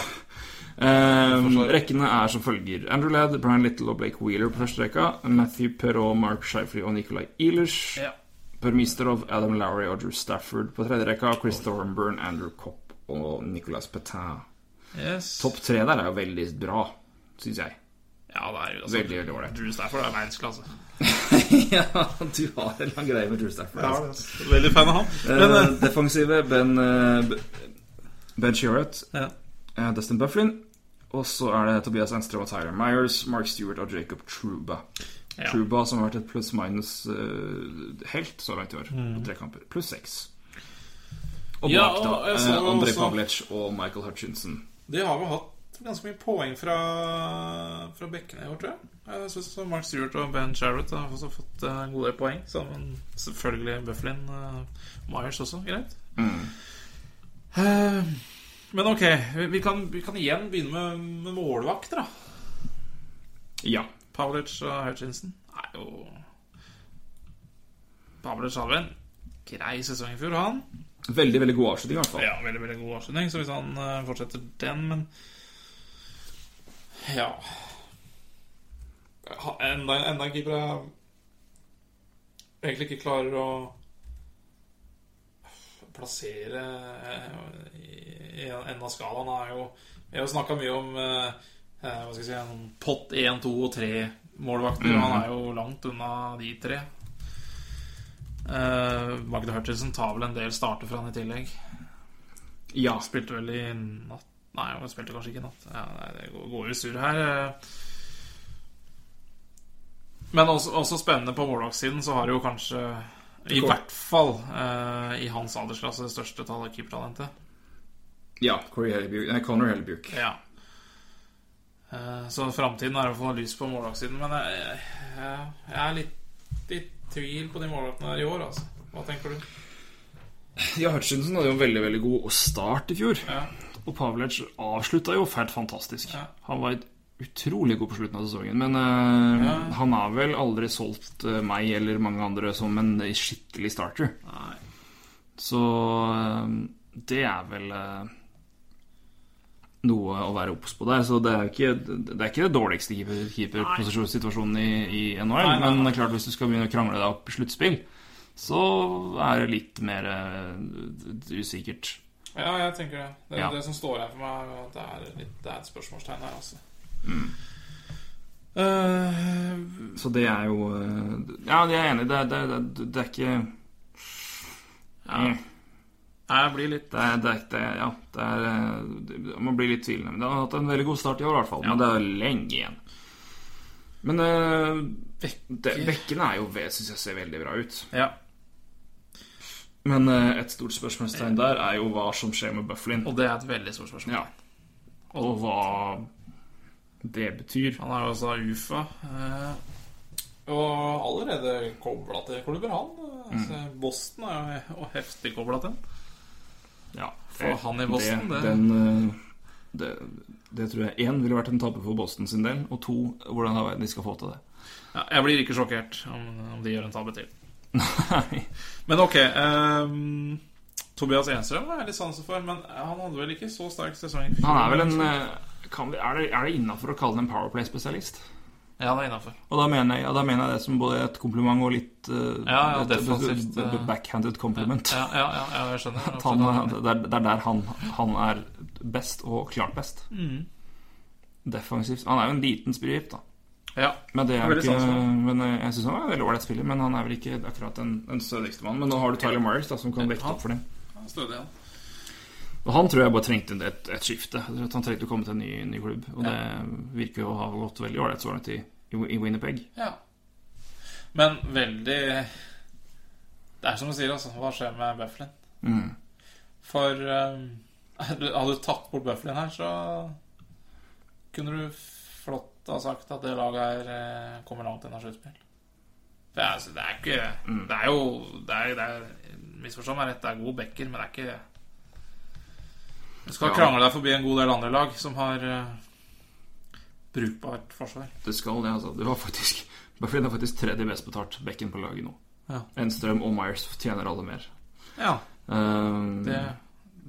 D: Ehm,
E: Forstår.
D: rekkene er som følger. Andrew Ladd, Brian Little og Blake Wheeler på første rekka. Matthew Perrault, Mark Shifley og Nicolay Eilish.
E: Ja.
D: Per Misterov, Adam Lowry og Drew Stafford på tredje rekka. Chris Thornburn, Andrew Kopp og Nicolas Petain.
E: Yes.
D: Topp tre der er jo veldig bra, syns jeg.
E: Ja, det er jo altså,
D: Veldig, veldig ålreit.
E: Drew Stafford er verdensklasse.
D: ja, du har en lang greie med Drew Stafford. altså.
E: Veldig fan av han. Men,
D: Eh, defensive Ben eh, Ben Sherratt,
E: eh, ja.
D: eh, Dustin Bufflin. Og så er det Tobias Enstrøm og Tyler Myers, Mark Stewart og Jacob Truba.
E: Ja.
D: Truba som har vært et pluss-minus-helt så langt i år, på tre kamper. Pluss seks. Og
E: Ja,
D: bak,
E: og
D: da,
E: jeg så
D: eh, André
E: også-
D: Pavlic og Michael Hutchinson.
E: De har vel hatt ganske mye poeng fra, fra bekkene i år, tror jeg. Jeg synes også Mark Stewart og Ben Sherrod har også fått eh, en god del poeng. Sammen selvfølgelig Bufflin. eh, Myers også, greit.
D: Mm.
E: Eh, men ok, vi, vi, kan, vi kan igjen begynne med, med målvakter, da.
D: Ja.
E: Pavlic og Hutchinson er jo Pavlic hadde vel en grei sesong i fjor, han.
D: Veldig, veldig god avslutning, i hvert fall.
E: Ja, veldig, veldig god avslutning. Så hvis han eh, fortsetter den, men Ja Ha- Enda, enda en keeper jeg egentlig ikke klarer å plassere eh, i i enden av skalaen, er jo Vi har jo snakka mye om eh, eh, hva skal jeg si, en pott 1, 2 og 3-målvakter. Han er jo langt unna de tre. Eh, Magda Hutchinson tar vel en del starter for han i tillegg.
D: Ja.
E: Spilte vel i natt Nei, hun spilte kanskje ikke i natt. Ja, nei, det går- går jo sur her. eh. Men også, også spennende på målvaktsiden så har du jo kanskje I
D: Går.
E: hvert fall eh, i hans aldersklasse det største tallet keepertalentet.
D: ja. Corey Hellebuke, nei, Connor Hellebuke.
E: Ja. Eh, Så framtiden er i hvert fall lys på målvaktsiden. Men jeg, jeg, jeg- jeg er litt i tvil på de målvaktene her i år, altså. Hva tenker du?
D: Ja, Hutchinson hadde jo en veldig, veldig god start i fjor.
E: Ja.
D: Og Pavlic avslutta jo fælt fantastisk.
E: Ja.
D: Han var utrolig god på slutten av sesongen. Men eh,
E: Ja.
D: han har vel aldri solgt eh, meg eller mange andre som en skikkelig starter.
E: Nei.
D: Så eh, det er vel eh, noe å være obs på der. Så det er jo ikke, det, er ikke det dårligste keeper- keeperposisjonssituasjonen i, i NHL.
E: Nei, nei,
D: Men
E: nei.
D: det er klart hvis du skal begynne å krangle deg opp i sluttspill, så er det litt mer eh, usikkert.
E: Ja, jeg tenker det. Det, er
D: Ja.
E: det som står her for meg, er at det er, litt, det er et spørsmålstegn her, altså. Eh,
D: Så det er jo eh, Ja, jeg er enig. Det er, det er, det er, det er ikke
E: ja.
D: Mm.
E: Nei, Jeg blir litt
D: det er, det er, det er, Ja, det er eh, det- Man blir litt tvilende. Men det har hatt en veldig god start i år, i hvert fall. Men det er lenge igjen. Men eh, det- bekkene er jo Syns jeg ser veldig bra ut.
E: Ja.
D: Men eh, et stort spørsmålstegn der er jo hva som skjer med Bufflin.
E: Og det er et veldig stort spørsmål.
D: Ja. Og hva det betyr.
E: Han er jo også UFA. eh, og allerede kobla til klubber, han. Eh, altså, Boston er jo og heftig kobla til.
D: Ja,
E: Få han i Boston, det-
D: Den, eh, det, det tror jeg én ville vært en tabbe for Boston sin del, og to hvordan i all verden de skal få til det.
E: Ja, jeg blir ikke sjokkert om, om de gjør en tabbe til.
D: Nei.
E: Men ok ehm, Tobias Enstrøm har jeg litt sansen for, men han hadde vel ikke så sterk sesong. i fjor.
D: Han er vel en eh, kan vi, Er det, er det innafor å kalle det en Powerplay-spesialist? eh,
E: Ja, det er innafor.
D: Og da mener, jeg, ja, da mener jeg det som både et kompliment og litt eh,
E: Ja, ja,
D: et-
E: defensivt,
D: b- b-
E: eh,
D: Backhanded compliment.
E: Ja, ja, ja, ja, jeg skjønner.
D: At han, eh, det, er, det er der han, han er best, og klart best.
E: Mm.
D: Defensivt. Han er jo en liten spirip, da.
E: Ja.
D: Men, det er
E: er veldig
D: ikke,
E: sans for han.
D: men eh, Jeg syns han er en veldig ålreit spiller, men han er vel ikke akkurat en, en størrelse mann. Men nå har du Tyler Myers, da, som kan vekte opp for det.
E: Stødig, han.
D: Og han tror jeg bare trengte et, et skifte. Jeg tror at Han trengte å komme til en ny, ny klubb. Og det virker jo å ha gått veldig ålreit så langt i, i, i Winnipeg.
E: Ja. Men veldig Det er som du sier, altså. Hva skjer med Bufflin? For um, hadde du tatt bort Bufflin her, så kunne du flott ha sagt at det laget her eh, kommer langt unna sluttspill. Det er, altså, det er ikke Det er jo det er, det er, Misforstå meg rett, det er gode backer, men det er ikke Du skal
D: Ja.
E: krangle deg forbi en god del andre lag som har eh, brukbart forsvar.
D: Det skal det, altså. Det var faktisk Bufflin er faktisk tredje best betalt bekken på laget nå.
E: Ja.
D: Enstrøm og Myers tjener alle mer.
E: Ja.
D: Ehm,
E: Det,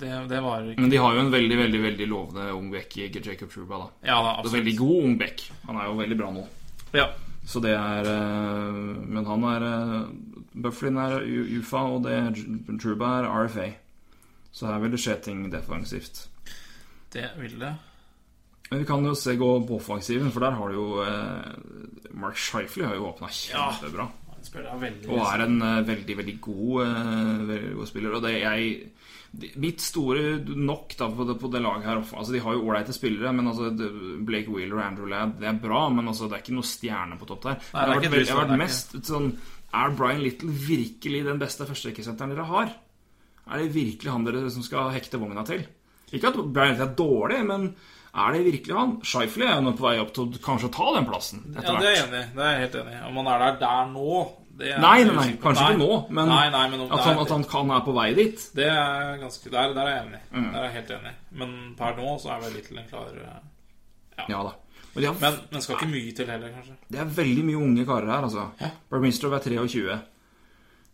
E: det, det varer ikke.
D: Men de har jo en veldig veldig, veldig lovende ung bekk i Jacob Truba. da
E: Ja da,
D: Og Veldig
E: absolutt.
D: god ung bekk. Han er jo veldig bra nå.
E: Ja.
D: Så det er eh, Men han er eh, Bufflin er U- UFA, og det Truba er RFA. Så her vil det skje ting defensivt.
E: Det vil det.
D: Men vi kan jo se gå på offensiven, for der har du jo eh, Mark Shifley har jo åpna
E: Ja.
D: kjempebra.
E: Han spiller veldig
D: Og er en eh, veldig, veldig god, eh, veldig god spiller. Og det jeg de- Mitt store nok da på det, på det laget her off- Altså De har jo ålreite spillere, men altså det- Blake Wheeler og Andrew Ladd Det er bra, men altså det er ikke noe stjerne på topp der.
E: Nei, det er
D: jeg har
E: ikke
D: vært, veldig- jeg har
E: det,
D: vært
E: det
D: mest sånn Er Brian Little virkelig den beste førsterekkesenteren dere har? Er det virkelig han dere som skal hekte vogna til? Ikke at Brian Little er dårlig, men er det virkelig han? Shifley er jo nå på vei opp til å kanskje å ta den plassen etter
E: Ja, det er jeg enig i. Det er jeg helt enig i. Om han er der der nå det er
D: Nei,
E: jeg
D: nei, nei,
E: usikker på.
D: kanskje ikke nå, men
E: nei, nei, men om
D: at,
E: det
D: han,
E: er-
D: at han kan er på vei dit.
E: Det er ganske Der, der er jeg enig.
D: Mm.
E: Der er jeg helt enig. Men per nå så er vel Little en klar eh,
D: Ja da. Men de har,
E: Men den skal ikke mye til heller, kanskje.
D: det er veldig mye unge karer her, altså. Barminstrov er 23.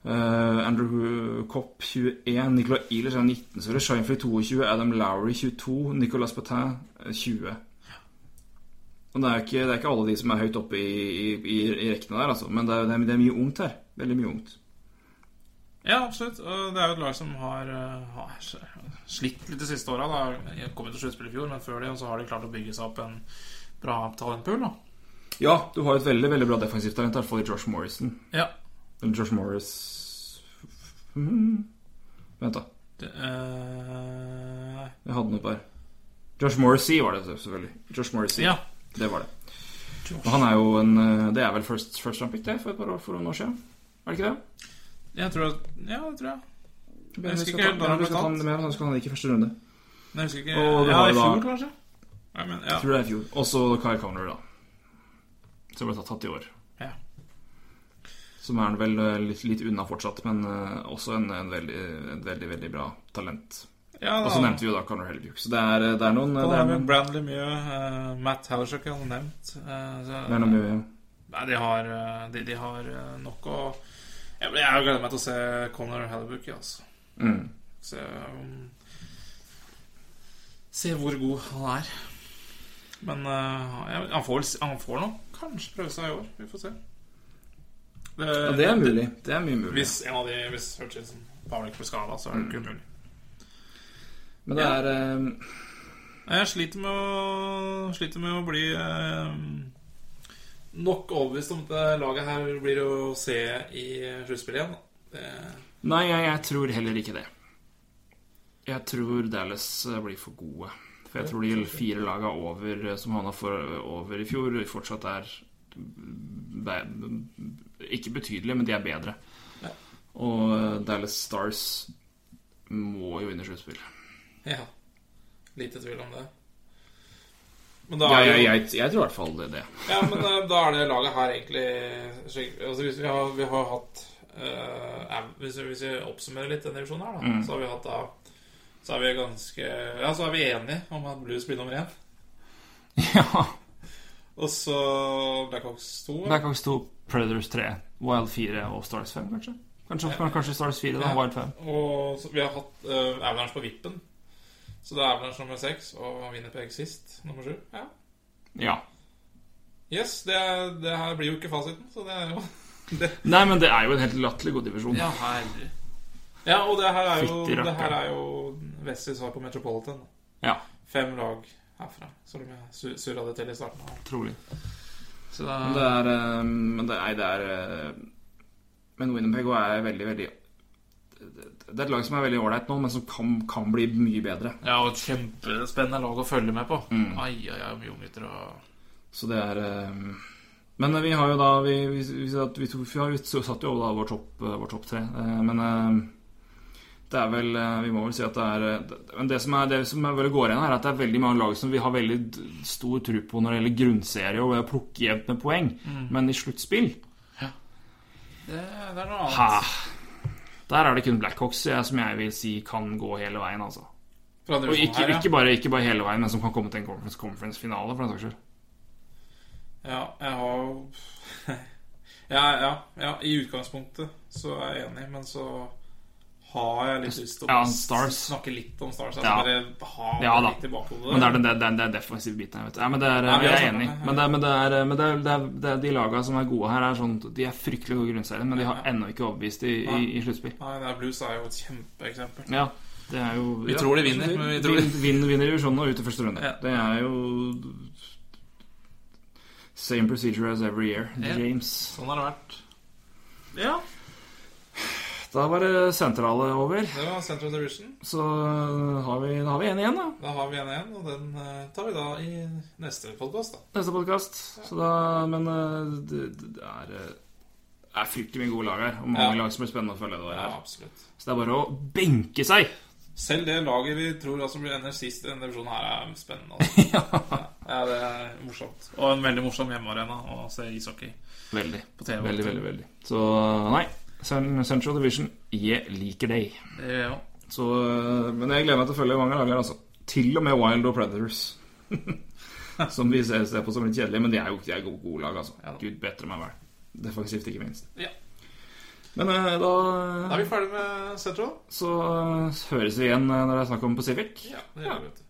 D: Eh, Andrew Kopp 21. Nicolay Eilers er 19. Så er det Shinefree 22. Adam Lowry 22. Nicolas Patin 20. Og det er, ikke, det er ikke alle de som er høyt oppe i, i, i, i rekkene der, altså. Men det er, det, er, det er mye ungt her. Veldig mye ungt.
E: Ja, absolutt. Og det er jo et lag som har, eh, har slitt litt de siste åra. De kom jo til sluttspill i fjor, men før det så har de klart å bygge seg opp en bra talentpool. da.
D: Ja, du har et veldig veldig bra defensivt talent, i hvert fall i Josh Morrison.
E: Ja.
D: Eller Josh Morris Mhm. Vent, da.
E: Det, eh,
D: Jeg hadde noe på her. Josh Morrissey var det selvfølgelig. Josh Morrissey,
E: ja.
D: det var det. Og han er jo en eh, Det er vel first, first round pick, det, for et par år for noen år siden? Er det ikke det?
E: Jeg tror at Ja, det tror jeg.
D: Men vi
E: husker
D: skal
E: ikke
D: ta-
E: helt når han
D: vi
E: ble
D: skal ta
E: tatt.
D: den mer, han skal han ikke i første runde.
E: Men jeg husker ikke
D: Og det
E: Ja,
D: var
E: i
D: jo da-
E: fjor, kanskje? Nei, men, ja.
D: Jeg tror det er i fjor. Og så Kyle Conner, da. Som ble tatt, tatt i år.
E: Ja.
D: Som er vel eh, litt, litt unna fortsatt, men eh, også en, en veldig, en veldig, veldig bra talent.
E: ja,
D: Og så nevnte vi jo da Conor Hellebuck, så det er, eh, det er noen
E: da,
D: det er
E: med
D: noen-
E: Bradley Mjø, eh, Matt Hallershock har nevnt. eh, så,
D: det er noen mye
E: nei, de har, eh, de, de har eh, nok å Jeg, jeg gleder meg til å se Conor Hallebuck, ja, altså.
D: mm.
E: Se, um, se hvor god han er. Men eh, jeg- han, får, vel- han får nok kanskje prøve seg i år. Vi får se. Det,
D: Ja, det er mulig. Det er mye mulig.
E: Hvis en av de Hvis Hutchinson Pavlik blir skada, så er det ikke umulig.
D: Men det
E: Ja.
D: er eh,
E: Nei, Jeg sliter med å, sliter med å bli eh, nok overbevist om at det laget her blir å se i sluttspillet igjen. da. Det,
D: Nei, jeg, jeg tror heller ikke det. Jeg tror Dallas eh, blir for gode. For jeg tror de fire laga over, eh, som havna for- over i fjor, fortsatt er be- Ikke betydelige, men de er bedre.
E: Ja.
D: Og eh, Dallas Stars må jo inn i sluttspill.
E: ja. Lite tvil om det. Men da
D: Ja,
E: er,
D: jeg,
E: jo-
D: jeg, jeg tror i hvert fall det. det.
E: Ja, men eh, da er det laget her egentlig skikk- altså, hvis vi, har, vi har hatt eh, av- hvis, vi- hvis vi oppsummerer litt den divisjonen her, da,
D: Mm.
E: så har vi hatt da Så er vi ganske Ja, så er vi enige om at Blues blir nummer én.
D: Ja.
E: Og så Blackhawks 2.
D: Blackhawks 2, Predators 3, Wild 4 og Stars 5, kanskje? Kanskje, kanskje Stars 4, da.
E: Ja.
D: Wild 5.
E: Og så, vi har hatt uh, Avalanche på vippen. Så det er Avalanche nummer seks og Winnerpeg sist, nummer sju. Ja.
D: Ja.
E: Yes, det, er- det her blir jo ikke fasiten, så det er jo
D: Nei, men det er jo en helt latterlig god divisjon.
E: Ja, herlig. Ja, og det her er jo,
D: Fytti
E: det her
D: rakkeren.
E: er jo Westies svar på Metropolitan.
D: Ja,
E: Fem lag herfra, som jeg su- surra det til i starten. av.
D: trolig.
E: Så
D: Men det
E: det er,
D: er eh, Men det, nei, det er eh, Men Winnerpeg er veldig, veldig Det er et lag som er veldig ålreit nå, men som kan, kan bli mye bedre.
E: ja, og et kjempespennende lag å følge med på.
D: Mm.
E: Ai, ai, ai, mye unggutter og
D: Så det er eh, Men vi har jo da Vi, vi, vi, vi, vi, vi, har, jo satt jo over da vår topp eh, vår topp tre. Eh, Men eh, det er vel eh, Vi må vel si at det er eh, det- Men det som, er, det som er vel går igjen, her, er at det er veldig mange lag som vi har veldig d- stor tro på når det gjelder grunnserie og ved å plukke jevnt med poeng.
E: Mm.
D: Men i sluttspill
E: det, det er noe
D: ha,
E: annet.
D: Der er det kun Blackhawks jeg, som jeg vil si kan gå hele veien, altså.
E: Fra
D: Og
E: divisjonen
D: ikke,
E: sånn her, ja.
D: ikke, bare, ikke bare hele veien, men som kan komme til en conference- conference-finale, for den saks skyld.
E: Ja, jeg har jo- ja, ja, ja, i utgangspunktet så er jeg enig, men så har jeg litt lyst til å
D: Ja, Stars.
E: snakke litt om Stars. Altså
D: Ja.
E: Bare ha
D: Ja,
E: det
D: da.
E: litt tilbake på
D: Men
E: det.
D: det er den, den, den, den defensive biten her, vet du. Ja, men det er,
E: Nei, vi
D: jeg
E: har
D: er
E: snakket om
D: enig.
E: det, ja.
D: Men, det, men, det er, men det er, det er, det er de laga som er gode her, er sånn De er fryktelig gode i grunnserien, men de har ennå ikke overbevist i, i, i sluttspill.
E: Nei, det er Blues er jo et kjempeeksempel.
D: Ja, det er jo
E: Vi
D: ja,
E: tror de vinner,
D: som du sier,
E: men vi tror de-
D: vin- Vinner, vinner divisjonen og ut i første runde.
E: Ja.
D: Det er jo Same procedure as every year.
E: Ja.
D: James.
E: Sånn har det vært. Ja,
D: Da var det sentrale over.
E: det var Central Division.
D: Så har vi, da har vi en igjen, da.
E: Da har vi en igjen, og den eh, tar vi da i neste podkast, da.
D: Neste podkast. Så da Men eh, det, det er eh, det er fryktelig mye gode lag her. Og mange
E: Ja.
D: lag som blir spennende å følge. Det, året her.
E: absolutt.
D: Så det er bare å benke seg!
E: Selv det laget vi tror altså blir ender sist i denne divisjonen her, er spennende. Altså. ja, det er morsomt. Og en veldig morsom hjemmearena å se ishockey
D: Veldig.
E: på TV.
D: Veldig, veldig, veldig. Så nei. Cen- Central Division, jeg liker deg.
E: Det gjør jeg også.
D: Så eh, Men jeg gleder meg til å følge mange lag her, altså. Til og med Wild og Predators. som vi ser, ser på som litt kjedelige, men de er jo de er gode, gode lag, altså.
E: Ja da.
D: Gud bedre meg vel. Defensivt, ikke minst.
E: Ja.
D: Men eh, da
E: Da er vi ferdig med Central.
D: så høres vi igjen eh, når det er snakk om Pacific.
E: Ja, det gjør vi, vet du.